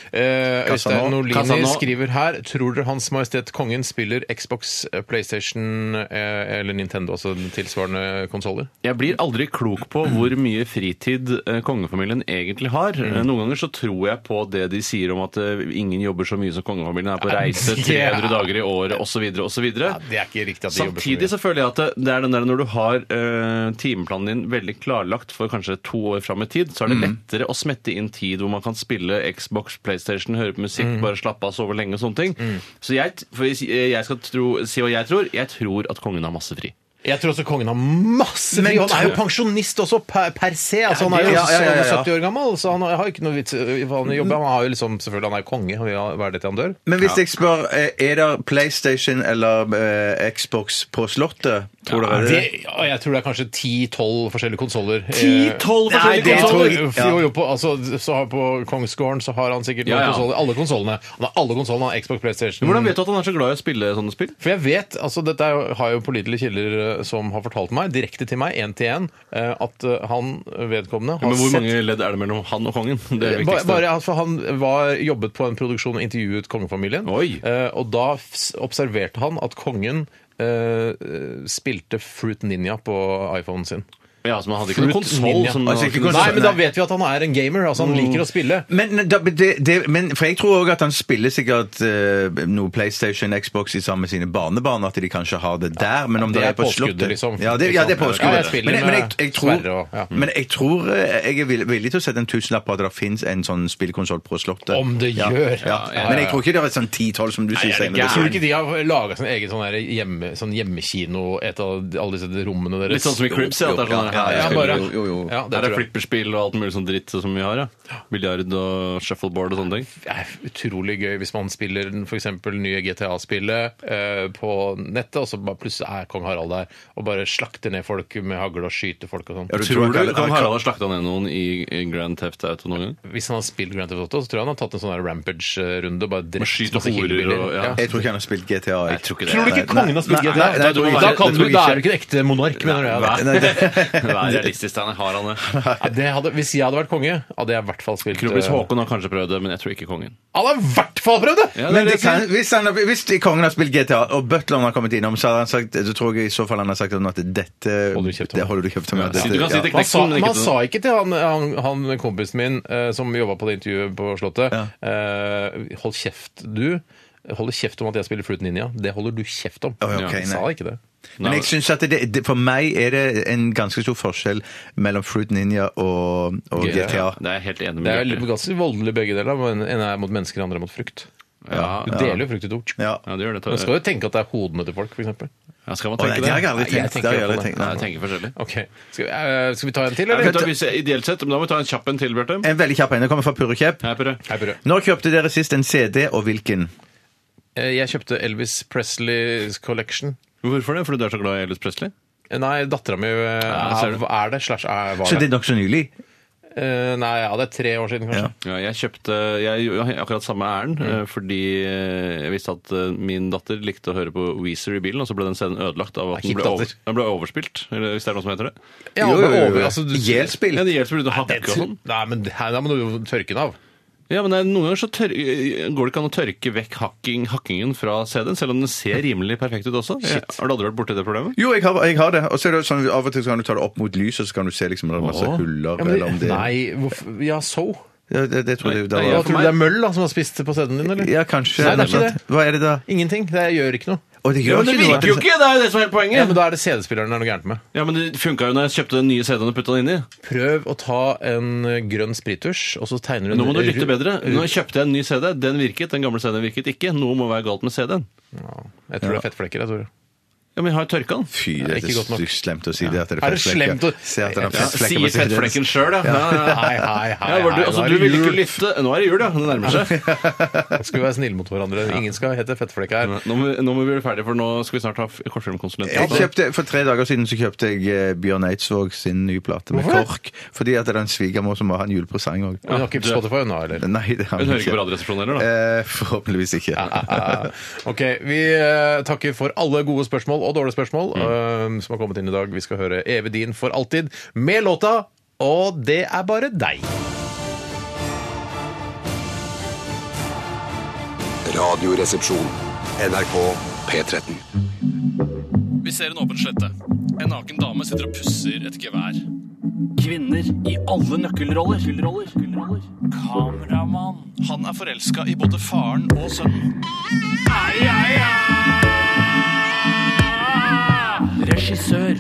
A: Eh,
B: Kassa
A: Øystein
B: nå.
A: Nordlini
C: Kassa nå.
A: skriver her Tror dere Hans Majestet Kongen spiller Xbox, eh, PlayStation eh, eller Nintendo, altså tilsvarende konsoller?
C: Jeg blir aldri klok på hvor mye fritid eh, kongefamilien egentlig har.
B: Mm.
C: Eh, Noen ganger så tror jeg på det de sier om at eh, ingen jobber så mye som kongefamilien er på
B: (laughs)
C: reise
A: ja.
C: 300 dager i året osv. osv.
A: Det er ikke riktig at de jobber
C: Samtidig
A: så mye.
C: så føler jeg at det- det er den der når du har eh, timeplanen din veldig klarlagt for kanskje to år fram i tid, så er det lettere å smette inn tid hvor man kan spille Xbox, PlayStation, høre på musikk, bare slappe av, sove lenge og sånne ting. Så jeg, t- for hvis jeg skal tro, si hva jeg tror. Jeg tror at kongen har masse fri.
A: Jeg tror også kongen har masse Men han er jo pensjonist også, per, per se. Altså, han er jo
B: Ja, ja, ja, ja, ja.
A: 70 år gammel, så han har ikke noe vits øh, i hva han jobber. Han har jo liksom, selvfølgelig, han er jo konge. Han vil ha- være det til han dør.
B: Men hvis jeg spør eh, er det PlayStation eller eh, Xbox på Slottet, Tror dere det?
A: Det, ja, jeg tror det er kanskje 10-12 forskjellige konsoller.
C: 10-12
A: Eh,
C: forskjellige
A: det tror
C: konsoler?
A: jeg-
C: Ja.
A: Jo, jo, på, altså, så har på Kongsgården så har han sikkert
C: Ja,
A: noen
C: ja.
A: konsoller. Alle konsollene. Han har alle konsollene. Han har Xbox, PlayStation
C: Hvordan vet du at han er så glad i å spille sånne spill?
A: For jeg vet, altså Dette er jo, har jo pålitelige kilder eh, som har fortalt meg, direkte til meg, én til én, eh, at eh, han vedkommende har
C: Men hvor
A: sett
C: mange ledd er det mellom han og kongen? Det er det
A: Ba-
C: viktigste.
A: bare, altså, han var, jobbet på en produksjon og intervjuet kongefamilien.
C: Oi.
A: eh, Og da f- s- observerte han at kongen eh, spilte Fruit Ninja på iPhonen sin.
C: Ja, så man hadde ikke noen
A: Fruit
C: konsoll
A: Ninja.
C: som
B: Altså, ikke
A: Nei,
B: konsol-
A: men da vet vi at han er en gamer. Altså
C: Mm.
A: Han liker å spille.
B: Men, da, det, det, men for jeg tror òg at han spiller sikkert eh, noe PlayStation, Xbox i sammen med sine barnebarn, at de kanskje har det der. Men om
A: det
B: det,
A: er
B: er på
A: påskuddet,
B: slottet
A: liksom.
B: Ja, det, ja, det er
A: Ja, jeg
B: påskuddet.
A: spiller
B: men, men, jeg,
A: med
B: jeg tror,
A: Sverre og- ja. Mm.
B: men jeg tror eh, jeg er vill- villig til å sette en tusenlapp på at det fins en sånn spillkonsoll på Slottet.
A: Om det gjør!
B: ja, Men jeg tror ikke det er et sånn 10-12 som du sier. Steinar.
A: Jeg tror ikke de har laga sin egen sånn her hjemme, sånn hjemmekino, et av de- alle disse rommene deres.
C: Litt sånn som i Cribs, ja. at det er sånn,
B: Ja,
C: her,
A: ja,
C: jeg spiller-
A: bare-
C: jo, jo, jo.
A: Ja, det
C: Her er
A: tror jeg.
C: flipperspill og alt mulig sånn dritt som vi har, ja. Biljard og shuffleboard og sånne ting.
A: Det er utrolig gøy hvis man spiller den, for eksempel nye GTA-spillet eh, på nettet, og så bare plutselig er kong Harald der og bare slakter ned folk med hagle og skyter folk og sånn.
B: du tror
C: Tror
B: ikke
C: du
B: alle-
C: Kong Harald har slakta ned noen i i Grand Theft Auto noen gang?
A: Hvis han har spilt Grand Theft Auto, så tror jeg han har tatt en sånn her rampage-runde og bare
C: Man
A: drept
C: skyter
A: masse
C: horer og-
A: hillebiler.
C: ja.
A: Ja.
B: Jeg tror ikke han har spilt GTA. Jeg tror ikke
A: Tror du ikke kongen har spilt GTA?
B: Nei, nei, jeg tror ikke-
A: da, kan du,
B: jeg tror
A: da
B: ikke-
A: er du ikke en ekte monark, mener jeg. da.
B: Nei, det-
C: Vær realistisk, Steinar. Har han det?
A: (laughs) Ja, det hadde, hvis jeg hadde vært konge, hadde jeg i hvert fall spilt
C: Kronprins
A: eh,
C: Haakon har kanskje prøvd det, men jeg tror ikke kongen.
A: Han har i hvert fall prøvd det!
B: Men det kan, hvis, han, har- hvis kongen har spilt GTA, og butleren har kommet innom, så hadde han sagt, så tror jeg i så fall han har sagt at dette
A: Holder du kjeft om.
B: det holder du kjeft om. Ja,
C: Si- Du kan si
B: ja.
C: til
A: Man sa,
C: Kneksen, men
A: man
C: ikke
A: sa
C: til
A: ikke til han, han, han kompisen min eh, som jobba på det intervjuet på Slottet
B: Ja.
A: eh, Hold kjeft, du. Holder kjeft om at jeg spiller Fruit Ninja. Det holder du kjeft om.
B: Å, ja, ok,
A: Jeg sa
B: nei.
A: ikke det.
B: Men jeg synes at det, det, for meg er det en ganske stor forskjell mellom Fruit Ninja og, og
C: Ja,
B: GTA.
C: Det er jeg helt enig
A: Det er
C: med
A: litt- ganske voldelig begge deler. men En er mot mennesker, den andre er mot frukt.
C: Ja,
A: Du
C: ja.
A: deler jo frukt i to.
B: Ja.
C: Ja, det gjør det.
A: Men skal jo tenke at det er hodene til folk, f.eks.
C: Ja, skal man
B: Og det,
C: tenke
B: det har jeg
C: det?
B: aldri
A: Nei, jeg
B: tenkt.
A: tenker
B: Det har
A: ikke på
B: jeg aldri
A: det.
B: tenkt.
C: Nei,
B: nei.
C: jeg tenker forskjellig.
A: Ok, Skal, vi- eh, skal vi ta en til,
C: Jeg kan
A: eller?
C: ta, hvis, ideelt sett, men da må vi ta en kjapp en til, Bjarte.
B: En veldig kjapp en. Den kommer fra Purre Kjepp.
C: Hei, Pyrre.
A: Hei, Børre.
B: Når kjøpte dere sist en CD, og hvilken?
A: Eh, Jeg kjøpte Elvis Presley's Collection.
C: Hvorfor det? Fordi du er så glad i Elvis Presley?
A: Eh, Nei, dattera mi
C: Ja, ser
A: er,
C: du.
A: er det slash er, var
B: Så det
A: det.
B: er nokså nylig?
A: Eh, Nei, ja, det er tre år siden, kanskje.
B: Ja.
C: Ja, jeg kjøpte jeg, gjorde akkurat samme ærend
A: Mm.
C: eh, fordi eh, jeg visste at eh, min datter likte å høre på Weezer i bilen, og så ble den scenen ødelagt av at
A: Nei,
C: den ble,
A: kjipt,
C: over,
A: datter.
C: den ble overspilt. Eller hvis det er noe som heter det.
A: Ja,
B: Jo,
A: men
B: jo, jo, jo.
A: over- altså, du-
B: Gjelspill.
C: Ja, det gjelder selvfølgelig å hakke og sånn.
A: Nei, men det her, da må du jo tørke den av.
C: Ja, men det er- noen ganger så tør, går det ikke an å tørke vekk hakking, hakkingen fra CD-en, selv om den ser rimelig perfekt ut også. Jeg, har du aldri vært borti det problemet?
B: Jo, jeg har, jeg har det. Og så er det sånn, Av og til så kan du ta det opp mot lyset, så kan du se liksom, om det er masse
C: Åh.
B: huller. eller om det,
A: Nei, hvorfor Ja, so?
B: Ja, det, det tror jeg, da,
C: Nei,
A: Ja,
C: Ja,
B: var-
C: for
A: tror du
C: meg-
A: det er møll da, som har spist på sæden din, eller?
B: ja, kanskje.
A: Nei, det er ikke det.
B: Hva er det da?
A: Ingenting. Det gjør ikke noe.
B: Å, det sånn- gjør ikke noe.
C: ikke! Det er jo det som er hele
A: Ja, men
C: poenget!
A: Da er det CD-spilleren det er noe gærent med.
C: Ja, men det funka jo når jeg kjøpte den nye CD-en og putta den inni.
A: Prøv å ta en eh, grønn sprittusj, og så tegner du en
C: Nå må du lytte
A: ru-
C: bedre. Nå kjøpte jeg en ny CD. Den virket, den gamle CD-en virket ikke. Noe må være galt med CD-en.
A: Jeg tror det er fettflekker, jeg, Tore.
C: Ja, men jeg har tørka den.
B: Fy, det er
A: ikke godt nok.
B: stygt slemt å si det. At
A: Er
B: det
A: det
B: er, fettflekker.
A: slemt å-
B: Se at det
A: Ja,
B: er fettflekker
C: Sier
B: på CD-en.
C: fettflekken sjøl, ja. Ja, ja,
A: Hei,
C: ja.
A: hei, hei.
C: Ja, var du,
A: hei, nå
C: altså,
A: er
C: du
A: det
C: vil
A: jul.
C: ikke lytte. Nå er det jul, (laughs) ja. Det nærmer seg.
A: Nå Skal vi være snille mot hverandre? Ingen skal hete fettflekk her.
C: Nå må, vi- nå må vi bli ferdig, for nå skal vi snart ha f- kortfilmkonsulent.
B: Jeg kjøpte, for tre dager siden så kjøpte jeg eh, Bjørn Eidsvåg sin nye plate med
A: Hvorfor det?
B: KORK. Fordi at det er en svigermor som må ha en julepresang òg.
A: Hun har ikke Spotify nå, eller?
B: Nei, det har
C: Hun
B: hun
C: hører ikke på Radioresepsjonen heller, da.
B: Eh, forhåpentligvis ikke.
A: (laughs) ok, Vi eh, takker for alle gode spørsmål og dårlige spørsmål
C: Mm.
A: eh, som har kommet inn i dag. Vi skal høre Evig din for alltid med låta Og det er bare deg.
F: Radioresepsjon. NRK P13.
G: Vi ser en åpen slette. En naken dame sitter og pusser et gevær.
H: Kvinner i alle nøkkelroller. Kameramann.
G: Han er forelska i både faren og sønnen.
H: Regissør.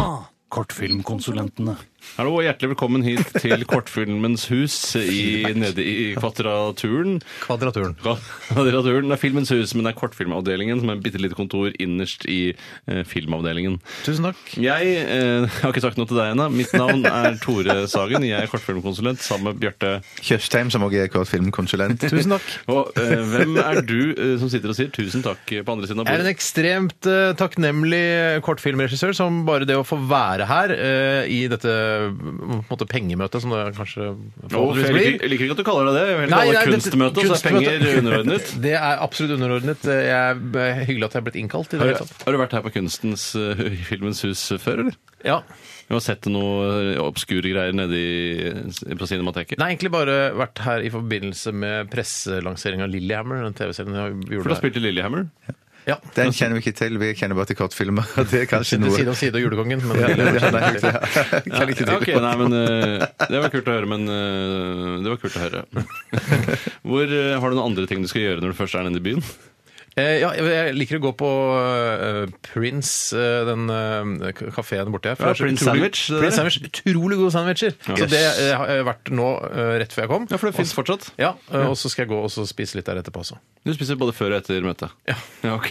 H: Ah, kortfilmkonsulentene.
C: Hallo og hjertelig velkommen hit til Kortfilmens hus i, nede i Kvadraturen.
A: Kvadraturen.
C: Kvadraturen. Det er Filmens hus, men det er Kortfilmavdelingen som er et bitte lite kontor innerst i eh, filmavdelingen.
A: Tusen takk.
C: Jeg eh, har ikke sagt noe til deg ennå. Mitt navn er Tore Sagen. Jeg er kortfilmkonsulent sammen med Bjarte.
B: Tjøstheim, som også er kortfilmkonsulent.
A: Tusen takk.
C: Og eh, hvem er du eh, som sitter og sier tusen takk eh, på andre siden av
A: Jeg er en
C: bordet?
A: ekstremt eh, takknemlig kortfilmregissør som bare det å få være her eh, i dette på en måte, pengemøtet, som det kanskje
C: Å, jeg
A: forhåpentligvis
C: liker,
A: blir.
C: jeg liker ikke at du kaller deg det. Jeg vil kalle det
A: dette-
C: kunstmøte, og så er
A: kunstmøte-
C: penger underordnet.
A: (laughs) Det er absolutt underordnet. Jeg er eh, hyggelig at jeg er blitt innkalt. i det
C: Har,
A: hele tatt.
C: har du vært her på Kunstens eh, i Filmens hus før, eller?
A: Ja.
C: Du har sett noe eh, obskure greier nede i, eh, på Cinemateket?
A: Nei, egentlig bare vært her i forbindelse med presselansering av Lillehammer, den TV-serien vi
C: For du
A: gjorde
C: har spilt i Lillehammer?
A: Ja.
B: Den kjenner vi ikke til, vi kjenner bare til kortfilmer. Det er kanskje
A: Sitter
B: noe
A: side om side og julekongen,
C: (laughs)
A: men
B: (laughs) Ja,
A: Lillehammer
B: ja,
A: kjenner
B: nei,
A: jeg ikke til.
B: ja. Kan ikke
C: Ja,
B: til.
C: ok, nei, men eh, Det var kult å høre, men eh, det var kult å høre. Hvor, eh, har du noen andre ting du skal gjøre når du først er nede i byen?
A: Eh, ja, jeg- jeg liker å gå på eh, Prince, eh, den uh, kafeen borte her. for
C: Ja,
A: det er så
C: Prince
A: utrolig-
C: Sandwich, det der.
A: Prince Sandwich. Utrolig gode sandwicher. Så det eh, har jeg vært nå eh, rett før jeg kom.
C: Ja, for det fins fortsatt.
A: Ja, eh, Og så skal jeg gå og så spise litt der etterpå også.
C: Du spiser både før og etter møtet?
A: Ja.
C: ok.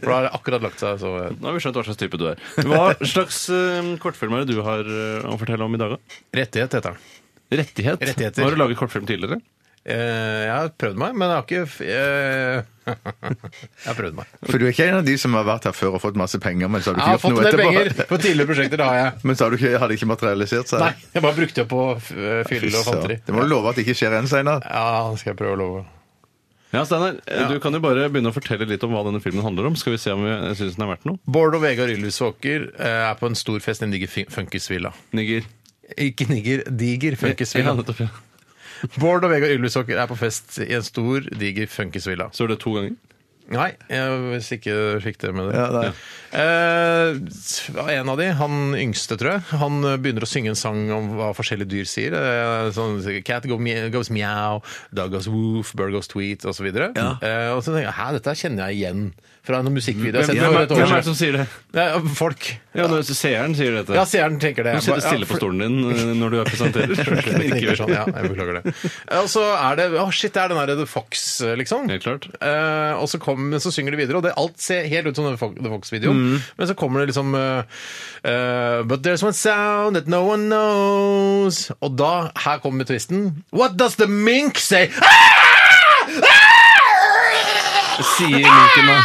A: For da har det akkurat lagt seg. Så, eh,
C: Nå har vi skjønt hva slags type du er. Hva slags uh, kortfilm er det du har eh, å fortelle om i dag, da?
A: rettighet heter den.
C: Rettighet?
A: Rettigheter.
C: Har du laget kortfilm tidligere?
A: Eh, jeg har prøvd meg, men jeg har ikke f- eh, (laughs) Jeg har prøvd meg.
B: For du er ikke en av de som har vært her før og fått masse penger, men så har du
A: Jeg
B: ikke
A: har
B: gjort
A: fått en
B: noe
A: del penger
B: etterpå.
A: på tidligere prosjekter, det har jeg.
B: (laughs) Men så har du ikke, har det ikke materialisert seg.
A: Nei, jeg bare brukte det på f- eh, fylle og
B: Fysj,
A: fanteri.
B: ja. Det må du love at det ikke skjer igjen senere.
A: Ja, det skal jeg prøve å love.
C: Ja, Steinar, eh, du kan jo bare begynne å fortelle litt om hva denne filmen handler om. Skal vi se om vi eh, synes den er verdt noe?
A: Bård og Vegard Ylvisåker eh, er på en stor fest i en diger fun- funkisvilla.
C: Nigger.
A: Ikke niger, diger
C: Ja,
A: funkisvilla. (laughs)
C: nettopp, ja.
A: Bård og Vegard Ylvisåker er på fest i en stor, diger funkisvilla.
C: Så er det to ganger?
A: Nei, jeg, hvis ikke du fikk det med det.
B: Ja, nei.
A: Eh, en av de, han yngste, tror jeg, han eh, begynner å synge en sang om hva forskjellige dyr sier. Eh, sånn Cat go mia- goes meow, dog goes woof, bird goes tweet, osv.
C: Ja.
A: Eh, og så tenker jeg hæ, dette kjenner jeg igjen fra en musikkvideo. jeg har sett
C: Hvem,
A: for
C: hvem,
A: et
C: er,
A: år
C: hvem er det
A: siden.
C: som sier det?
A: Ja, eh, Folk.
C: Ja, når Seeren sier dette.
A: Ja, seeren tenker det.
C: du sitter
A: Ja,
C: stille på
A: for-
C: stolen din eh, når du er presenterer. (laughs)
A: Jeg
C: Ikke
A: tenker
C: gjør
A: sånn, (laughs) ja, jeg beklager det. Og så er det Å, shit, det er den der The Fox, liksom.
C: Helt klart.
A: Eh, og så, kom, men så synger de videre, og det, alt ser helt ut som den Fo- The Fox-videoen.
C: Mm.
A: Men så kommer det liksom eh, eh, But there's one sound that no one knows. Og da, her kommer twisten. What does the mink say?
C: Sier minken da.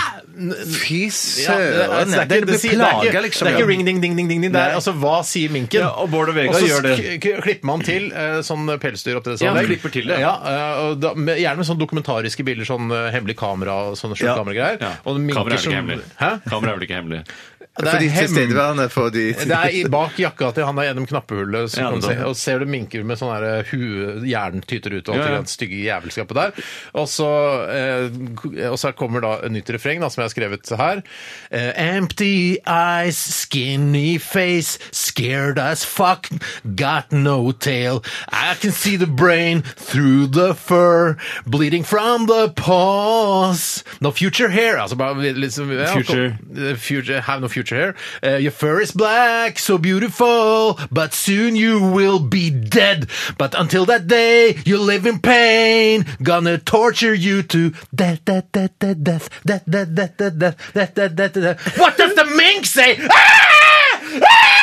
B: Fy
A: Ja, det, er-
B: søren!
A: det, er
B: Det
A: ikke-
B: blir
A: det, sier- det, er
B: plaga,
A: ikke-
B: liksom.
A: det er ikke
B: ja.
A: ring, ding, ding, ding, ding, ding. Det er
B: Nei.
A: altså hva sier minken?
C: Ja, og Bård og Vegard
A: så
C: gjør det.
A: k- k- klipper man til eh, sånn pelsdyroppdrettsanlegg.
C: Ja, man klipper til det.
A: Ja, eh, og da, med, gjerne med sånne dokumentariske bilder, sånn eh, hemmelig kamera og sånne skjult
B: Ja.
A: kameragreier.
C: Ja.
A: Og minker
C: Kamera er vel
A: som-
C: ikke hemmelig.
A: Hæ?
C: Kamera er vel ikke hemmelig.
A: Det
B: For
A: er,
B: de
A: hem...
B: tilstedeværende, for de
A: det er i- bak jakka til han der gjennom knappehullet, så
C: Ja,
A: kan du se,
C: nettopp.
A: og ser du minker med sånn der hue, hjernen tyter ut og alt
C: Ja, ja.
A: det der stygge jævelskapet der. Og så, eh, og så kommer da et nytt refreng da, som jeg har skrevet her. Eh, empty eyes, skinny face, scared as fuck, got no tail. I can see the brain through the fur, bleeding from the paws. No future here. Altså bare liksom ja,
C: Future.
A: the future have no future here. Uh, your fur is black, so beautiful, but soon you will be dead. But until that day, you live in pain. Gonna torture you to death, death, death, death, death, death, death, death, death, death, death, death, death, death. What does the mink say? Ah! Ah!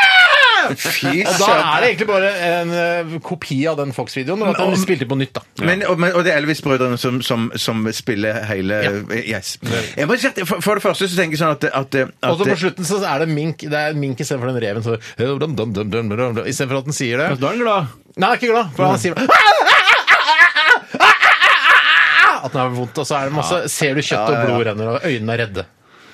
B: Fy
A: Og da
B: søren.
A: er det egentlig bare en eh, kopi av den Fox-videoen, men at den spilte på nytt, da.
B: Men, og, men, og det er Elvis-brødrene som, som, som spiller hele Yes. Jeg må si at for, for det første så tenker jeg sånn at, at, at
A: Og så på slutten så er det mink Det er en mink istedenfor den reven. så- Istedenfor at den sier det.
C: Da er den glad.
A: Nei, jeg er ikke glad, for han sier Ah, ah, At den har vondt, og så er det masse Ser du kjøtt og blod renner, og øynene er redde.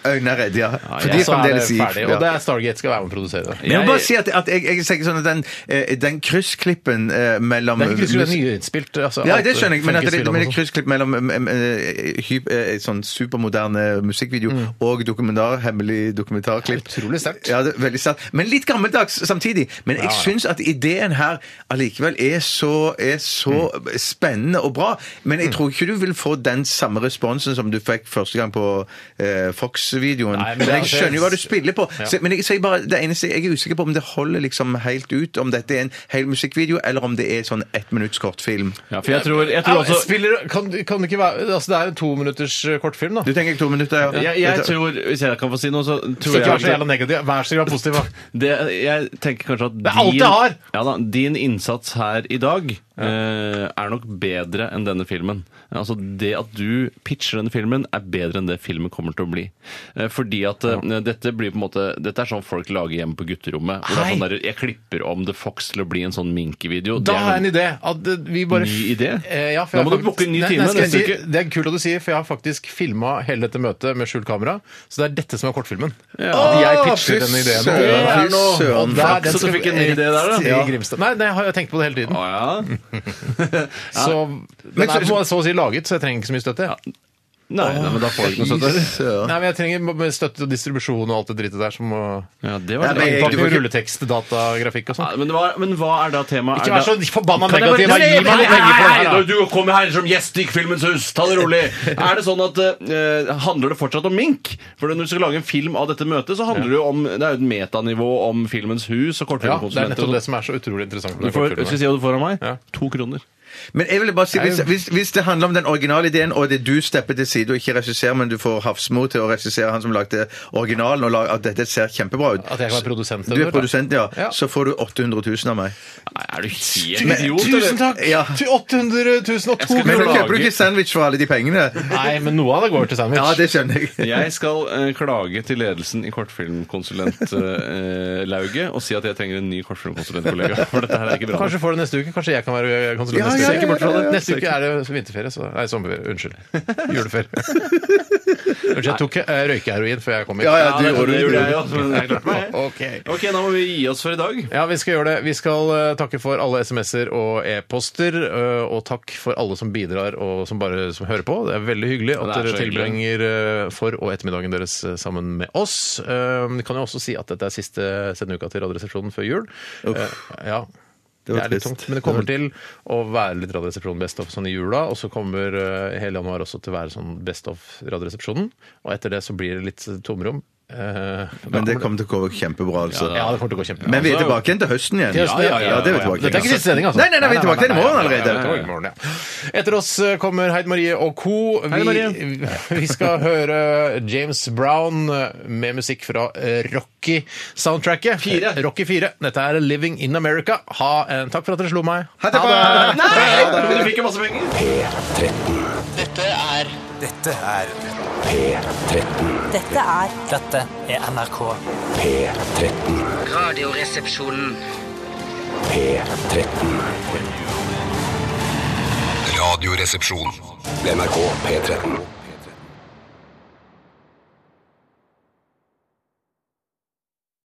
B: Øynene er redde, ja. For de
A: Og
B: er
A: så er det
B: fremdeles i
A: ferdig. Og
B: ja.
A: det er Stargate skal være med å produsere det.
B: Men jeg må
C: Jeg-
B: bare si at, at jeg, jeg tenker sånn at den, eh, den kryssklippen eh, mellom
A: Det er ikke skulle være nyinnspilt. Altså,
B: Ja,
A: alt
B: det skjønner jeg, men at det,
A: funkisfilm og
B: men det er
A: sånt.
B: kryssklipp mellom em, em, eh, hyp- eh, sånn supermoderne musikkvideo og dokumentar, hemmelig dokumentarklipp.
A: Det er Mm. utrolig sterkt.
B: Ja, det er veldig sterkt. Men litt gammeldags samtidig. Men jeg
A: ja.
B: syns at ideen her allikevel er så, er så
A: Mm.
B: spennende og bra. Men jeg tror ikke du vil få den samme responsen som du fikk første gang på eh, Fox
A: Nei, men
B: musikkvideoen.
A: altså,
B: men
A: det er-
B: jeg skjønner jo hva du spiller på. Så, men jeg, så jeg, bare, det eneste, jeg er usikker på om det holder liksom helt ut, om dette er en hel musikkvideo, eller om det er sånn ett minutts kortfilm.
C: Ja, for jeg tror, jeg tror også
A: Spiller, kan, kan det ikke være Altså, det er jo en tominutters eh, kortfilm, da.
B: Du tenker to minutter? Ja.
C: jeg, jeg tror, Hvis jeg kan få si noe, så tror
A: Ikke vær så
C: jeg
A: jævla negativ. Vær så jævla positiv. da.
C: det, Jeg tenker kanskje at
A: er alt jeg har!
C: Ja, da, din innsats her i dag eh, er nok bedre enn denne filmen. Altså Det at du pitcher denne filmen, er bedre enn det filmen kommer til å bli. Eh, fordi at eh, dette blir på en måte Dette er sånn folk lager hjemme på gutterommet. Hvor det er sånn der, jeg klipper om The Fox til å bli en sånn minkevideo. Det
A: Da
C: er
A: har jeg en
C: noe-
A: idé. At eh, vi bare
C: Ny idé?
A: Eh, ja, for
C: Da
A: jeg
C: må du
A: har
C: booke en ny
A: Nei,
C: time
A: nei, skal jeg
C: neste
A: si-
C: uke.
A: Det er kult at du sier, for jeg har faktisk filma hele dette møtet med skjult kamera. Så det er dette som er kortfilmen. At jeg pitcher denne ideen.
B: fy søren,
A: Det er noe-
B: fy søren,
A: og der-
C: Fox,
A: den
C: så du
A: skal-
C: fikk en ny idé der, da?
A: rett i
C: Ja.
A: Grimstad. Nei, det har jeg tenkt på det hele tiden.
C: Å, ja.
A: Så den er på en måte så å si laget, så jeg trenger ikke så mye støtte. jeg.
C: Nei, nei, men da får du ikke noe støtte.
B: søren.
A: Nei, men jeg trenger m- støtte til distribusjon og alt det drittet der som må
C: Ja, det
B: Ja,
C: var det.
B: men jeg-
A: Innpakning
B: du-
A: og rulletekst, datagrafikk og
C: Ja,
A: sånn.
C: men, hva, men hva er da temaet?
A: Ikke
C: Er
A: vær
C: da-
A: så forbanna
C: Kan jeg bare-
A: negativ, da!
C: Nei,
A: Gi
C: nei,
A: meg noen
C: nei,
A: penger
C: nei,
A: for det
C: nei,
A: her! da.
C: Du kommer her som gjest i Filmens hus, ta det rolig! (laughs) Er det sånn at eh, Handler det fortsatt om mink? For når du skal lage en film av dette møtet, så handler det jo om Det er jo et metanivå om Filmens hus og
A: Ja, det er
C: kortfilmkonsumenter.
A: nettopp
C: og
A: det
C: sånt.
A: som er så utrolig interessant.
C: du
A: med
C: får,
A: kortfilmer.
C: skal jeg si hva du får av meg?
A: Ja.
C: To kroner.
B: Men jeg vil bare si, hvis, hvis, hvis det handler om den originale ideen, og det er du stepper til side og ikke regisserer, men du får Hafsmo til å regissere han som lagde originalen, og lag, at dette ser kjempebra ut
A: At jeg kan være produsent,
B: Du
A: eller?
B: er produsent, ja.
A: Ja.
B: Så får du 800 000 av meg.
C: Nei, er du helt idiot?
A: Tusen takk!
B: Ja.
A: Til 800 000 og to
C: skal
B: Men
C: ikke
A: kroner!
B: da
C: klage.
B: kjøper du ikke sandwich for alle de pengene.
A: Nei, men noe av det går til sandwich.
B: Ja, det skjønner jeg.
C: Jeg skal eh, klage til ledelsen i kortfilmkonsulentlauget og si at jeg trenger en ny kortfilmkonsulentkollega. For dette her er ikke bra. nok.
A: Kanskje får du neste uke. Kanskje jeg kan være konsulent neste uke.
B: Ja, ja,
A: Ser ikke bort fra
B: ja, ja,
A: det.
B: ja.
A: Neste uke er det vinterferie, så Nei, sommerferie. Unnskyld. Juleferie. Unnskyld, jeg tok eh, røykeheroin før jeg kom hit.
B: Ja, ja,
C: det,
B: du gjorde
C: det gjorde jeg
B: det.
C: også, men jeg klarte meg.
A: Ok.
C: Ok, da må vi gi oss for i dag.
A: Ja, vi skal gjøre det. Vi skal eh, takke for alle SMS-er og e-poster, eh, og takk for alle som bidrar og som bare som hører på. Det er veldig hyggelig at
C: Ja, det er
A: dere
C: så hyggelig.
A: tilbringer eh, for- og ettermiddagen deres eh, sammen med oss. Eh, Vi kan jo også si at dette er siste sendende uka til Radioresepsjonen før jul. Eh, Ja. Det,
B: var
A: er litt
B: trist.
A: tungt, men det kommer til å være litt Radioresepsjonen Best of sånn i jula, og så kommer eh, hele januar også til å være sånn Best of Radioresepsjonen, og etter det så blir det litt tomrom. Eh,
B: Men det kommer til å gå kjempebra, altså.
A: ja, det kommer til å gå kjempebra.
B: Men vi er tilbake igjen til høsten igjen.
A: Til høsten, ja, ja, ja, ja.
B: det er vi tilbake
A: Dette er ikke siste sending, altså.
B: Nei, nei, nei, vi er tilbake til i morgen allerede.
A: Ja, ja, ja, i morgen, ja. Etter oss eh, kommer Heid Marie og co. Vi, (laughs) vi skal høre James Brown eh, med musikk fra eh, Rocky-soundtracket.
C: Fire.
A: Rocky 4. Dette er Living in America. Ha en takk for at dere slo meg.
B: Ha det bra!
C: Nei! Du fikk jo masse penger.
I: Dette er
E: Dette er
J: Dette er
E: Dette er NRK.
I: Radioresepsjonen.
F: Radioresepsjon. NRK P13.